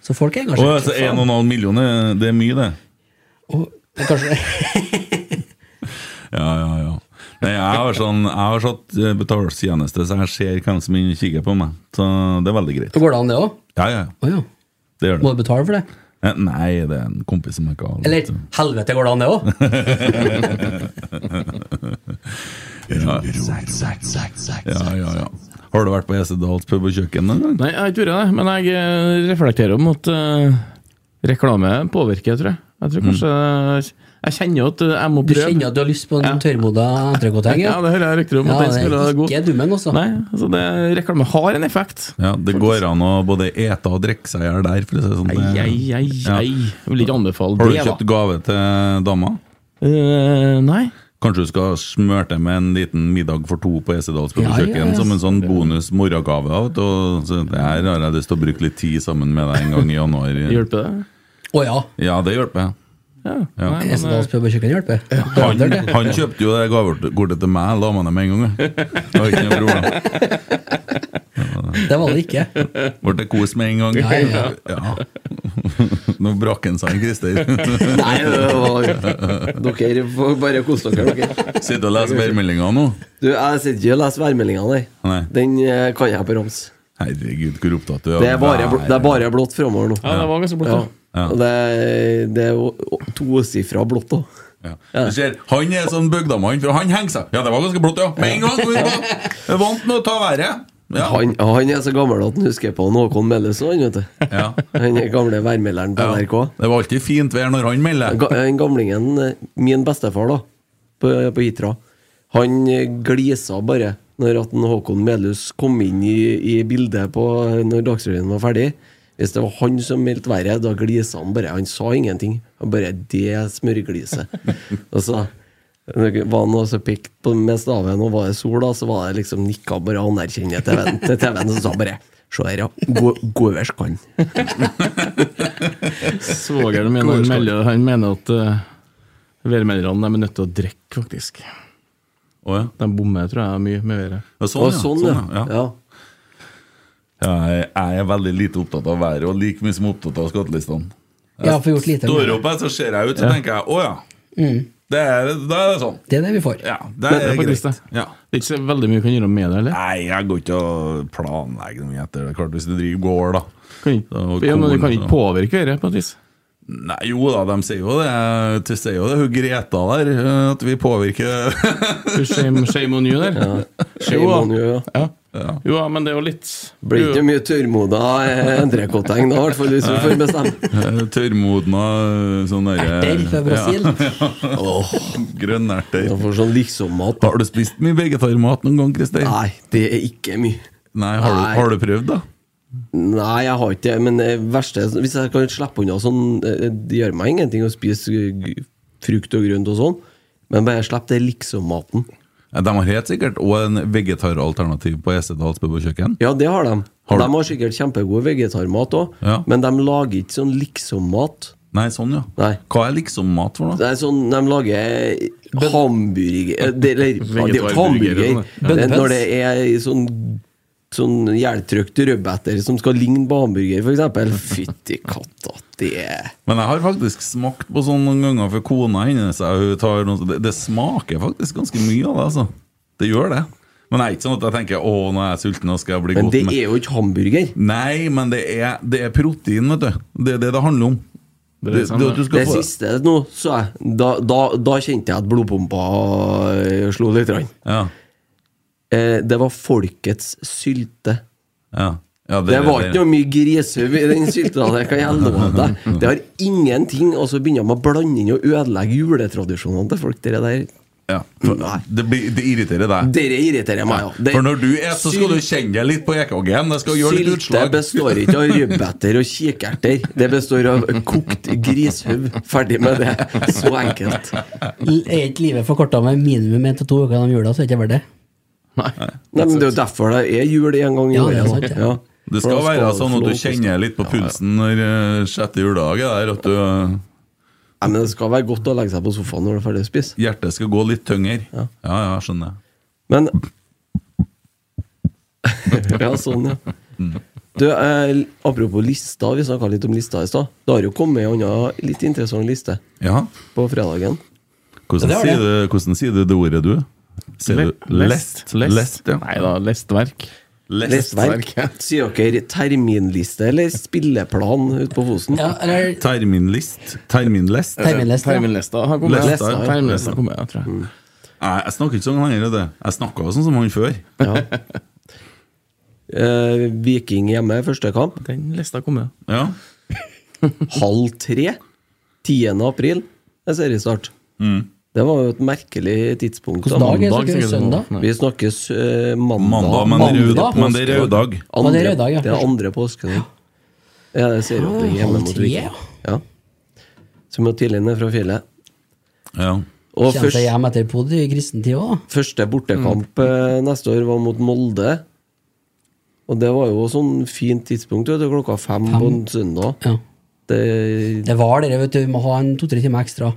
S6: Så folk er
S5: Og
S6: engasjert.
S5: altså, 1,5 millioner, det er mye, det.
S6: Og- Kanskje
S5: Ja, ja, ja. Nei, jeg har sånn Jeg har satt eh, betalstjeneste, så jeg ser hvem som inn- kikker på meg. Så det er veldig greit.
S6: Så går det an, det òg?
S5: Ja, ja,
S6: Å ja.
S5: det gjør
S6: Må
S5: det.
S6: du betale for det?
S5: Eh, Nei, det er en kompis som ikke har
S6: Eller helvete, går det an, det òg?
S5: ja. ja, ja, ja. Har du vært på Esedals pub og kjøkken noen gang?
S7: Nei, jeg har ikke vært det, men jeg eh, reflekterer om at eh, reklame påvirker, tror jeg. Jeg tror kanskje Jeg kjenner jo at eh, jeg må
S6: Mm. Du
S7: prøve.
S6: kjenner at du har lyst på en
S7: Ja.
S6: tørrmoda entrecôte-heng?
S7: Ja, det hører jeg rykter om.
S6: Ja,
S7: at den
S6: det
S7: skulle
S6: er
S7: være god.
S6: ikke dummen, altså.
S7: Nei, altså det, reklame har en effekt.
S5: Ja, Det går an å både ete og drikke seg i hjel der. For å si det sånn.
S7: Ei, ei,
S5: Det-
S7: ei,
S5: Ja.
S7: ei. Jeg vil ikke anbefale
S5: Har du
S7: det, da.
S5: kjøpt gave til dama?
S7: Eh, nei.
S5: Kanskje du skal smøre det med en liten middag for to på Esedals pub og
S6: Ja, ja,
S5: kjøkken
S6: ja.
S5: som en sånn bonus morgengave. vet du, og Så det her har jeg lyst til å bruke litt tid sammen med deg en gang i januar.
S7: Hjelper det?
S6: Å ja.
S5: Ja, det hjelper.
S7: Ja.
S5: Ja.
S7: Nei, men, eh,
S6: Esedals pub og kjøkken hjelper.
S5: Han,
S6: Høvler det.
S5: han kjøpte jo det gavekortet til meg, la meg det med en gang. jeg. Det var ikke noe problem.
S6: Det var det ikke.
S5: Ble det kos med en gang?
S6: Ja, ja,
S5: Ja. Nå brakk han seg, Christer.
S4: Nei, det var, dere får bare kose dere. dere.
S5: Sitter og leser værmeldinga nå.
S4: Du, jeg sitter ikke og leser værmeldinga, nei.
S5: Nei.
S4: Den eh, kan jeg på rams.
S5: Herregud, hvor opptatt du er. av
S4: Det er bare, bl-
S5: vær.
S4: det er bare blått framover nå.
S7: ja, det var ganske blått,
S4: Ja.
S7: da.
S5: Ja.
S4: Og Det, er- det er jo tosifra blått òg.
S5: Ja. Du ser, han er sånn bygdamann, for han henger seg. Ja, det var ganske blått, ja. Med en gang! hvor det var- er Vant med å ta været. Ja.
S4: Han, han er så gammel at han husker på Håkon Mellesen, han, vet du.
S5: Ja.
S4: Han er gamle værmelderen på
S5: Ja.
S4: NRK.
S5: Det var alltid fint vær når han melder.
S4: Ga- Den gamlingen, eh, min bestefar da på, på Hitra, han eh, glisa bare når at en Håkon Melhus kom inn i, i bildet på, når Dagsrevyen var ferdig. Hvis det var han som meldte været, da glisa han bare. Han sa ingenting. Han bare Det smørgliset. og så var han også pekt på med staven, og var det sol, da, så var det liksom nikka bare anerkjennende til TV-en, til TV-en, så sa han bare Se her, ja. Gå- Gåvers kan.
S7: Svogeren min han
S4: Gårdskap.
S7: melder, han mener at uh, værmelderne de er nødt til å drikke, faktisk.
S5: Å ja.
S7: De bommer, tror jeg, mye med været.
S5: Ja,
S4: Å,
S5: sånn, ja.
S4: sånn,
S5: sånn, ja.
S4: ja.
S5: ja.
S4: ja.
S5: ja jeg, jeg er veldig lite opptatt av været, og like mye som opptatt av skattelistene.
S6: Ja, får gjort lite.
S5: Står opp her, så ser jeg ut, så tenker jeg å ja. Det er, da er det sånn.
S6: Det er det vi får.
S5: Ja, det er,
S7: Det er faktisk
S5: greit.
S7: det.
S5: Ja.
S7: eh, Det er ikke så veldig mye du kan gjøre med det, eller?
S5: Nei, jeg går ikke og planlegger noe etter det. Klart, hvis du driver gård, da.
S7: Kan ikke,
S5: Det var
S7: ja, men du
S5: korn,
S7: kan ikke
S5: så.
S7: påvirke været på et vis.
S5: Nei, jo da, de sier jo det. De sier jo det, hun Greta der, eh, at vi påvirker
S7: Du, Shame, shame on you der.
S4: Shame
S7: Jo,
S4: on you, ja.
S7: ja. Jo, ja, men det er jo litt
S4: Blir ikke mye tørrmoda eh, entrecôte-egg da, i hvert fall hvis vi får bestemme.
S5: eh, tørrmodna eh, sånn
S6: Erter fra
S5: derre
S6: Brasil.
S5: grønnerter.
S4: Jeg får sånn liksom-mat.
S5: Har du spist mye vegetarmat noen gang, Kristin?
S4: Nei, det er ikke mye.
S5: Nei, har,
S4: Nei.
S5: Du, har du prøvd, da?
S4: Nei, jeg har ikke det, men det verste er- Hvis jeg kan slippe unna sånn eh, Det gjør meg ingenting å spise eh, g- frukt og grønt og sånn, men bare slipp det liksom-maten.
S5: Ja, De har helt sikkert òg en vegetaralternativ på Esedals bøbekjøkken.
S4: Ja, det har de.
S5: Har du-
S4: de har sikkert kjempegod vegetarmat òg,
S5: Ja.
S4: men de lager ikke sånn liksom-mat.
S5: Nei, sånn, ja.
S4: Nei.
S5: Hva er liksom mat for noe?
S4: Det er sånn, De lager hamburger eh, det- Eller ja, det er jo ikke hamburger.
S7: Vegetarburger,
S4: Det er Når det er sånn Sånn hjeltrøkt rødbeter som skal ligne på hamburger, f.eks. Fytti katta, det er
S5: Men jeg har faktisk smakt på sånn noen ganger for kona hennes. jeg- Hun tar noe, det, det smaker faktisk ganske mye av det, altså. Det gjør det. Men det er ikke sånn at jeg tenker å, nå er jeg sulten, nå skal jeg bli
S4: Men
S5: godt
S4: det
S5: med.
S4: er jo ikke hamburger.
S5: Nei, men det er, det er protein, vet du. Det er det det handler om.
S7: er det samme.
S5: at du skal
S4: Det
S5: få-
S4: siste nå, så jeg Da, da, da kjente jeg at blodpumpa eh, slo litt. grann.
S5: Ja,
S4: Eh, det var folkets sylte.
S5: ja. ja
S4: Det var ikke noe mye grisehøv i den sylta. Det kan jeg love deg. Det har ingenting. Og så begynner de å blande inn og ødelegge juletradisjonene til folk. Dere der.
S5: ja. for,
S4: Nei.
S5: det, blir- det irriterer deg.
S4: Dere irriterer meg, ja. Det-
S5: for når du spiser, så skal du
S4: syl-
S5: kjenne deg litt på EKG-en. Det skal gjøre litt
S4: Sylte
S5: utslag.
S4: består ikke av rødbeter og kikerter. Det består av kokt grishøv. Ferdig med det. Så enkelt.
S6: L- Er ikke livet forkorta med minimum én til to uker gjennom jula, så er det ikke verdt det.
S4: Nei, men Det er jo derfor det er jul en gang i
S6: Ja,
S4: året.
S6: det er sant,
S4: da.
S6: ja.
S4: Ja.
S5: Det
S4: For
S5: skal
S4: da
S5: være
S4: det
S5: sånn
S4: få
S5: at
S4: lov
S5: du
S4: å
S5: kjenner litt på pulsen når eh, sjette juledag er der, at du,
S4: Nei, men Det skal være godt å legge seg på sofaen når du er ferdig å spise.
S5: hjertet skal gå litt tyngre. Ja, ja, skjønner jeg.
S4: Men Ja, sånn, ja.
S5: Mm.
S4: Du, eh, Apropos lista, vi snakka litt om lista i stad. Det har jo kommet en annen litt interessant liste
S5: Ja.
S4: på fredagen.
S6: Ja,
S5: Hvordan,
S6: det har
S5: sier du, hvordan sier du det ordet, du? Sier du lest?
S7: Lest.
S5: Lest, ja.
S7: Nei da, lestverk.
S4: Lestverk. Sier dere terminliste eller spilleplan ute på Fosen?
S6: Ja, eller
S5: Terminlist?
S7: Eh,
S5: Terminlest?
S6: terminlest. ja.
S7: Terminlista har kommet.
S5: Lesta,
S7: Lesta,
S5: ja.
S7: Terminlista kommer, ja, tror
S4: Mm.
S7: jeg.
S5: Nei, jeg snakker ikke sånn lenger, det. Jeg snakka jo sånn som han før.
S4: Eh, Viking hjemme, første kamp.
S7: Den lista kommer.
S5: Ja.
S4: Halv tre. 10. april er seriestart.
S5: Mm.
S4: Det var jo et merkelig tidspunkt. da.
S6: Hvilken dag er det?
S7: Mandag,
S6: så ikke
S7: sikkert.
S6: Søndag?
S4: Vi snakkes eh, mandag.
S5: Mandag, men,
S6: Mandag?
S5: rød, men det er rød dag.
S6: Ja, det er rød dag, ja.
S4: det er andre påskedag. Ja, det ser opp hjemme
S6: Halv
S4: mot
S6: tre,
S4: Viking.
S6: ja.
S4: Ja. Så må tidlig ned fra fjellet.
S5: Ja.
S4: Og
S6: Kjem seg
S4: først,
S6: hjem etter pod i kristen tid Mm. òg.
S4: første bortekamp eh, neste år var mot Molde. Og det var jo sånn fint tidspunkt, vet du, klokka fem, på en søndag.
S6: Ja.
S4: Det,
S6: Det var det, vet du. Vi må ha en to-tre timer ekstra.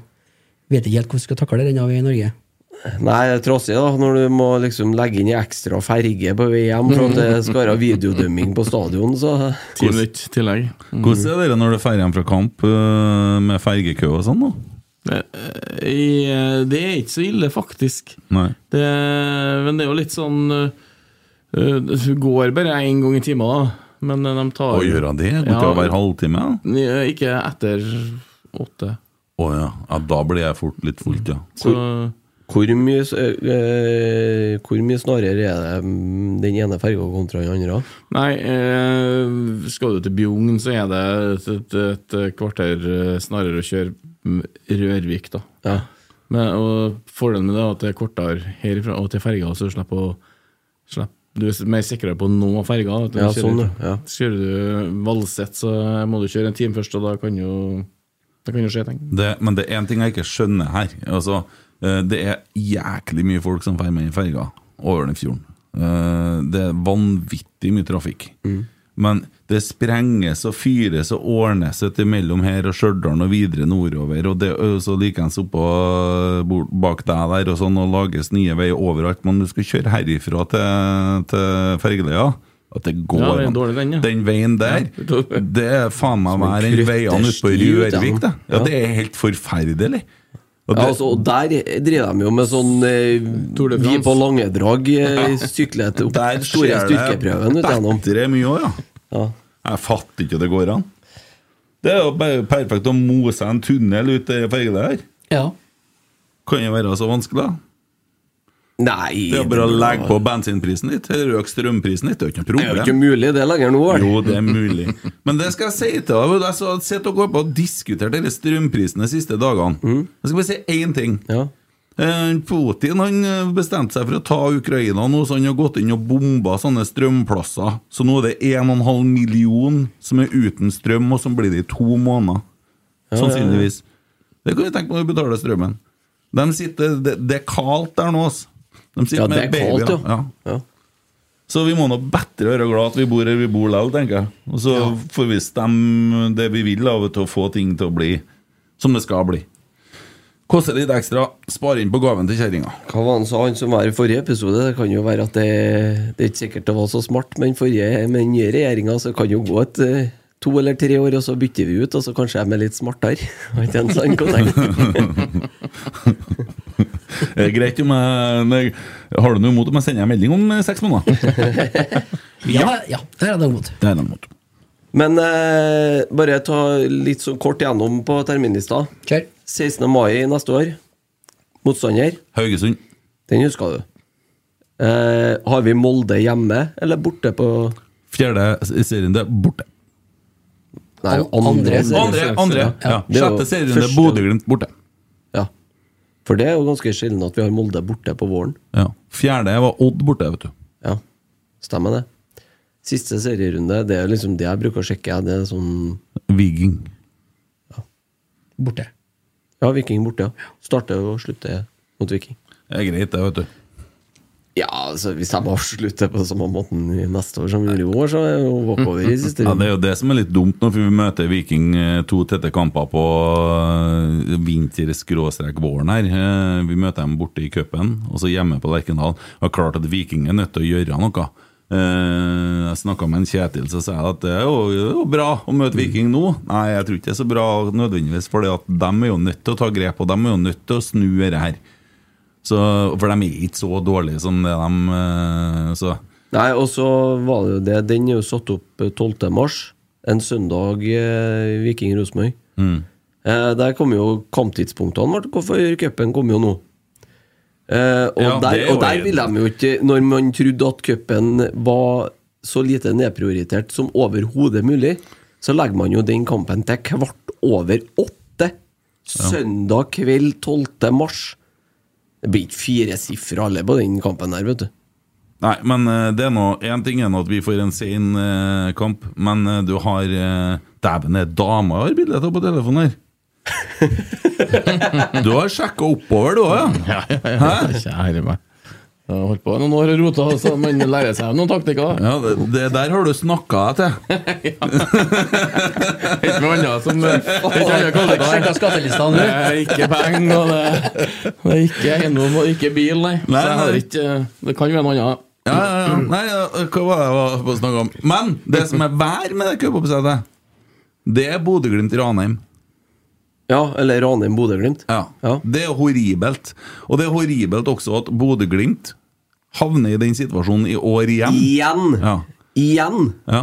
S6: Vet ikke helt hvordan vi skal takle det ennå, vi i Norge.
S4: nei, det er trassig, da, når du må liksom legge inn i ekstra ferge på vei hjem for at det
S6: Mm.
S4: skal være videodømming på stadion, så Mm.
S7: Ti minutter tillegg.
S5: Mm. Hvordan er dere når dere drar hjem fra kamp øh, med fergekø og sånn? da?
S7: I, eh, Det er ikke så ille, faktisk.
S5: Nei.
S7: Det, men det er jo litt sånn eh, eh, Du går bare én gang i timen, da. Men eh, de tar
S5: Å gjøre det? Går ikke
S7: Ja.
S5: av hver halvtime? da?
S7: Nei, Ikke etter åtte.
S5: Å ja. ja. Da blir jeg fort litt fullt, ja.
S7: Så
S4: hvor mye, s- eh, eh, hvor mye snarere er det mm, den ene ferga kontra den andre?
S7: Nei, eh, skal du til Bjugn, så er det et, et, et kvarter eh, snarere å kjøre mm, Rørvik, da.
S4: Ja.
S7: Men, og fordelen med det er at det er kortere herifra og til ferga, så du slipper å slipp. Du er mer sikrere på å nå ferga. da, at du
S4: Ja,
S7: kjører-
S4: sånn, ja.
S7: Kjører du Valset, så må du kjøre en time først, og da kan jo da kan jo skje ting.
S5: Det, men det er én ting jeg ikke skjønner her. Altså, eh, det er jæklig mye folk
S7: Mm.
S5: som drar med i ferga over den fjorden. Eh, Det er vanvittig mye trafikk. Men det sprenges og fyres og ordnes ut imellom her og Stjørdal og videre nordover. Og det og så likeens oppå eh, bort- bak deg der og sånn, og lages nye veier overalt. Men du skal kjøre herifra til, til Fergeløya. At det går
S7: Ja, det er
S5: an.
S7: dårlig den, ja.
S5: veien der, det er faen meg hver en veiene ute på
S4: kruttersti ut, ja.
S5: Rørvik, det. Ja,
S4: Ja.
S5: det er helt forferdelig. Og
S4: Ja,
S5: det,
S4: altså, og der driver de jo med sånn eh,
S7: Tour de
S4: Vi
S7: France.
S4: på Langedrag eh, sykler til opp
S5: der
S4: store
S5: skjer
S4: styrkeprøven
S5: det
S4: ut gjennom.
S5: bedre mye òg, ja.
S4: Ja.
S5: Jeg fatter ikke at det går an. Det er jo bare perfekt å mose en tunnel ut i Fergeløya her.
S6: Ja.
S5: Kan det være så vanskelig, da?
S4: Nei
S5: Det er bare å legge på bensinprisen litt, eller øke strømprisen litt. Det er jo ikke
S4: Det er jo
S5: noe
S4: ikke
S5: problem.
S4: mulig, det er lenger nå. vel?
S5: Jo, det er mulig. Men det skal jeg si til deg. Jeg har sett dere på og diskutert disse strømprisene de siste dagene. Jeg skal bare si én ting.
S4: Mm. Ja.
S5: Eh, Putin han eh, bestemte seg for å ta Ukraina nå, så han har gått inn og bomba sånne strømplasser. Så nå er det 1,5 million som er uten strøm, og som blir det i to måneder. Sannsynligvis. Det kan du tenke på når du betaler strømmen. De sitter, det, det er kaldt der nå, altså. De sitter
S4: Ja, det
S5: med
S4: er kaldt,
S5: babyer.
S4: ja.
S5: Ja.
S4: Ja.
S5: Så vi må nå bedre være glad at vi bor her vi bor likevel, tenker jeg. Og så får vi stemme det vi vil av til å få ting til å bli som det skal bli. Koster litt ekstra, spare inn på gaven til kjerringa.
S4: Hva var han sa, han som var i forrige episode? Det kan jo være at det, det er ikke sikkert det var så smart, men forrige, med den nye regjeringa så kan jo gå et eh, to eller tre år, og så bytter vi ut, og så kanskje de er litt smartere. Var ikke en sånn kontekst?
S5: Er det Eh, greit om jeg nei, Har du noe imot om jeg sender en melding om eh, seks måneder?
S6: Ja, ja, det er det imot.
S5: Det er jeg imot.
S4: Men eh, bare ta litt sånn kort gjennom på terminlista.
S6: Kjør.
S4: 16. mai neste år. Motstander.
S5: Haugesund.
S4: Den husker du. Eh, har vi Molde hjemme, eller borte på
S5: Fjerde serierunde borte.
S4: Nei,
S6: An- andre.
S4: serie.
S5: Andre, andre, ja.
S4: Det er jo
S5: Sjette serierunde
S4: første-
S5: Bodø-Glimt borte.
S4: Ja. For det er jo ganske sjelden at vi har Molde borte på våren.
S5: Ja. Fjerde var Odd borte, vet du.
S4: Ja, stemmer det. Siste serierunde, det er liksom det jeg bruker å sjekke. jeg. Det er sånn
S5: Viking.
S6: Borte.
S4: Ja, Viking borte, ja. Starter og slutter mot Viking.
S5: Det er greit, det, vet du.
S4: Ja, altså hvis de avslutter på samme måten i neste år som vi gjorde i år, så er det jo walkover i siste
S5: Ja, Det
S4: runde.
S5: er jo det som er litt dumt nå, for vi møter Viking eh, to tette kamper på eh, vinter-våren her. Eh, Vi møter dem borte i cupen, og så hjemme på Lerkendal. Det er klart at Viking er nødt til å gjøre noe. Eh, Jeg snakka med en Kjetil, så sa jeg at det er jo, det er jo bra å møte Viking nå. Nei, jeg tror ikke det er så bra nødvendigvis, for de er jo nødt til å ta grep, og de er jo nødt til å snu dette her. Så, for de er ikke så dårlige som det de eh, så.
S4: Nei, og så var det jo det. Den er jo satt opp eh, 12. mars. En søndag eh, Viking Rosenborg.
S5: Mm.
S4: Eh, der kom jo kamptidspunktene. Martin. Hvorfor cupen kom jo nå? Eh, og,
S5: Ja, det
S4: der,
S5: er jo
S4: og der
S5: en-
S4: vil de jo ikke Når man trodde at cupen var så lite nedprioritert som overhodet mulig, så legger man jo den kampen til kvart over åtte. Søndag kveld 12. mars. Det blir ikke fire sifre alle på den kampen der, vet du.
S5: Nei, men eh, det er nå En ting er nå at vi får en sen eh, kamp, men eh, du har eh, Dæven, det er dama jeg har bilde av på telefonen her! du har sjekka oppover, du òg, ja?
S7: Ja, ja, ja. Kjære meg. Jeg har holdt på noen år og rota, så man lærer seg noen taktikker. da.
S5: ja det, det der har du snakka deg til.
S7: Ikke noe annet som det er ikke annet kallet
S6: Sjekka
S7: det.
S6: skattelistene,
S7: Det er ikke penger, og det, det er ikke eiendom og ikke bil, nei. Så
S5: Nei,
S7: jeg har
S5: nei.
S7: ikke, eh, det kan være noe annet.
S5: Ja, ja, ja. Nei, ja, hva var det jeg var på å snakke om? Men det som er vær med det cupoppsettet, det er Bodø-Glimt-Ranheim.
S4: Ja, eller Ranheim-Bodø-Glimt.
S5: Ja.
S4: Ja.
S5: Det er horribelt. Og det er horribelt også at Bodø-Glimt havner i den situasjonen i år igjen.
S4: Igjen!
S5: Ja.
S4: Igjen!
S5: ja.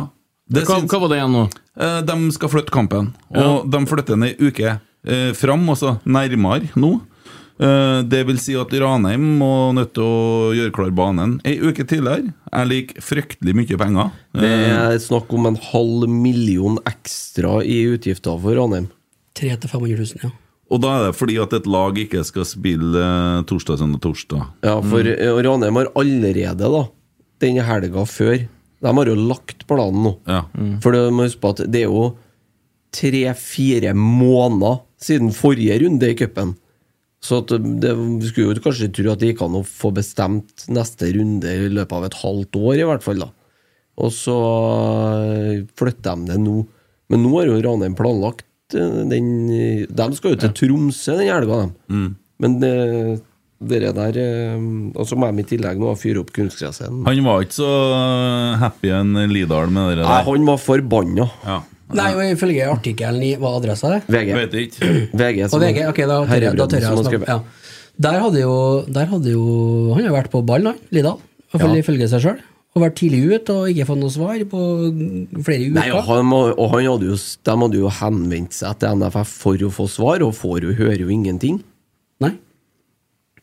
S5: Det
S7: Hva,
S5: syns-
S7: hva var det igjen nå?
S5: Eh, De skal flytte kampen, og de flytter den ei uke eh, fram, altså nærmere nå. Eh, det vil si at Ranheim må nødt til å gjøre klar banen ei uke tidligere. Jeg liker fryktelig mye penger. Eh,
S4: Det er snakk om en halv million ekstra i utgifter for Ranheim.
S6: 300 000-500 000, ja.
S5: Og da er det fordi at et lag ikke skal spille eh, torsdag, søndag, torsdag.
S4: Ja, for eh, Ranheim har allerede, da, den helga før De har jo lagt planen nå.
S5: Ja.
S4: For du må huske på at det er jo tre-fire måneder siden forrige runde i cupen. Så at eh, det, vi skulle jo kanskje tro at det gikk an å få bestemt neste runde i løpet av et halvt år, i hvert fall. da Og så flytter de det nå. Men nå har jo Ranheim planlagt eh, den De skal jo til Tromsø den helga, de.
S6: Mm.
S4: Men det, dere der eh, Og så må de i tillegg nå fyre opp kunstgresset.
S5: Han var ikke så eh, happy en Lidal med det
S4: Nei,
S5: der.
S4: han var forbanna.
S5: Ja.
S6: Nei, og ifølge artikkelen i Hva adressa er det?
S4: VG.
S5: Vet ikke.
S4: VG,
S6: Og
S4: som-
S6: VG, ok, da tør jeg, da
S4: Herrebrand
S6: tør jeg
S4: som
S6: å
S4: har skrevet.
S6: snakke. Ja. Der hadde jo, der hadde jo Han har jo vært på ballen, han, Lidal. I hvert fall
S4: Ja.
S6: ifølge seg sjøl. Og vært tidlig ute og ikke fått noe svar på flere
S4: Nei, og
S6: uker.
S4: han, må- og han hadde jo, de hadde jo henvendt seg til NFF for å få svar, og får jo, hører jo ingenting.
S6: Nei.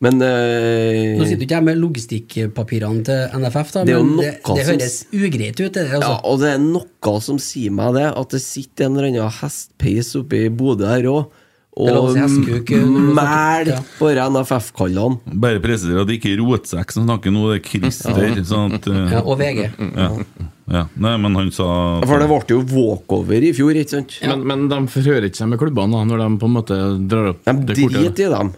S4: Men eh,
S6: Nå sitter ikke jeg med logistikkpapirene til NFF, da,
S4: Det er jo
S6: men det,
S4: noe
S6: det
S4: som-
S6: høres ugreit ut. Det, der, altså.
S4: ja, Og det er noe som sier meg det, at det sitter en eller annen hestpeis oppe i Bodø her òg,
S6: Det er lov å
S4: og
S6: si hestkuk, eh, når du snakker-
S4: mæl
S6: ja.
S4: på NFF-kallene.
S5: Bare presiserer at det ikke er Rotsekk som snakker nå, det er Christer. Sånn at, eh,
S6: Ja, og VG.
S5: ja. Ja. Nei, men han sa
S4: For det ble jo walkover i fjor, ikke sant?
S7: Men, men de forhører ikke seg med klubbene da, når de på en måte drar opp
S4: De
S7: det kortet?
S4: driter i dem.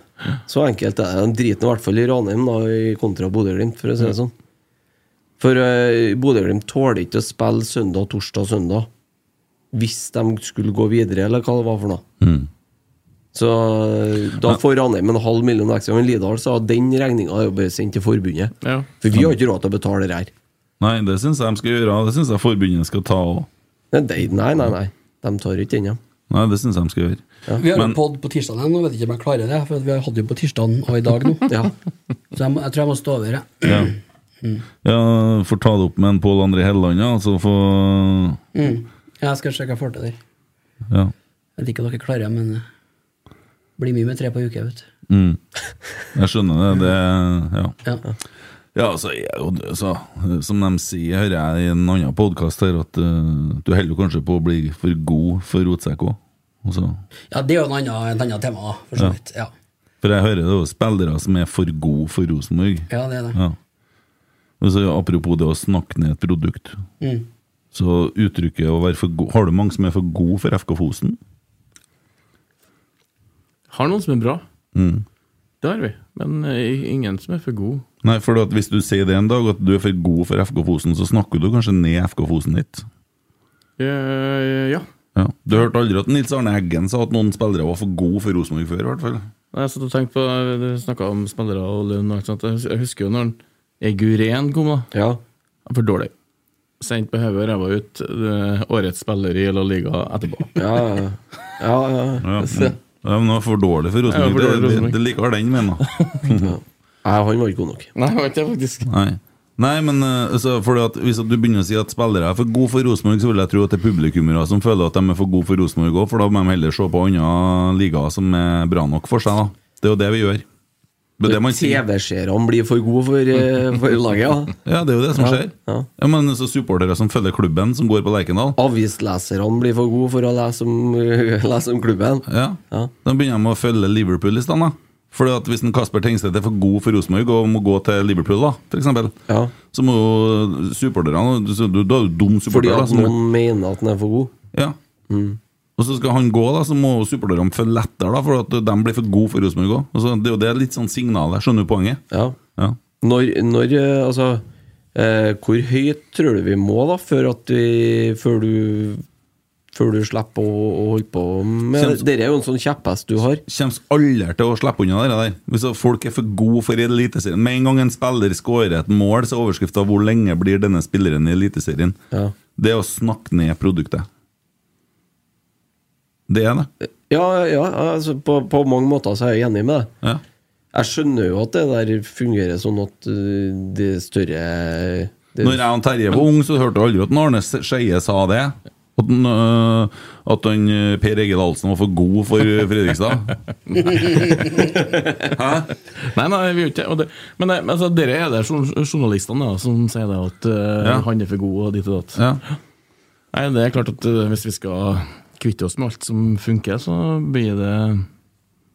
S4: Så enkelt er det. De driter i hvert fall i Ranheim da, i kontra Bodø-Glimt, for å si det sånn. For eh, Bodø-Glimt tåler ikke å spille søndag, torsdag, søndag. Hvis de skulle gå videre, eller hva det var for noe.
S5: mm.
S4: Så eh, da får Ranheim en halv million ekstra. Men Lidal sa at den regninga er jo bare sendt til forbundet.
S7: Ja.
S4: For vi har ikke råd til å betale det her.
S5: Nei, det syns jeg de skal gjøre. Det syns jeg forbundet skal ta òg.
S4: Nei, de- nei, nei. nei. De tar ikke den, ja.
S5: Nei, det syns jeg de skal gjøre.
S6: Vi har jo
S5: Men-
S6: pod på tirsdag, nå vet jeg ikke om jeg klarer det. For vi hadde jo på tirsdag og i dag nå.
S4: ja.
S6: Så jeg, må, jeg tror jeg må stå over, jeg.
S5: Ja.
S6: Mm.
S5: ja, Får ta det opp med en Pål André Helleland, ja. Så få
S6: Mm. Jeg skal se hva jeg får til der.
S5: Ja.
S6: Jeg vet ikke om dere klarer det, men eh, blir mye med tre på uke, vet du.
S5: Mm. Jeg skjønner det. det ja.
S6: Ja.
S5: Ja, altså, jeg, er jo død, så, som de sier, hører jeg i en annen podkast her, at eh, du holder jo kanskje på å bli for god for rotsekk òg.
S6: ja, det er jo en annen, et annet tema, da, for så
S5: Ja.
S6: vidt. Ja.
S5: For jeg hører det er jo spillere som er for gode for Rosenborg.
S6: ja, det er det.
S5: Ja. Og så, apropos det å snakke ned et produkt,
S6: Mm.
S5: så uttrykket å være for god Har du mange som er for gode for FK Fosen?
S7: Har noen som er bra.
S5: Mm.
S7: Det har vi. Men eh, ingen som er for god.
S5: Nei, for at hvis du sier det en dag, at du er for god for FK Fosen, så snakker du kanskje ned FK Fosen litt.
S7: Eh, ja.
S5: Ja. Du hørte aldri at Nils Arne Eggen sa at noen spillere var for gode for Rosenborg før, i hvert fall.
S7: Nei, Jeg satt og tenkte på Du snakka om spillere og lønn og alt sånt. Jeg hus- Jeg husker jo når Eguren kom, da.
S4: ja.
S7: Han var For dårlig. Sendt på hodet og ræva ut. eh, Årets spiller i La Liga etterpå.
S4: Ja, ja. ja, ja.
S5: Ja, men, ja, men det var for dårlig for
S7: Ja, for dårlig
S5: Rosenborg.
S7: for
S5: Det, det,
S7: Rosenborg.
S5: det liker den, mener jeg.
S4: Nei, han var ikke god nok.
S7: Nei, det var ikke det, faktisk.
S5: Nei. Nei, men eh, altså, fordi at Hvis at du begynner å si at spillere er for gode for Rosenborg, så vil jeg tro at det er publikummere som føler at de er for gode for Rosenborg òg, for da må de heller se på andre ligaer som er bra nok for seg. da Det er jo det vi gjør. Det er det man sier.
S4: TV-seerne blir for gode for, eh, for laget, ja.
S5: Ja, det er jo det som
S4: Ja,
S5: skjer.
S4: ja.
S5: Ja, Men så supportere som følger klubben, som går på Lerkendal,
S4: Avisleserne blir for gode for å lese om, lese om klubben.
S5: ja,
S4: Ja.
S5: da begynner de å følge Liverpool i stedet. da. Fordi at Hvis en Kasper Tengstedt er for god for Rosenborg og må gå til Liverpool, da, for eksempel
S4: Ja.
S5: Så må jo supporterne Du, du, du er jo dum
S4: Fordi
S5: supporter, da.
S4: at
S5: Som,
S4: noen mener at den er for god. Mm.
S5: ja. Og så skal han gå, da, så må jo supporterne følge etter, da, for at de blir for gode for Rosenborg òg. Altså, det er jo det litt sånn signalet. Skjønner du poenget?
S4: Ja.
S5: Ja.
S4: Når, når eh, Altså, eh, hvor høyt tror du vi må, da, før at vi Før du før du slipper å, å holde på med
S5: Kjennes-
S4: Dette er jo en sånn kjepphest du har.
S5: Kommer aldri til å slippe unna det der. Hvis at folk er for gode for Eliteserien Med en gang en spiller skårer et mål, så er overskriften 'Hvor lenge blir denne spilleren i Eliteserien?'
S4: Ja.
S5: Det er å snakke ned produktet. Det er det.
S4: Ja, ja altså, på, på mange måter så er jeg enig med deg.
S5: Ja.
S4: Jeg skjønner jo at det der fungerer sånn at eh, det større det,
S5: Når jeg og Terje var ung, så hørte jeg aldri at Arne Skeie sa det. At, han, øh, at han, øh, Per Egil Ahlsen var for god for øh, Fredrikstad.
S7: Nei, nei, vi gjør ikke det. Og det. Men nei, men altså, dere er der jour- journalistene da, som sier det at eh,
S5: Ja.
S7: han er for god og ditt og datt.
S5: Ja.
S7: Nei, det er klart at eh, hvis vi skal kvitte oss med alt som funker, så blir det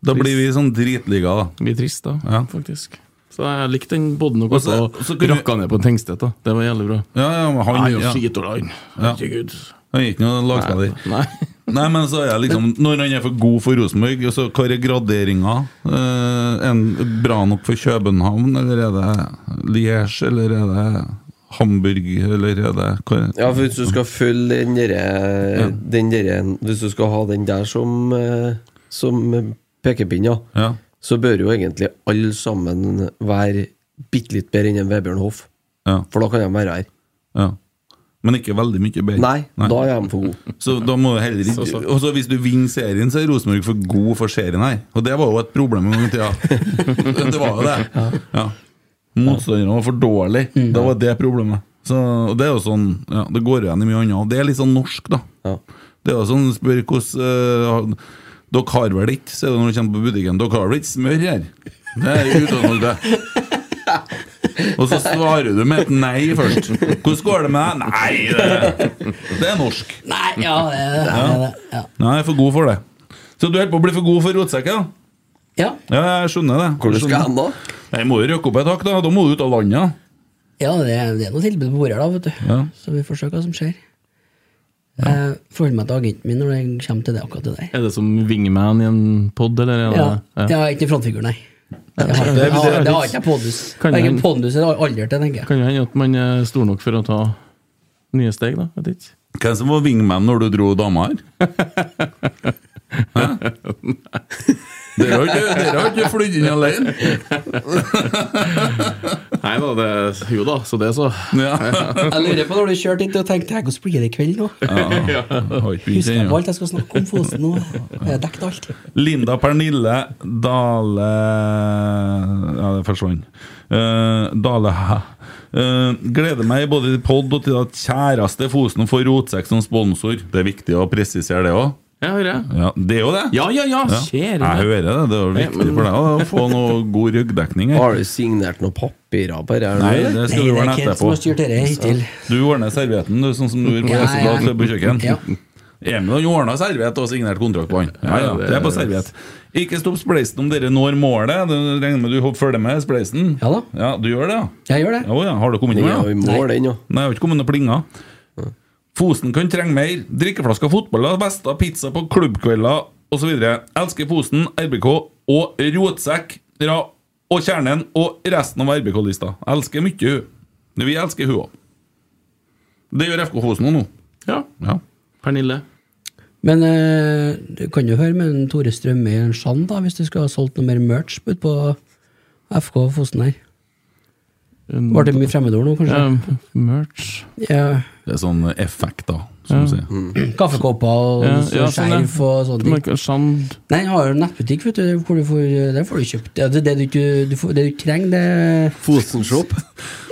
S5: Da blir vi sånn dritliga, da.
S7: blir trist, da,
S5: Ja.
S7: faktisk. Så jeg likte den bodden og
S5: Og så-
S7: også,
S5: og så
S7: og
S5: kunne vi-
S7: rakka ned på Tengstedt. da. Det var jævlig bra.
S5: Ja, ja, men han,
S7: Han er jo
S5: ja.
S7: skitdårlig, han.
S5: Ja.
S7: Herregud.
S5: han er ikke noen lagspiller.
S7: Nei.
S5: Nei, men så er jeg liksom Når han er for god for Rosenborg, og så hva er graderinga? Eh, en bra nok for København, eller er det Liège, eller er det Hamburg, eller er det hva-
S4: Ja, for hvis du skal følge den derre den derre- Hvis du skal ha den der som, eh, som pekepinn, ja,
S5: Ja.
S4: så bør jo egentlig alle sammen være bitte litt bedre enn en Vebjørn Hoff.
S5: ja,
S4: For da kan de være her.
S5: ja. Men ikke veldig mye bedre.
S4: Nei, da er de for gode.
S5: Så da må du heller ikke Og så hvis du vinner serien, så er Rosenborg for god for serien her. Og det var jo et problem en gang i tida. Det var jo det. Ja. Motstanderne var for dårlige.
S4: Mm.
S5: Det var det problemet. Så, og det er jo sånn ja, Det går igjen i mye annet. Og det er litt sånn norsk, da.
S4: Ja.
S5: Det er jo sånn Spør hvordan eh, Dere har vel ikke Så er det når du kommer på butikken Dere har vel ikke smør her? Det er utåndet Og så svarer du med et nei først Hvordan går det med deg? Nei, det, det er norsk
S6: Nei, ja, det er det. det, er det. Ja.
S5: Nei, jeg er for god for det Så du er helt på å bli for god for rotsekken da?
S6: Ja.
S5: Ja, jeg skjønner det
S4: Hvor du skal hen da?
S5: Jeg må jo røkke opp et hakk da Da må du ut av landet
S6: ja, det er, det er noe tilbud på bordet her, da, vet du.
S5: Ja.
S6: Så vi får se hva som skjer. Jeg forholder meg til agenten min når det kommer til det akkurat det der.
S7: Er det som wingman i en pod, eller? er det-
S6: Ja,
S7: ja.
S6: Jeg er ikke frontfigur, nei. Jeg har,
S7: det er-
S6: jeg har,
S7: det er
S6: det har ikke jeg pondus.
S7: Kan
S6: Verken
S7: hende.
S6: pondus eller alder til, tenker jeg.
S7: Kan jo hende at man er stor nok for å ta nye steg, da. Vet ikke.
S5: Hvem som var wingman når du dro dama her? Hæ? Dere har ikke- dere har ikke flydd inn alene?
S7: Nei da, det, jo da, så det, så.
S5: Ja.
S6: Jeg lurer på når du kjørte hit og tenkte «Hæ, hvordan blir det i kveld nå?
S5: Har ikke begynt
S6: Husker jeg
S5: ennå.
S6: på alt jeg skal snakke om Fosen nå? Jeg dekket alt.
S5: Linda Pernille Dale Ja, det forsvant. Eh, Dale hæ? Eh, gleder meg både til pod og til at kjæreste Fosen får Rotsekk som sponsor. Det er viktig å presisere det òg.
S7: Jeg hører jeg.
S5: Ja, det er jo det!
S7: Ja, ja, ja,
S5: Ja.
S7: skjer
S5: Jeg
S7: det.
S5: hører det. Det er jo viktig for deg å få noe god ryggdekning. her.
S4: Har du signert noen papirer på det? her,
S5: Nei,
S4: eller?
S6: Nei,
S5: det skal du
S6: det er
S5: ordne
S6: Kent som har
S5: etterpå.
S6: styrt dette hittil.
S5: Du ordner servietten, du, sånn som du gjorde på
S6: Ja, ja.
S5: Hessedal på kjøkken.
S6: Ja.
S5: Emil har ordna serviett og signert kontrakt på han. Ja, ja,
S7: Ja, det-
S5: det er på serviett. Ikke stopp spleisen om dere når målet. Du regner med du hop- følger med spleisen?
S6: Ja da.
S5: du gjør det, ja?
S6: Jeg gjør det.
S5: Ja, å ja. Har du kommet
S4: Den
S5: inn
S4: er jo i
S5: med det?
S4: mål, den, ja.
S5: Nei, jeg har ikke kommet noen plinger. Fosen kan trenge mer. Drikkeflasker, fotballer, vester, pizza på klubbkvelder osv. Elsker Fosen, RBK og rotsekk ra- og Kjernen og resten av RBK-lista. Elsker mye hun. Vi elsker hun òg. Det gjør FK Fosen òg nå.
S7: Ja.
S5: Ja.
S7: Pernille.
S6: Men eh, du kan jo høre med en Tore Strømme i en Jean, da, hvis du skulle ha solgt noe mer merch ut på FK Fosen her. Var det mye fremmedord nå, kanskje?
S7: Um, merch
S6: Ja.
S5: Det er sånn effekt, da, som du sier.
S4: Mm.
S6: Kaffekopper og
S7: Ja,
S6: så
S7: ja, sånn, ja.
S6: skjerf og sånne ting.
S7: Merk- Sand
S6: Nei, jeg har jo en nettbutikk, vet du. Hvor du får, eh, der får du kjøpt ja, det, det, du, ikke- du, får- det du ikke trenger, det
S4: Fosenshop.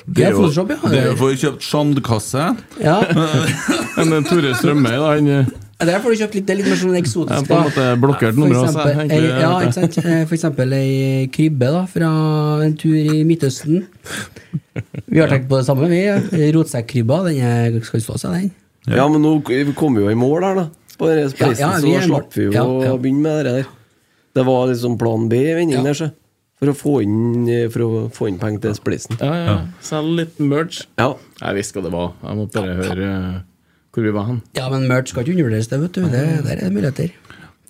S6: Det er Photoshop,
S5: Det
S6: ja.
S5: er jo for kjøpt sandkasse.
S6: ja.
S7: Men eh, Tore Strømme, da, han eh,
S6: Der får du kjøpt litt, det er litt mer sånn eksotisk.
S7: er på en måte blokkert
S6: For
S7: nummer av seg.
S6: eksempel,
S7: egentlig,
S6: ei, ja,
S7: vet
S6: ikke sant? Eh, For eksempel ei krybbe da, fra en tur i Midtøsten. Vi har tenkt på det samme, vi. Rotsekkrybba, den er- skal jo stå seg, den.
S4: Ja, men nå vi kom vi jo i mål her, da. På den spleisen,
S6: Ja, ja, vi er i
S4: så
S6: mål.
S4: slapp vi jo
S6: Ja, ja.
S4: å begynne med det der. Det var liksom plan B i vendingen
S6: Ja.
S4: der, så. For å få inn, eh, for å få inn penger til spleisen.
S7: Ja, ja. Selg litt merch.
S4: Ja.
S7: Jeg visste hva det var. Jeg måtte bare høre eh, hvor vi var hen.
S6: Ja, men merch skal ikke undervurderes, det, vet du. Det, der er det muligheter.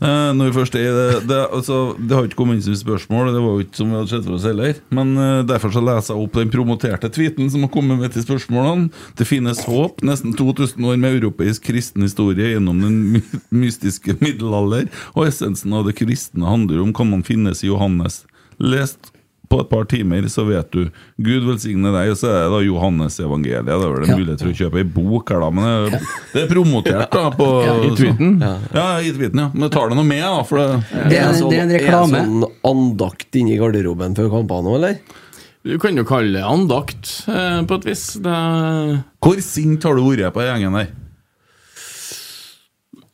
S5: Eh, når vi først er i det det, altså, det har ikke kommet inn som spørsmål, og det var jo ikke som vi hadde sett for oss heller. Men eh, derfor så leser jeg opp den promoterte tweeten som har kommet med til spørsmålene. Det finnes håp. Nesten 2000 år med europeisk kristen historie gjennom den my mystiske middelalder. Og essensen av det kristne handler om kan man finnes i Johannes. Lest på et par timer, så vet du. Gud velsigne deg. Og så er det da Johannes evangeliet. Det er vel en
S6: Ja.
S5: mulighet for å kjøpe ei bok her, da. Men det, det er promotert, da. På,
S7: I tweeten.
S5: ja, jeg har gitt viten, ja. Men tar det noe med, da? For det
S6: Det er, det er en reklame.
S4: sånn Er det sånn andakt inni garderoben før kampene nå, eller?
S7: Du kan jo kalle det andakt, eh, på et vis. Det er
S5: Hvor sint har du vært på gjengen der?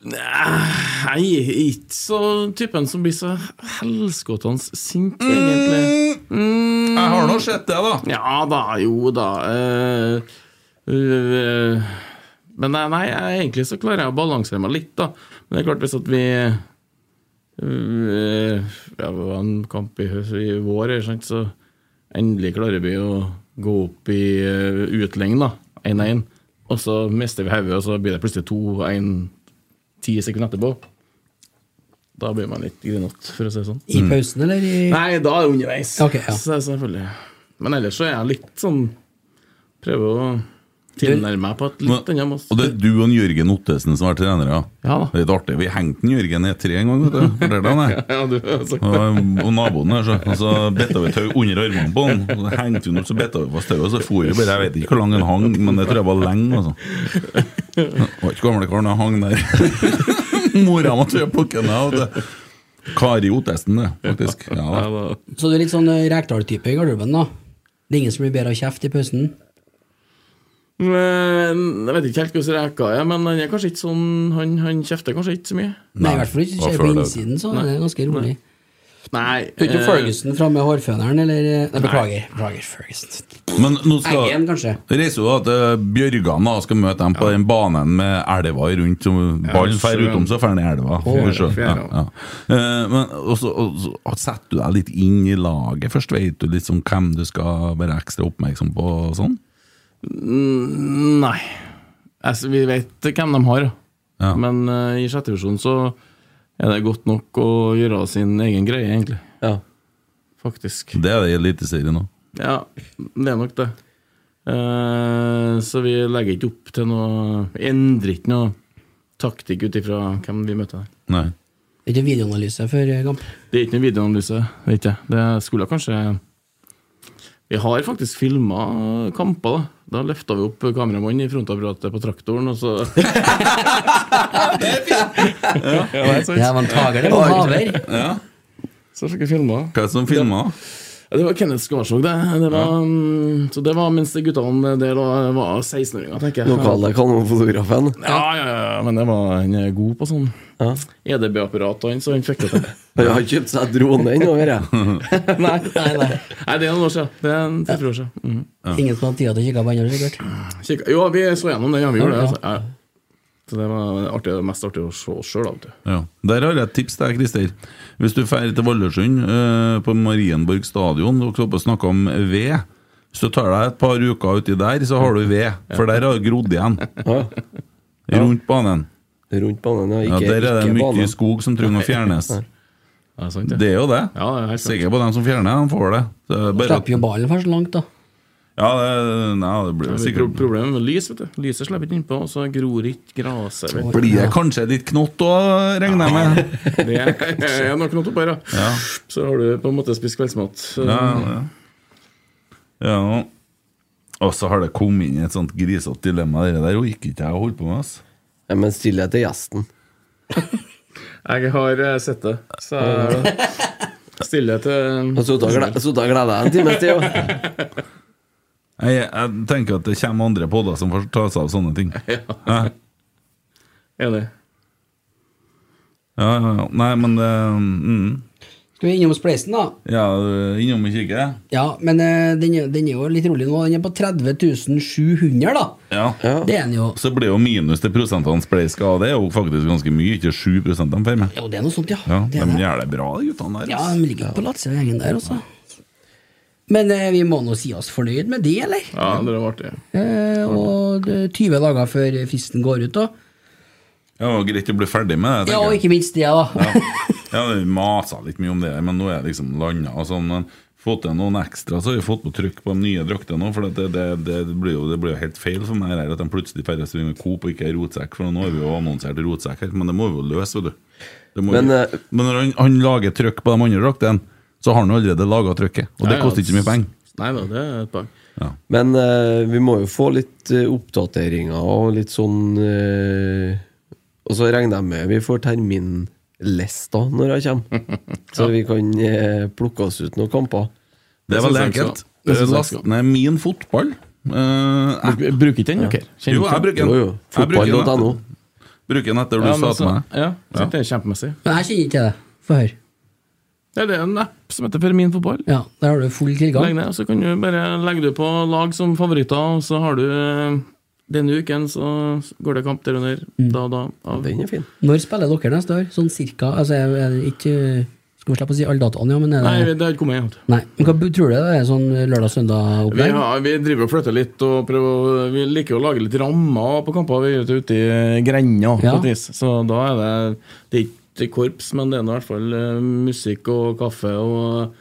S7: Nei, jeg er ikke så typen som blir så helskottende sint, egentlig.
S5: Mm.
S7: Mm.
S5: Jeg har nå sett det, da.
S7: Ja da, jo da. eh, eh, men nei, nei, jeg- egentlig så klarer jeg å balansere meg litt, da. Men det er klart, hvis at vi eh, ja, Det var en kamp i, høst- i vår, ikke sant, så endelig klarer vi å gå opp i uh, utlengden, da. 1-1. Og så mister vi hodet, og så blir det plutselig 2-1 ti sekunder etterpå. Da blir man litt grinete, for å si det sånn.
S6: I pausen, eller? I,
S7: Nei, da er det underveis.
S6: Ok, ja.
S7: Så det er selvfølgelig. Men ellers så er jeg litt sånn Prøver å tilnærme meg på et litt annet måte.
S5: Og det er du og Jørgen Ottesen som er trenere?
S7: Ja da.
S5: Det er litt artig. Vi hengte en Jørgen ned tre en gang, vet du. Fortalte han det?
S7: Ja, du har sagt det.
S5: Og, og naboen der, så, og så bitta vi tau under armene på han. Og så hengte vi den opp, så bitta vi fast tauet, så for vi bare Jeg vet ikke hvor lang den hang, men det tror jeg var lenge, altså. Det var ikke gamle karen, han hang der. Mora måtte jo plukke den av. vet du. Kari Ottesen, det, faktisk. Ja, da.
S7: Ja, da.
S6: Så du er litt sånn eh, Rekdal-type i garderoben, da? Det er ingen som blir bedre av kjeft i pausen?
S7: Men, jeg vet ikke helt hvordan reka er, men han er kanskje ikke sånn Han, han kjefter kanskje ikke så mye.
S6: Nei, i hvert fall ikke.
S5: hva
S6: Ser
S5: føler
S6: på
S5: du?
S6: innsiden, så er det ganske rolig.
S7: Nei.
S6: Du er ikke
S7: eh,
S6: Ferguson framme med hårføneren, eller eh, Nei, beklager. Beklager, Ferguson.
S5: Men nå skal
S6: Eggen, kanskje?
S5: Reiser jo da til Bjørgan da, skal møte dem på den banen med elva rundt. som Ballen fer
S7: sjøen.
S5: utom, så fer den i elva.
S7: Å,
S5: Sjøen,
S7: fjæra.
S5: ja, ja. Eh, Men også, også, og setter du deg litt inn i laget først? Vet du liksom hvem du skal være ekstra oppmerksom på? og sånn?
S7: Nei. Altså, vi vet hvem de har,
S5: Ja.
S7: men eh, i sjette divisjon så er det godt nok å gjøre sin egen greie, egentlig.
S4: Ja.
S7: Faktisk.
S5: Det er det i Eliteserien òg.
S7: Ja, det er nok det. Eh, så vi legger ikke opp til noe vi Endrer ikke noe taktikk ut ifra hvem vi møter der.
S5: Nei.
S6: Det er ikke videoanalyse før eh, kamp.
S7: Det er ikke noen videoanalyse. Det, er ikke. det Det skulle kanskje Vi har faktisk filma kamper, da. Da løfta vi opp kameramannen i frontapparatet på traktoren, og så
S6: Det var en tager, det var en haver.
S7: Så fikk vi filma.
S5: Hva er det som filmer?
S7: Ja, Det var Kenneth Skarsvåg, det. det var, mm, Så det var mens de guttene der da var 16-åringer, tenker jeg.
S4: Lokale kanonfotografen.
S7: Ja, ja, ja, men det var, han er god på sånn EDB-apparat, og han, så han fikk det til.
S4: Han har kjøpt seg drone ennå, hører jeg.
S7: nei, nei, nei. nei, det er noen år siden. Det er en tre-fire år siden. Mm.
S6: Ingen som hadde tid til å kikke på andre, sikkert.
S7: Kikka- Jo, vi så gjennom den, ja, vi gjorde det. Altså. Ja. Så det var artig, det mest artig å se oss sjøl, da.
S5: Ja. Der har jeg et tips til deg, Christer. Hvis du drar til Valdresund, eh, på Marienborg stadion, dere var på å snakke om ved. Hvis du tar deg et par uker uti der, så har du ved, for der har det grodd igjen. Rundt banen.
S4: Rundt banen, ja.
S5: Ja,
S4: Ikke,
S5: der er det
S4: ikke
S5: mye
S4: banen.
S5: skog som trenger å fjernes.
S7: Ja, det er sant,
S5: Det er jo det.
S7: Ja, det er helt sant.
S5: Sikker på dem som fjerner, de får det. det er bare at,
S6: Slipper jo ballen for så langt, da.
S5: ja, det, nei, det
S7: Det
S5: blir
S7: er pro-
S5: sikkert
S7: Problemet med lys, vet du. Lyset slipper ikke innpå, og så gror ikke gresset. vet du.
S5: Blir det kanskje litt knott òg, regner jeg med.
S7: Det er nok noe oppå her, da.
S5: Ja,
S7: Så har du på en måte spist kveldsmat.
S5: ja, ja. ja. Og så har det kommet inn et sånt grisete dilemma, det der. Hun gikk ikke jeg og holdt på med, altså.
S4: Ja, men still deg til gjesten.
S7: Jeg har eh, sett det, så jeg stiller til
S4: Og så da gled- så da gleder jeg en time til. jo.
S5: Jeg, jeg tenker at det kommer andre podder som får ta seg av sånne ting. Ja,
S7: Enig.
S5: ja, ja. Nei, men det mm,
S6: Skal vi innom spleisen, da?
S5: Ja, eh, innom og kikke.
S6: Ja, men eh, den, er- den er jo litt rolig nå. Den er på 30 700, da.
S5: Ja.
S6: Det er den jo.
S5: Så blir jo minus til prosentene spleis skal ha. Det er jo faktisk ganske mye, ikke 7 de får med.
S6: Jo, det er noe sånt, ja.
S5: Ja,
S6: det
S5: de
S6: er det.
S5: gjør det bra, de guttene der.
S6: ja
S5: ass.
S6: de ligger på latsegjengen der også. Men eh, vi må nå si oss fornøyd med det, eller?
S7: Ja, det var artig.
S6: Eh, og det er 20 dager før fristen går ut, da.
S5: Ja, det var greit å bli ferdig med det.
S6: Ja, og
S5: tenker jeg.
S6: ikke minst det, da.
S5: Ja, vi masa litt mye om det, men nå er det liksom landa og sånn. Men fått til noen ekstra, så har vi fått på trykk på de nye draktene nå. For at det, det, det, blir jo, det blir jo helt feil for meg her at de plutselig færre svinger med Coop og ikke er rotsekk. For nå har vi jo annonsert rotsekk her, men det må vi jo løse, vet du. Det må
S4: Men,
S5: vi-
S4: eh,
S5: men når han, han lager trykk på de andre draktene, så har han jo allerede laga trykket. Og det
S7: Ja, ja,
S5: koster ikke så mye penger.
S7: Nei da, det er et poeng.
S4: Men eh, vi må jo få litt eh, oppdateringer og litt sånn eh, Og så regner jeg med vi får terminlista når jeg kommer. Så vi kan eh, plukke oss ut noen kamper.
S5: Det er
S7: synes
S5: veldig
S7: jeg
S5: enkelt.
S7: også. Det synes jeg
S5: Last
S7: også.
S5: ned min fotball. Eh, app.
S7: Bruker ikke den, dere?
S5: jo, jeg bruker den.
S4: Jo, jo.
S5: Jeg bruker den
S4: Fotball.no.
S5: etter- Bruker den etter du sa til meg.
S7: Ja, så det er kjempemessig.
S6: Men jeg kjenner ikke til det. Få høre.
S7: Ja, det er en app som heter Fermin fotball.
S6: Ja, der har du full
S7: Legg
S6: tilgang.
S7: ned, så kan du bare legge du på lag som favoritter, og så har du eh, denne uken så går det kamp der under. Da og da.
S4: Mm.
S7: Av.
S4: Den er fin.
S6: Når spiller dere neste år? Sånn cirka? Altså, er er det ikke Skal vi slippe å si alle datoene, ja, men er det
S7: Nei, det har ikke kommet igjen.
S6: Nei. Men hva bu- tror du det er sånn
S7: Vi,
S6: lørdag-søndag-opplegg?
S7: har, vi driver og flytter litt, og prøver, å- vi liker å lage litt rammer på kamper. Vi er ute ute i grenda, på
S6: Ja.
S7: et vis. Så da er det Det er ikke korps, men det er nå i hvert fall eh, musikk og kaffe og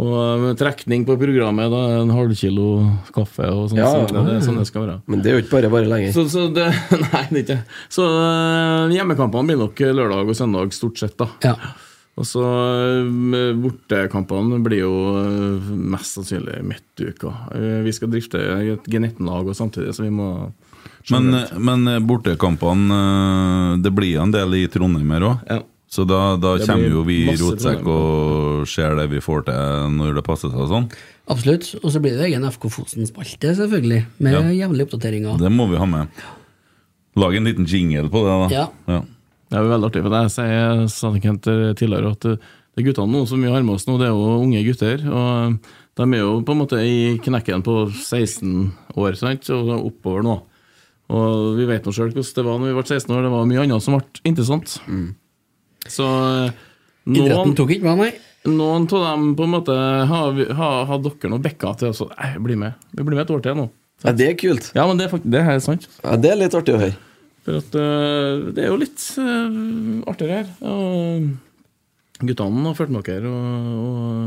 S7: Og eh, med trekning på programmet, da er det en halvkilo kaffe og sånn.
S4: Ja,
S7: så det er sånn det skal være.
S4: Men det er jo ikke bare bare lenger.
S7: Så, så det, nei, det er ikke Så eh, hjemmekampene blir nok lørdag og søndag, stort sett, da.
S6: Ja.
S7: Og så eh, bortekampene blir jo eh, mest sannsynlig midtuka. Eh, Vi skal drifte et G19-lag og samtidig, så vi må
S5: Men, men eh, bortekampene eh, Det blir en del i Trondheim her òg.
S7: Ja.
S5: Så da, da
S7: Det
S5: kommer
S7: blir
S5: jo vi i
S7: masse
S5: rotsekk og ser det vi får til når det passer seg og sånn.
S6: Absolutt. Og så blir det egen FK Fosen-spalte, selvfølgelig, med
S5: Ja.
S6: jevnlige oppdateringer.
S5: Det må vi ha med. Lag en liten jingle på det, da.
S6: Ja.
S7: Det er jo veldig artig, for det sier Sandkent tidligere, at eh, det er guttene nå som vi har med oss nå, det er jo unge gutter. og eh, De er jo på en måte i knekken på 16 år sant? og oppover nå. Og vi vet nå sjøl hvordan det var når vi ble 16 år, det var mye annet som ble interessant. Så eh,
S6: Idretten
S7: noen,
S6: tok ikke med, nei.
S7: noen av dem på en måte har, vi- har, har dere noen bekker til, og så nei, bli med. Vi blir med et år til nå.
S4: Ja, det er kult.
S7: Ja, men det er, fakt- det er sant.
S4: Ja, det er litt artig å høre.
S7: For at øh, det er jo litt øh, artigere her. Og guttene har fulgt med dere, og, og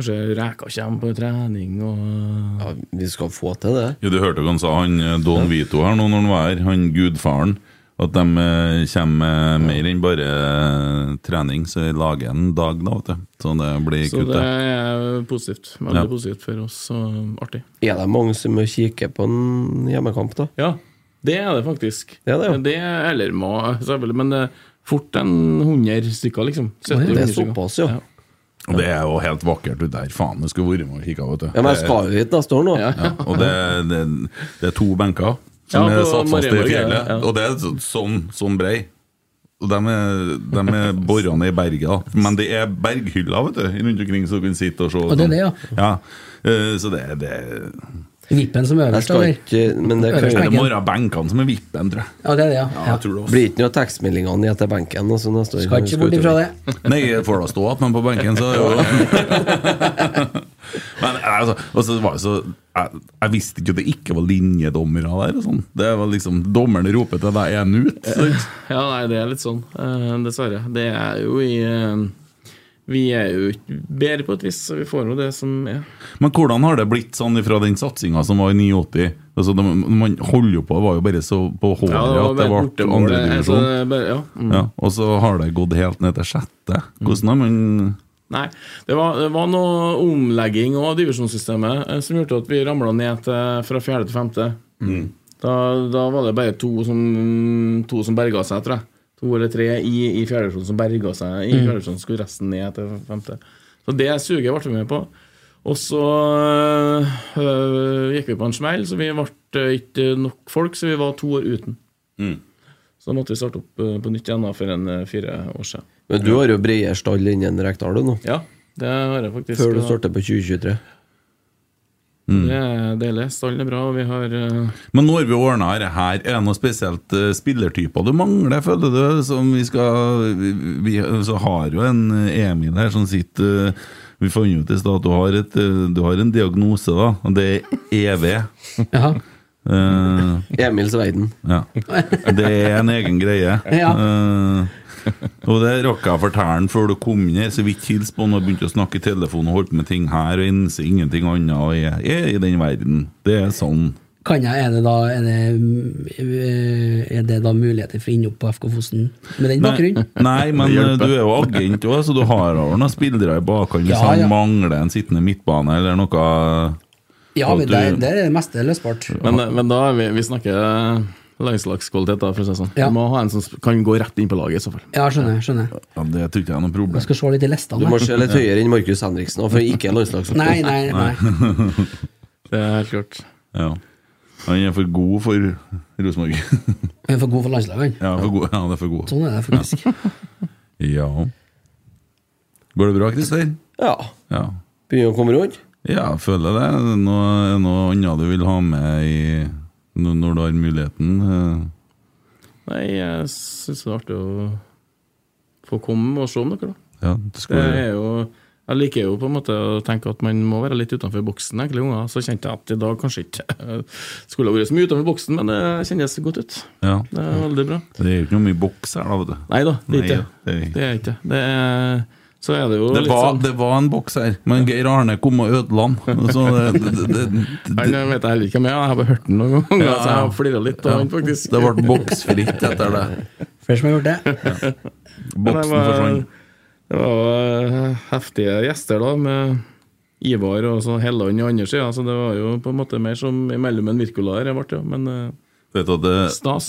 S7: kanskje reka kommer på trening og
S4: Ja, vi skal få til det.
S5: Ja, du hørte jo hva han sa, han eh, Don Vito her nå når han var her, han gudfaren. At de eh, kommer med mer enn bare eh, trening, så jeg lager en dag, da, vet du. Så det blir
S7: Så
S5: kutt,
S7: det
S5: det.
S7: er positivt. Veldig
S5: Ja.
S7: positivt for oss, og artig.
S4: Er det mange som er og kikker på en hjemmekamp, da?
S7: Ja, det er det faktisk.
S4: Ja, det er jo.
S7: er- eller må, selvfølgelig, men det er fort en 100 stykker, liksom. 70
S4: Det er
S7: 100 stykker.
S4: såpass, ja.
S5: Og det er jo helt vakkert ut der. Faen, jeg skulle vært med og kikka, vet du.
S4: Ja, men jeg skal jo hit neste år nå.
S7: Ja.
S5: Ja, og det, det, det er to benker som
S7: Ja,
S5: er
S7: på
S5: satt fast i
S7: Marienborg, ja,
S5: fjellet.
S7: ja.
S5: Og det er så- sånn, sånn brei. Og de er, de er borrende i berget, da. Men det er berghyller vet du, rundt omkring, så du kan sitte og se.
S6: Og det er
S5: sånn.
S6: det, ja.
S5: Eh, Så det, er- det er-
S6: Vippen som
S4: Jeg
S6: øverst,
S4: skal
S6: eller?
S4: ikke, men det kan
S6: Øverst,
S5: det
S4: jo
S5: er bare benkene som er vippen, tror jeg.
S6: Ja, det er det, ja.
S5: Ja,
S6: ja.
S5: jeg tror det også.
S4: blir ikke noe av tekstmeldingene i etter benken. Altså, neste år.
S6: Skal ikke bort ifra det.
S5: Nei, jeg får da stå igjen, men på benken så er jo Men altså, og så var det så jeg, jeg visste ikke at det ikke var linjedommere der og sånn. Det var liksom Dommerne roper til deg én ut. sant?
S7: Ja, nei, det er litt sånn, eh, dessverre. Det er jo i eh, Vi er jo ikke bedre på et vis, så vi får jo det som er.
S5: Men hvordan har det blitt sånn fra den satsinga som var i 89? Altså, de, man holder jo på, det var jo bare så på håret at det
S7: bare
S5: ble
S7: bortemål, det- altså,
S5: andredivisjon.
S7: det er bare- ja. Mm.
S5: Ja, og så har det gått helt ned til sjette. Hvordan har man
S7: Nei, det var, det var noe omlegging av divisjonssystemet eh, som gjorde at vi ramla ned til, fra fjerde til femte.
S4: Mm.
S7: Da, da var det bare to som, to som berga seg, tror jeg. To eller tre i, i fjerde divisjon som berga seg. I fjerde divisjon skulle resten ned til femte. Så det suget ble vi med på. Og så eh, øh, gikk vi på en smell, så vi ble eh, ikke nok folk, så vi var to år uten.
S4: Mm.
S7: Så da måtte vi starte opp øh, på nytt igjen da, for en øh, fire år siden.
S4: Men du har jo bredere stall innen Rekdal du, nå,
S7: Ja, det har jeg faktisk.
S4: før du starter på 2023.
S7: Det er deilig. Stallen er bra, og vi har eh,
S5: Men når vi ordner dette her, er det noe spesielt eh, spillertyper du mangler, føler du? Som vi skal vi, vi så har jo en eh, Emil her som sitter eh, Vi fant jo ut i stad at du har, et, eh, du har en diagnose, da. Og det er E EV.
S6: Ja.
S5: Eh,
S4: Emil Sveiden.
S5: ja. Det er en egen greie. Eh, og det rakk jeg å fortelle han før du kom inn her, så vi ikke hilste på han og begynte å snakke i telefonen og holdt på med ting her og innser ingenting annet og jeg er i den verden. Det er sånn.
S6: Kan jeg, er det da, er det, øh, er det da muligheter for å inne opp på FK Fosen med den bakgrunnen?
S5: Nei, men eh, du er jo agent òg, så du har jo noen spillere i bakhånd hvis
S6: Ja,
S5: han
S6: ja.
S5: mangler en sittende midtbane eller noe.
S6: Ja,
S5: Og
S6: men
S5: du-
S6: der, der er det meste løsbart.
S7: men, men da er vi, vi snakker eh, landslagskvalitet, da, for å si det sånn.
S6: Ja.
S7: Du må ha en som s- kan gå rett inn på laget, i så fall.
S6: Ja, skjønner. skjønner
S5: Ja, det tror ikke jeg er noe
S6: Jeg
S5: problem.
S6: skal se litt i listene.
S4: Du må
S6: her.
S4: se litt høyere enn Markus Henriksen, og for ikke er landslagsspiller.
S6: Nei, nei, nei.
S7: Det er helt klart.
S5: Ja. Han er for god for Rosenborg.
S6: Vi er for god for landslaget.
S5: Ja, for god. ja, det er for god.
S6: Sånn er det faktisk.
S5: Ja. Går det bra, Christer?
S4: Ja.
S5: Ja.
S4: Begynner å komme rundt.
S5: ja, jeg føler det. Er det Noe, er det noe annet du vil ha med i, når når du har muligheten? eh?
S7: Nei, jeg syns det er artig å få komme og se om dere, da.
S5: Ja, du
S7: Det
S5: skulle
S7: er jo jeg liker jo på en måte å tenke at man må være litt utenfor boksen, egentlig, unger. Så kjente jeg at i dag kanskje ikke skulle ha vært så mye utenfor boksen, men det kjennes godt ut.
S5: ja.
S7: Det er veldig bra.
S5: Det er jo ikke noe mye boks her, da, vet du.
S7: Nei da, det er
S5: Nei,
S7: ikke det.
S5: det er ikke.
S7: Det er ikke det. Det er, så er det jo
S5: Det
S7: litt
S5: var,
S7: sånn
S5: det var en boks her, men Geir Arne kom og ødela den. Så det, det, det, det,
S7: Han jeg vet jeg heller ikke hvem er, jeg har bare hørt den noen ganger.
S5: Ja,
S7: Så jeg
S5: ja.
S7: har flira litt av han, faktisk.
S5: det ble boksfritt etter det.
S6: Flere som har gjort det.
S7: Men det
S5: Boksen
S7: var-
S5: forsvant.
S7: Det var jo eh, heftige gjester, da, med Ivar og så Helland i andre sida. Så det var jo på en måte mer som imellom en Wirkola her, jeg ble, ja. Men eh,
S5: Vet du at det,
S7: stas.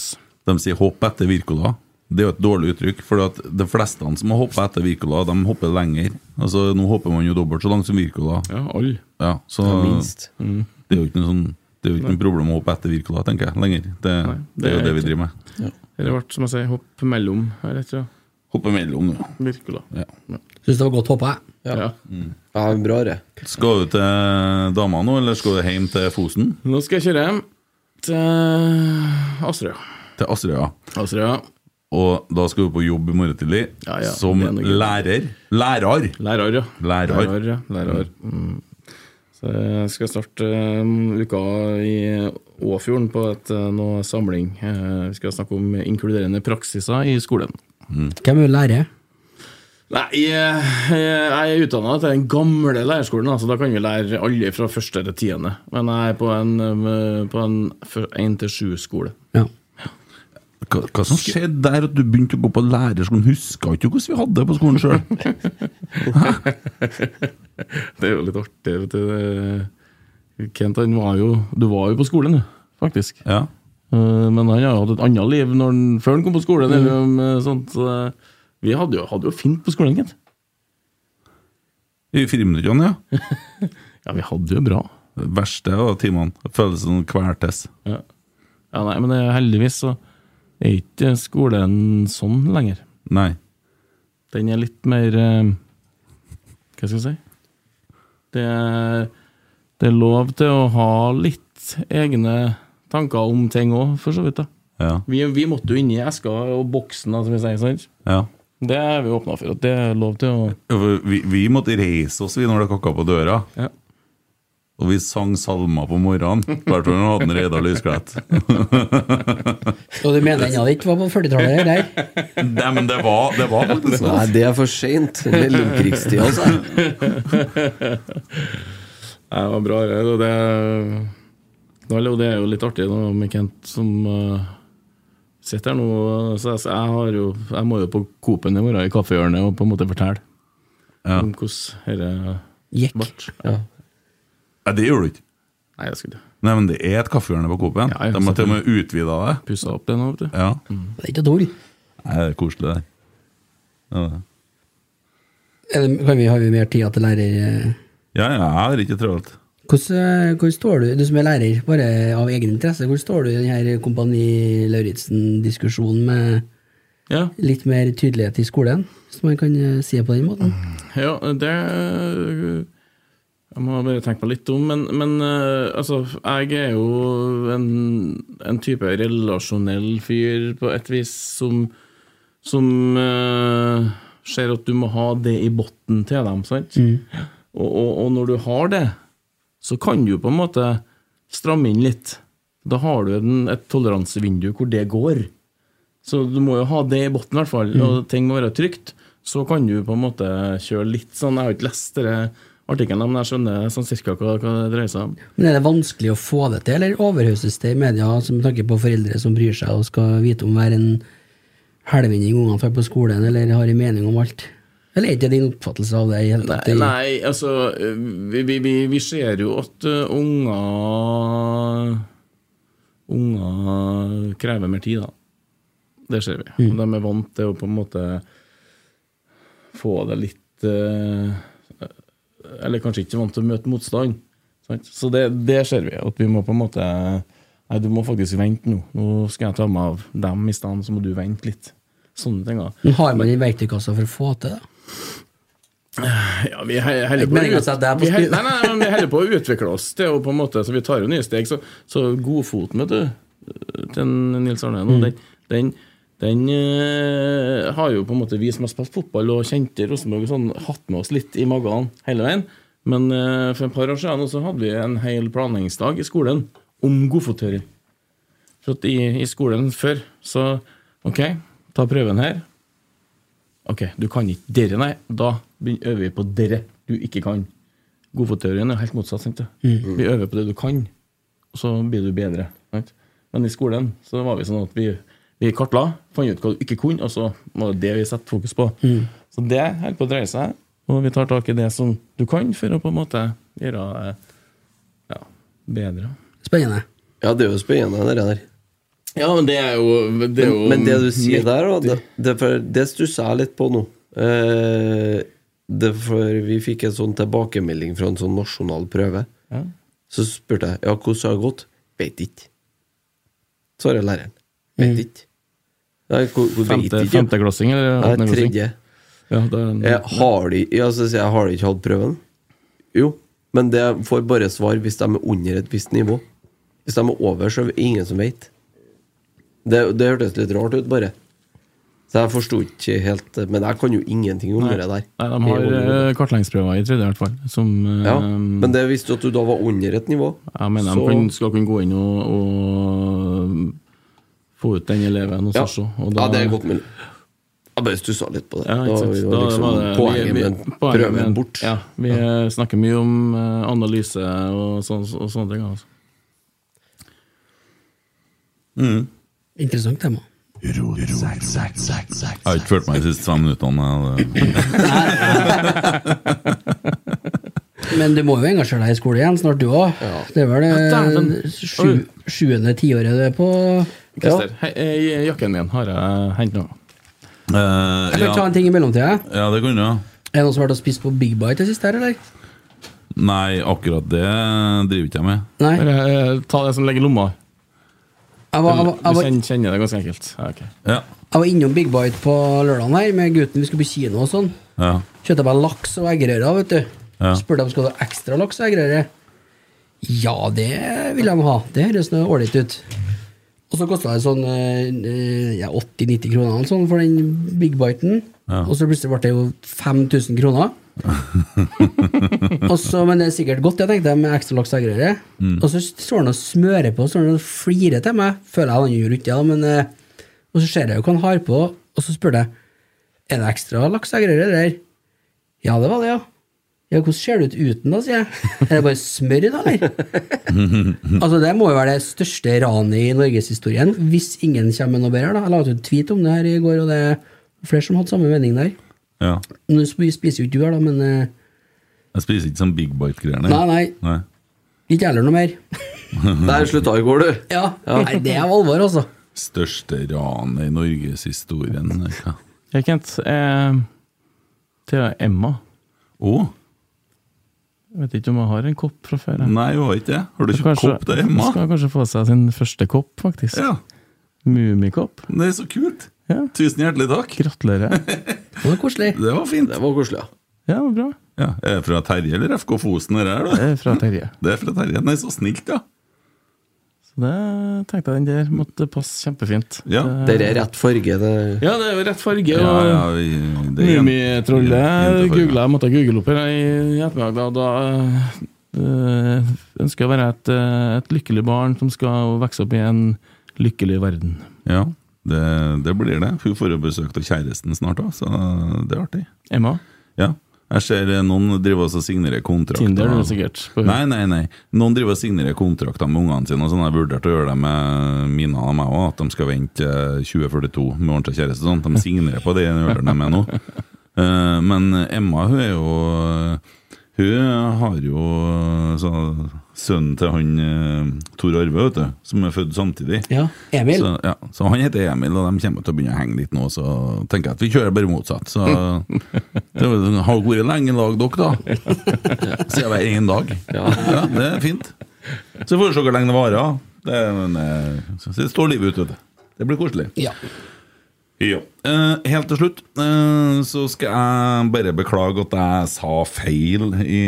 S5: de sier 'hopp etter Wirkola'? Det er jo et dårlig uttrykk, for at de fleste som har hoppet etter Wirkola, de hopper lenger. Altså, Nå hopper man jo dobbelt så langt som Wirkola.
S7: Ja, Mm. alle.
S5: Ja, så
S4: Minst.
S5: det er jo ikke noe sånn det er jo ikke noe problem å hoppe etter Wirkola, tenker jeg, lenger. Det, det er
S7: det er
S5: jo det vi
S7: ikke.
S5: driver med.
S7: Eller ble, som jeg sier, hopp mellom her, etter
S5: Hoppe mellom, nå.
S7: Wirkola.
S6: Syns det var godt hoppa, Mm. jeg.
S7: Ja.
S4: Ja, bra, det.
S5: Skal du til dama nå, eller skal du hjem til Fosen?
S7: Nå skal jeg kjøre hjem til Asterøya.
S5: Til Asterøya.
S7: Asterøya.
S5: Og da skal du på jobb i morgen tidlig
S7: Ja, ja,
S5: som
S7: det er noe gøy.
S5: lærer. Lærer!
S7: Lærer, ja.
S5: Lærer.
S7: ja. Lærer. Mm. Så jeg skal starte um, uka i Åfjorden på et, eh, noe samling. Eh, Vi skal snakke om inkluderende praksiser i skolen.
S6: Hvem vil lære?
S7: Nei, jeg, jeg er utdanna til den gamle lærerskolen, altså da kan vi lære alle fra første til tiende. Men jeg er på en, um, på en f- en til sju-skole.
S6: Ja.
S5: Hva, hva som skjedde der at du begynte å gå på lærerskolen? Huska ikke du hvordan vi hadde det på skolen sjøl?
S7: Det er jo litt artig, vet du. Det- Kent, han var jo Du var jo på skolen, du, faktisk.
S5: Ja.
S7: Eh, Men han har jo hatt et annet liv når han, før han kom på skolen. Eller, om, eh, sånt. Så eh, vi hadde jo, hadde jo fint på skolen, gitt.
S5: I friminuttene, ja.
S7: Ja, vi hadde jo bra.
S5: Det verste var timene. Følelsen av kvertes.
S7: Ja, nei, Men det, er heldigvis så er ikke skolen sånn lenger.
S5: Nei.
S7: Den er litt mer eh, Hva skal jeg si? Det er, det er lov til å ha litt egne tanker om ting òg, for så vidt. da.
S5: Ja.
S7: Vi, vi måtte jo inn i eska og boksen, da, som vi sier. sant?
S5: ja.
S7: Det er vi åpna for. at Det er lov til å
S5: Ja, for Vi, vi måtte reise oss vi når det kakka på døra.
S7: Ja.
S5: Og vi sang salmer på morgenen. Hvert fall når vi hadde en Reidar Lysklett.
S6: Og du mener ennå det ikke var på 40-tallet? eller?
S5: Nei, men det var, det var faktisk
S4: Nei, det er for seint. Mellomkrigstida, altså.
S7: Nei, det var bra. Det, og det, Nå, eller, og det er jo litt artig nå med Kent som eh, sitter her nå. Så jeg, så jeg, har jo, jeg må jo på Coop-en i morgen, i kaffehjørnet, og på en måte fortelle
S5: Ja.
S7: om hvordan dette
S6: Gikk.
S7: ble.
S5: Nei, det gjorde du ikke.
S7: Nei, jeg skulle
S5: Nei, men det er et kaffehjørne på Coop-en.
S7: Ja, ja,
S5: De har til og med utvida det.
S7: pussa opp det nå, vet du.
S5: Ja.
S6: Det er ikke noe tull.
S5: Nei, det er koselig, det. Ja, det.
S6: Er det- Kan vi, har vi mer tid til lærer? eh?
S5: ja, ja, jeg har ikke travelt.
S6: Hvordan, eh, hvor står du, du som er lærer, bare av egen interesse, hvor står du i denne Kompani Lauritzen-diskusjonen med
S7: Ja,
S6: litt mer tydelighet i skolen, hvis man kan eh, si det på den måten?
S7: ja det Jeg må bare tenke meg litt om, men, men eh, altså, jeg er jo en, en type relasjonell fyr på et vis som som eh, ser at du må ha det i bunnen til dem. sant? Og, og, og når du har det, så kan du på en måte stramme inn litt. Da har du en, et toleransevindu hvor det går. Så du må jo ha det i bunnen, i hvert fall. Og ting må være trygt. Så kan du på en måte kjøre litt sånn Jeg har ikke lest denne artikkelen, men jeg skjønner sånn cirka hva, hva det dreier seg om.
S6: Men Er det vanskelig å få det til, eller overhøstes det i media altså med tanke på foreldre som bryr seg og skal vite om hver en helvinding ungene får på skolen, eller har en mening om alt? Eller er det ikke din oppfattelse av det? i hele tatt?
S7: Nei, nei altså eh, vi, vi, vi, vi ser jo at eh, unger Unger krever mer tid, da. Det ser vi.
S6: Mm.
S7: De er vant til å på en måte få det litt eh, Eller kanskje ikke vant til å møte motstand. Sant? Så det, det ser vi. At vi må på en måte Nei, du må faktisk vente nå. Nå skal jeg ta meg av dem i stedet, så må du vente litt. Sånne ting. da.
S6: Men Har man i verktøykassa for å få til det?
S7: Ja, vi he- heller
S6: Ikke
S7: på, å
S6: meningen å
S7: ut-
S6: sette deg på
S7: vi he-
S6: spill.
S7: nei, nei, nei, men vi heller på å utvikle oss, det er jo på en måte, så vi tar jo nye steg. Så, så godfoten, vet du, eh, til Nils Arne
S6: Mm.
S7: nå, den, den, den eh, har jo på en måte vi som har spilt fotball og kjente Rosenborg, og sånn, hatt med oss litt i magen hele veien. Men eh, for et par år siden nå så hadde vi en hel planleggingsdag i skolen om godfottøring. For at i, i skolen før, så OK, ta prøven her. Ok, du kan ikke dere, nei. Da begyn- øver vi på dere du ikke kan. Godfotteorien er helt motsatt. sant det? Vi øver på det du kan, og så blir du bedre. Sant? Men i skolen så var vi sånn at vi, vi kartla, fant ut hva du ikke kunne, og så var det det vi satte fokus på. Så det holder på å dreie seg, og vi tar tak i det som du kan, for å på en måte gjøre deg ja, bedre.
S6: Spennende.
S4: Ja, det er jo spennende, det der.
S7: Ja, men det er jo Det,
S4: Men,
S7: er jo
S4: men det du sier
S7: nytt-
S4: der, da, det, det, er for- det stusser jeg litt på nå. Eh, det er for vi fikk en sånn tilbakemelding fra en sånn nasjonal prøve.
S7: Ja.
S4: Så spurte jeg ja, hvordan har det gått. Veit ikke. Svarer læreren. Veit ikke. Nei, hvor, hvor vet
S7: Femte,
S4: ikke?
S7: femteklassing eller
S4: Nei,
S7: åttendeklassing?
S4: tredje.
S7: Ja, det er en-
S4: Jeg har de, ja, så sier jeg, har de ikke hatt prøven? Jo, men det får bare svar hvis de er under et visst nivå. Hvis de er over, så er det ingen som vet. Det, det hørtes litt rart ut, bare. Så jeg forsto ikke helt Men jeg kan jo ingenting om det der.
S7: Nei, de har eh, kartleggingsprøver i tredje, i hvert fall. Som eh,
S4: ja, Men det visste du at du da var under et nivå.
S7: jeg mener de kan, skal kunne gå inn og, og få ut den eleven hos
S4: ja.
S7: oss også. og
S4: ja, det er godt mulig. Jeg bare stussa litt på det.
S7: Ja,
S4: da
S7: ikke
S4: var
S7: sant.
S4: jo
S7: Da
S4: liksom
S7: var det-
S4: poenget
S7: vi- vi-
S4: med
S7: poenget med-
S4: prøven bort.
S7: Ja, vi eh, snakker mye om eh, analyse og, sånn, og sånne ting. Altså.
S6: Interessant tema.
S5: Jeg har ikke følt meg de siste fem minuttene. jeg, det-
S6: Men du må jo engasjere deg i skole igjen snart, du òg. Det er vel
S7: dæven.
S6: det sju, sjuende tiåret du er på.
S7: Christer, hei, eh, jakken min har jeg hentet nå.
S5: Eh,
S6: Jeg kan ta
S5: ja.
S6: en ting i mellomtida.
S5: ja, det kunne jeg.
S6: Er det noen som har vært og spist på Big Bite det siste her, eller?
S5: Nei, akkurat det driver ikke jeg med.
S6: Nei. Jeg
S7: Bare, eh, Ta det som ligger i lomma.
S6: var, jeg var,
S7: Du
S6: jeg var,
S7: kjenner, kjenner det ganske enkelt. Ja, ok.
S5: Ja,
S6: jeg var innom Big Bite på lørdagen her med gutten. Vi skulle på kino og sånn.
S5: ja.
S6: Kjøpte meg laks og eggerøre, vet du.
S5: Ja.
S6: Spurte om skal du ha ekstra laks og eggerøre. Ja, det vil de ha. Det høres nå ålreit ut. Og så kosta det sånn eh, ja, 80-90 kroner eller sånn for den big biten.
S5: Ja.
S6: Og så plutselig ble det jo 5000 kroner. og så, men det er sikkert godt, jeg tenkte jeg, med ekstra laks og eggerøre.
S4: Mm.
S6: Og så står han og smører på, står han og flirer til meg. Føler jeg han gjorde ikke det, men eh, Og så ser jeg jo hva han har på, og så spør jeg er det ekstra laks og eggerøre der. Ja, det var det, ja. Ja, Hvordan ser det ut uten, da, sier jeg. Er det bare smør i dag, eller? altså, det må jo være det største ranet i norgeshistorien, hvis ingen kommer med noe bedre. da. Jeg la ut en tweet om det her i går, og det er flere som hadde samme mening der.
S5: ja.
S6: Nå sp- spiser jo ikke du her, da, men eh,
S5: Jeg spiser ikke sånn Big Bite-greiene.
S6: Nei, nei,
S5: Nei.
S6: ikke heller noe mer.
S4: Der slutta i går, du.
S6: ja, Nei, det er alvor, altså.
S5: Største ranet i norgeshistorien. Å!
S7: Hei, Kent. Eh, til Emma.
S5: Oh,
S7: Jeg vet ikke om jeg har en kopp fra før. jeg.
S5: nei, hun har ikke det. Har du ikke kopp til Emma?
S7: Skal kanskje få seg sin første kopp, faktisk.
S5: Ja,
S7: Mummikopp.
S5: det er så kult!
S7: Ja.
S5: Tusen hjertelig takk.
S7: Gratulerer.
S6: Det var koselig.
S5: Det var fint.
S4: Det var koselig, ja.
S7: Ja, men bra.
S5: Ja, er det fra Terje eller FK Fosen? Det, her,
S7: Det
S5: da?
S7: er fra Terje.
S5: det er fra Terje. Nei, så snilt, ja.
S7: Så det tenkte jeg den der måtte passe kjempefint.
S5: Ja,
S4: Dere er rett farge. Det
S7: Ja, det er jo rett farge.
S5: ja,
S7: og
S5: ja vi- det er-
S7: Mummitrollet
S5: Jentefarge.
S7: googla jeg. Måtte google opp her i i ettermiddag. Da, da eh, ønsker jeg å være et, eh, et lykkelig barn som skal vokse opp i en lykkelig verden.
S5: Ja, det, det blir det. Hun får jo besøk av kjæresten snart òg, så det er artig.
S7: Emma,
S5: Ja. Jeg ser eh, noen driver også og signerer kontrakter.
S7: Tinder du er sikkert. på-
S5: Nei, nei, nei. Noen driver og signerer kontrakter med ungene sine. og sånn. Jeg vurderte å gjøre det med mine og meg òg, at de skal vente eh, 2042 med ordentlig kjæreste. og Sånn. De signerer på det de gjør det med nå. Eh, Men Emma, hun er jo Hun har jo så, sønnen til han eh, Tor Arve, vet du, som er født samtidig.
S6: Ja, Emil.
S5: Så, ja. så han heter Emil, og de kommer til å begynne å henge litt nå, så tenker jeg at vi kjører bare motsatt. Så det var sånn, har vært lenge i lag, dere, da. Siden hver en dag. Ja. det er fint. Så får vi se hvor lenge det varer. Det, er- men, eh, så det står livet ut, vet du. Det blir koselig.
S6: Ja.
S5: Ja. Eh, helt til slutt eh, så skal jeg bare beklage at jeg sa feil i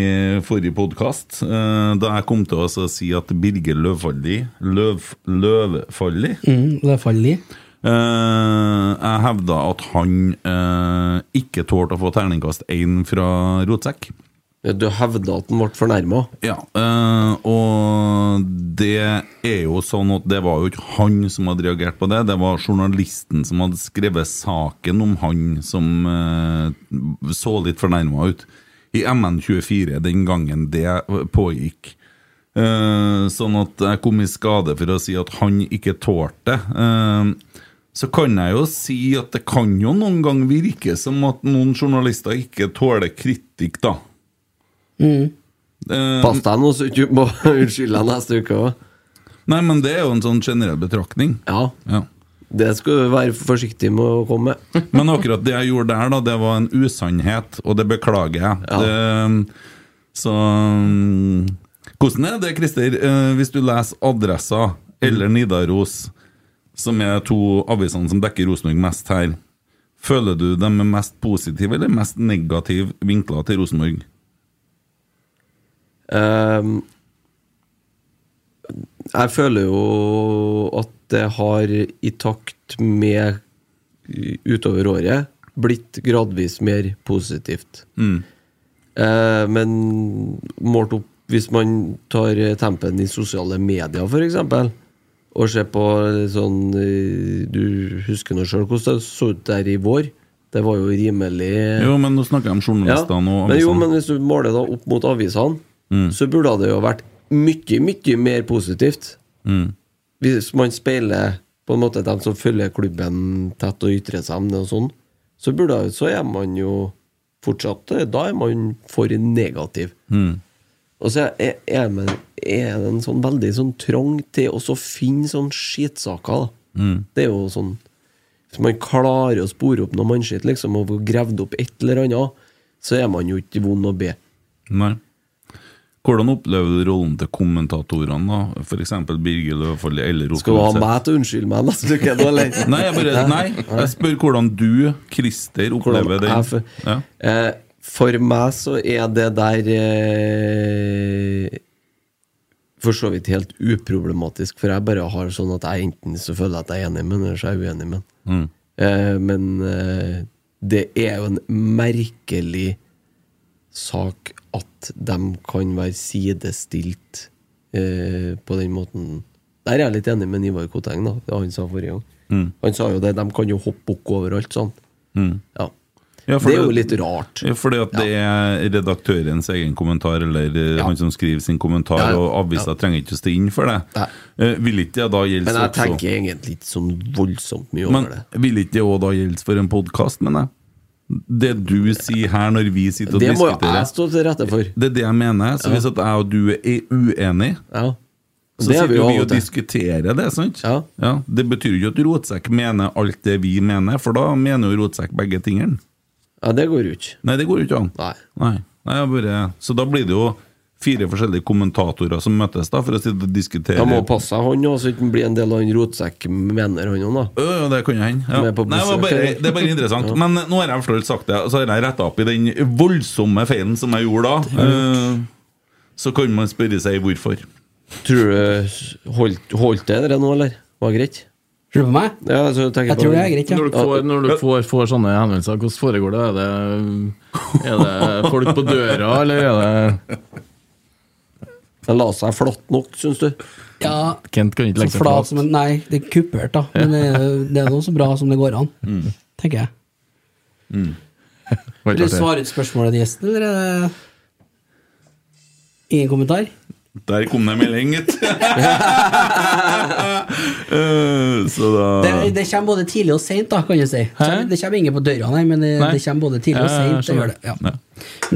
S5: forrige podkast. da jeg kom til å så si at Birger Løvfalli Løv, Løvfalli
S6: Mm, det faller i.
S5: Eh, jeg hevda at han eh, ikke tålte å få terningkast én fra Rotsekk.
S4: Ja, Du hevda at han ble fornærma?
S5: Ja, eh, og det er jo sånn at det var jo ikke han som hadde reagert på det, det var journalisten som hadde skrevet saken om han som eh, så litt fornærma ut. I MN24 den gangen det pågikk. Eh, sånn at jeg kom i skade for å si at han ikke tålte det. Eh, så kan jeg jo si at det kan jo noen gang virke som at noen journalister ikke tåler kritikk, da. Eh,
S4: Pass deg nå, så du ikke må unnskylde deg neste uke òg.
S5: Nei, men det er jo en sånn generell betraktning.
S4: Ja,
S5: Ja.
S4: det skal du være forsiktig med å komme med.
S5: Men akkurat det jeg gjorde der, da, det var en usannhet, og det beklager jeg. Det, ehm, så mm, Hvordan er det, Christer, eh, hvis du leser Adressa eller Nidaros, som er to avisene som dekker Rosenborg mest her, føler du dem er mest positive eller mest negative vinkler til Rosenborg?
S4: Ehm, jeg føler jo at det har i takt med utover året blitt gradvis mer positivt.
S5: Mm.
S4: Eh, men målt opp hvis man tar tempen i sosiale medier, f.eks., og ser på sånn eh, Du husker nå sjøl hvordan det så ut der i vår? Det var jo rimelig
S5: Jo, men nå snakker jeg om journalistene og Mm.
S4: men, jo, men
S5: avisene.
S4: hvis du måler da opp mot avisene, så burde det jo vært mye, mye mer positivt.
S5: Mm.
S4: Hvis man speiler på en måte dem som følger klubben tett og ytrer seg om det og sånn, så, burde, så er man jo fortsatt Da er man for negativ.
S5: Mm.
S4: Og så er, er, man, er det en sånn veldig sånn trang til også å finne sånn skitsaker. Da.
S5: Mm.
S4: Det er jo sånn Hvis man klarer å spore opp noe mannskitt liksom, og få gravd opp et eller annet, så er man jo ikke vond å be.
S5: Nei. Hvordan opplever du rollen til kommentatorene, da? F.eks. Birger Løvfold eller Rosenborg?
S4: Skal du ha meg til å unnskylde meg neste uke? da, eller?
S5: Nei, jeg, bare, nei, jeg spør hvordan du, Christer,
S4: Hvordan
S5: opplever det.
S4: jeg for-
S5: Ja.
S4: Eh, for meg så er det der eh, For så vidt helt uproblematisk, for jeg bare har sånn at jeg enten så føler jeg at jeg er enig med den, eller så er jeg uenig med
S5: Mm.
S4: den. Eh, men eh, det er jo en merkelig sak at de kan være sidestilt eh, på den måten. Der er jeg litt enig med Ivar Koteng, da, det han sa forrige gang.
S5: Mm.
S4: Han sa jo det, de kan jo hoppe bukk overalt, sånn. Ja.
S5: Ja, for
S4: det er jo
S5: det-
S4: litt rart.
S5: Ja, Fordi at det er redaktørens egen kommentar, eller eh, han som skriver sin kommentar,
S4: Ja, ja.
S5: og avisa trenger ikke å stå inn for det. Eh, Vil ikke det da gjelde
S4: Men jeg
S5: også-
S4: tenker egentlig ikke sånn voldsomt mye over
S5: Men
S4: det.
S5: vil ikke det òg da gjelde for en podkast, mener jeg? Det du sier her når vi sitter og
S4: Det må jo
S5: diskuterer,
S4: jeg stå til rette for.
S5: det er det jeg mener. Så hvis at jeg og du er uenige,
S4: Ja.
S5: så
S4: Det er
S5: sitter
S4: vi jo
S5: vi
S4: av
S5: og
S4: og til.
S5: diskuterer det, sant?
S4: Ja.
S5: Det betyr jo ikke at Rotsekk mener alt det vi mener, for da mener jo Rotsekk begge tingene.
S4: Ja, det går jo ikke.
S5: Nei, det går jo ikke an.
S4: Nei.
S5: Nei. Nei, jeg bare, så da blir det jo fire forskjellige kommentatorer som møtes da for å sitte og diskutere.
S4: Jeg må passe seg han òg, så ikke han blir en del av han rotsekken, mener han òg, da.
S5: Ø, ja, det kan jo hende. Ja.
S4: Som er på
S5: Nei, det, var
S4: besøk,
S5: bare,
S4: eller?
S5: det er bare interessant. Men nå har jeg forstått sagt det, og så har jeg retta opp i den voldsomme feilen som jeg gjorde da. Eh, Så kan man spørre seg hvorfor.
S4: Tror du Holdt, holdt det dere nå, eller? Var det greit?
S6: Tror du på meg?
S4: Ja, altså, jeg tenker
S6: Jeg
S4: på-
S6: tror det er greit, ja.
S7: Når dere får, når dere får, får sånne henvendelser, hvordan foregår det? Er det, er det folk på døra, eller er det
S4: Den la seg flatt nok, syns du?
S6: Ja,
S7: Kent kan ikke
S6: så
S7: legge seg
S6: flat
S7: flat.
S6: som en Nei, det er kuppert, da. Men det er- det er nå så bra som det går an, tenker jeg.
S7: Var
S6: Mm. Vil
S7: ikke
S6: du
S7: artig.
S6: svare ut spørsmålet til gjesten, eller er det Ingen kommentar?
S5: Der kom det en melding, gitt. Eh, så da
S6: Det, det kommer både tidlig og seint, da, kan du si.
S7: Hæ?
S6: Det kommer ingen på døra, nei, men det,
S7: Nei.
S6: det kommer både tidlig og
S7: Ja, ja, ja,
S6: seint. Det, gjør det. Ja. Men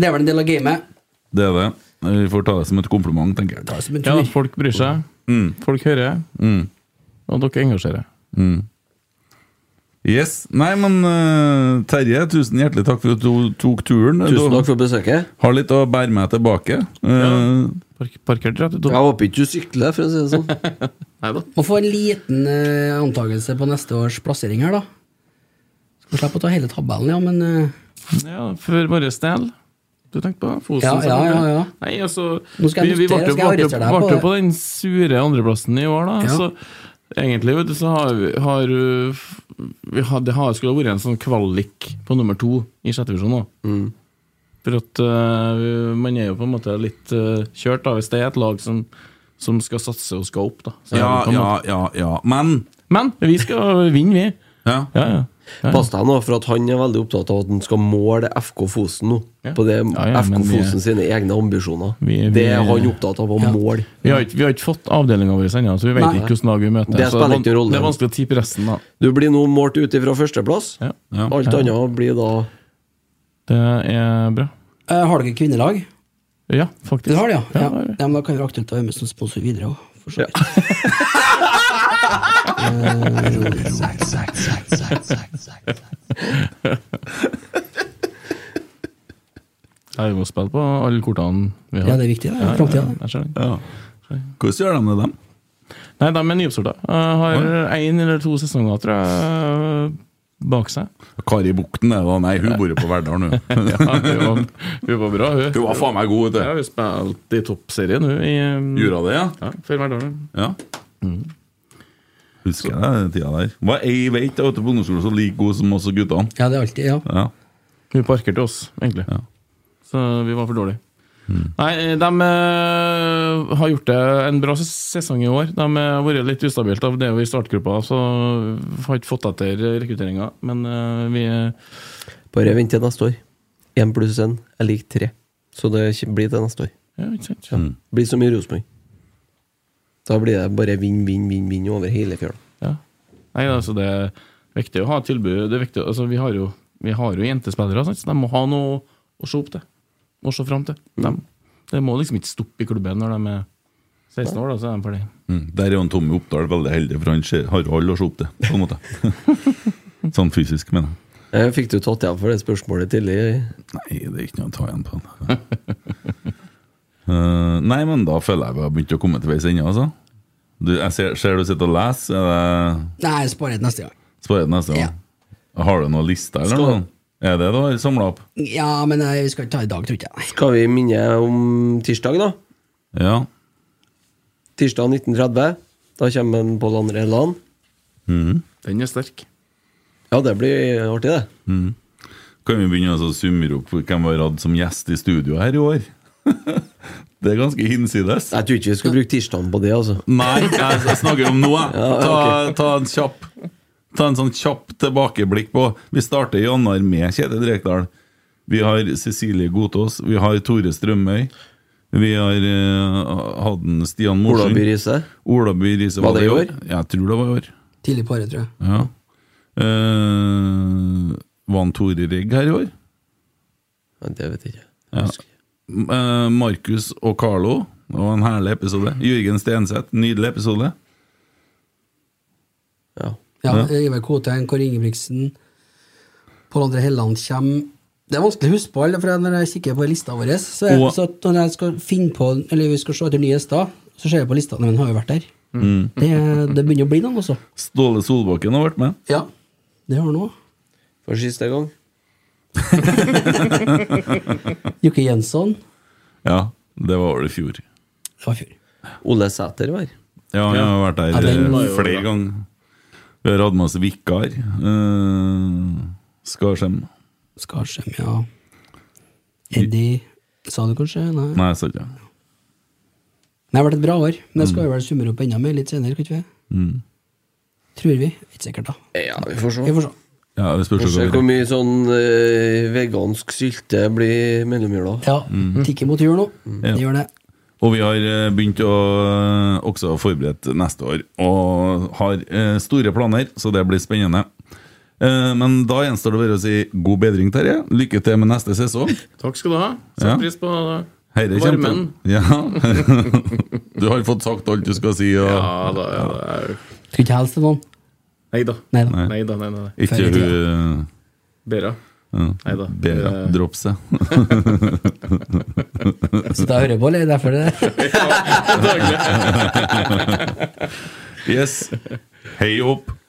S6: det er vel en del av gamet.
S5: Det er det. Eh, Vi får ta det som et kompliment, tenker jeg.
S6: Ta det som en
S7: Ja,
S6: tur.
S7: folk bryr seg.
S5: Mm.
S7: Folk hører. Og dere engasjerer.
S5: mm. Yes. Nei, men eh, Terje, tusen hjertelig takk for at du tok turen.
S4: Tusen
S5: du
S4: takk for besøket.
S5: har litt å bære med tilbake. Eh,
S7: Park, parkert rett
S4: Jeg
S7: utover.
S4: håper ikke du sykler, for å si det sånn.
S7: Neida.
S6: Må få en liten eh, antakelse på neste års plassering her, da. Skal slippe å ta hele tabellen, ja, men eh,
S5: Mm.
S7: Ja, for vår del. Du tenkte på Fosen?
S6: Ja, ja, ja, ja.
S7: Nei, altså,
S6: Nå skal jeg
S7: vi, vi
S6: notere,
S7: varte jo
S6: skal jeg arrestere
S7: varte-
S6: deg på
S7: varte jo
S6: det.
S7: på den sure andreplassen i år, da.
S6: Ja.
S7: Så egentlig vet du, så har, vi- har uh, f-
S4: Mm.
S7: vi har, Det har skulle ha vært en sånn kvalik på nummer to i sjette divisjon nå. For at eh, vi- man er jo på en måte litt eh, kjørt, da, hvis det er et lag som, som skal satse og skal opp, da. Så er
S5: Ja,
S7: det på en
S5: ja,
S7: måte-
S5: ja, ja. Men
S7: Men vi skal vinne, vi.
S5: ja.
S7: Ja, ja. ja.
S4: Pass deg nå, for at han er veldig opptatt av at han skal måle FK Fosen nå.
S7: Ja.
S4: På det
S7: Ja, ja,
S4: FK
S7: men vi-
S4: Fosen sine egne ambisjoner.
S7: Vi- vi-
S4: det er han opptatt av å måle.
S7: Vi har, ikke, vi har ikke fått avdelinga vår ennå, så vi vet
S6: Nei.
S7: ikke hvordan lag vi møter.
S4: Det
S7: så
S4: spiller
S7: van-
S4: ikke noen rolle.
S7: det er vanskelig å tippe resten, da.
S4: Du blir nå målt ut ifra førsteplass.
S7: Ja.
S5: Ja.
S4: Alt
S7: Ja.
S4: annet blir da
S7: Det er bra.
S6: Eh, har dere kvinnelag?
S7: Ja, faktisk.
S6: Dere har det, ja? Ja,
S7: det har vi.
S6: ja men Da kan dere aktuelt være med som sponsor videre òg, for så vidt. Eh,
S7: Ja, vi må spille på alle kortene vi har.
S6: Ja, det er viktig, det. Framtida.
S7: Jeg ser den.
S5: ja. Hvordan gjør de det, dem?
S7: Nei, de er nyoppsorta. Eh, Har én eller to sesonger, tror jeg, bak seg.
S5: Kari Bukten, det da. Nei, hun bor jo på Verdal nå.
S7: Ja, hun var, hun var bra, hun.
S5: Hun var faen meg god,
S7: Ja,
S5: vet du.
S7: hun spilte i toppserien, hun. I, um,
S5: Gjorde hun det, ja?
S7: Ja, før hvert år. hun.
S5: Ja. Husker jeg den tida der. Hva jeg vet, jeg vet du, på ungdomsskolen så like god som oss og guttene.
S6: Ja, det er alltid Ja.
S5: Ja.
S7: Hun parkerte oss, egentlig.
S5: Ja.
S7: Så vi var for dårlige.
S6: Mm.
S7: Nei, de eh, har gjort det en bra ses- sesong i år. De har vært litt ustabilt av det i startgruppa, så har ikke fått etter rekrutteringa. Men eh, vi
S4: Bare vent til neste år. Én pluss én er lik tre. Så det blir til neste år.
S7: Ja, ikke sant?
S5: Mm.
S4: Det blir som i Rosenborg. Da blir det bare vinn, vinn, vinn vinn over hele fjøla.
S7: Ja. Nei, altså det er viktig å ha tilbud. Det er viktig, altså vi har jo, vi har jo jentespillere, sant? så de må ha noe å se opp til. Å se fram til.
S6: Mm.
S7: De, det må liksom ikke stoppe i klubben når de er 16 år, da, så er de ferdig.
S5: Mm. Der er jo en Tommy Oppdal veldig heldig, for han ser- har alle å se opp til, på en måte. sånn fysisk, mener jeg.
S4: Eh, Fikk du tatt igjen for det spørsmålet tidlig?
S5: Nei, det er ikke noe å ta igjen på. den. Eh, nei, men da føler jeg vi har begynt å komme til veis ende, altså. Du, jeg ser, ser du sitter og leser. Er det
S6: Nei, jeg sparer det neste gang.
S5: Spør jeg neste gang. Har du noen liste, eller
S4: Skal-
S5: noe? Er det det du har samla opp?
S6: Ja, men eh, vi skal ikke ta i dag, tror ikke jeg.
S4: Skal vi minne om tirsdag, da?
S5: Ja.
S4: Tirsdag 19.30. Da kommer en Pål André Land. Mhm.
S7: Den er sterk.
S4: Ja, det blir artig, det.
S5: Kan vi begynne å summere opp hvem vi har hatt som gjest i studio her i år? det er ganske hinsides.
S4: Jeg tror ikke vi skal bruke tirsdagen på det, altså.
S5: Nei, jeg snakker om noe. Ta, ta en kjapp Ta en sånn kjapp tilbakeblikk på Vi starter i januar med Kjetil Rekdal. Vi har Cecilie Godtås, vi har Tore Strømøy. Vi har eh, hatt en Stian Morsund.
S4: Olaby Riise.
S5: Olaby Riise.
S4: Var det i år?
S5: Jeg tror det var i år.
S6: Tidlig på året, tror jeg.
S5: Ja. Eh, var han Tore Rigg her i år?
S4: Ja, det vet jeg ikke.
S5: Ja. Eh, Markus og Carlo. Det var en herlig episode. Jørgen Stenseth, nydelig episode.
S4: Ja.
S6: Ja, eh, Ivar Kotein, Kåre Ingebrigtsen, Pål André Helland kommer. Det er vanskelig å huske på alle, for når jeg kikker på lista vår så, er,
S5: Og-
S6: så at Når jeg skal finne på Eller vi skal se etter nye gjester, så ser jeg på lista når den har jo vært der. Mm. Det, det begynner å bli noen, altså.
S5: Mm. Ståle Solbakken har vært med.
S6: Ja. Det har nå.
S4: For siste gang.
S6: Jokke Jensson.
S5: Ja, det var vel i fjor.
S6: Det var i fjor.
S4: Ole Sæter var her.
S5: Ja, jeg har vært
S6: Ja,
S5: der
S6: den var
S5: eh,
S6: jo
S5: flere ganger. Vi har hatt med oss vikar. Eh, Skarsheim.
S6: Skarsheim, ja. Eddie Sa du kanskje? Nei.
S5: Nei, jeg sa ikke det.
S6: Det har vært et bra år, men det skal vi
S5: Mm.
S6: vel summere opp enda mer litt senere, kan ikke vi? Tror vi. Ikke sikkert, da.
S4: Ja, vi får se.
S6: Vi får se.
S5: Ja, det spørs jo
S4: Får se
S5: hva
S4: hvor
S5: vi-
S4: mye sånn eh, vegansk sylte blir mellomjula.
S6: Ja. Tikker mot jul nå. Det Mm. gjør det.
S5: Mm. Og vi har eh, begynt å eh, også forberede neste år, og har eh, store planer, så det blir spennende. Eh, Men da gjenstår det bare å si god bedring, Terje. Lykke til med neste sesong.
S7: Takk skal du ha.
S5: Ja.
S7: Sett pris på det.
S5: Herre
S7: Varmen.
S5: kjempe- Ja. Du har fått sagt alt du skal si. Og...
S7: Ja da, ja da. er jo-
S6: Skulle ikke hilse til noen.
S7: Nei da.
S6: Nei da.
S5: Nei.
S7: Nei da, nei da. nei.
S5: Ikke
S6: Ferdig,
S5: hun
S7: Bera.
S5: ja.
S7: Nei da.
S5: Bera
S7: Eh,
S5: Dropse.
S6: Så da hører jeg på, eller? Derfor det.
S5: Yes. Hei opp.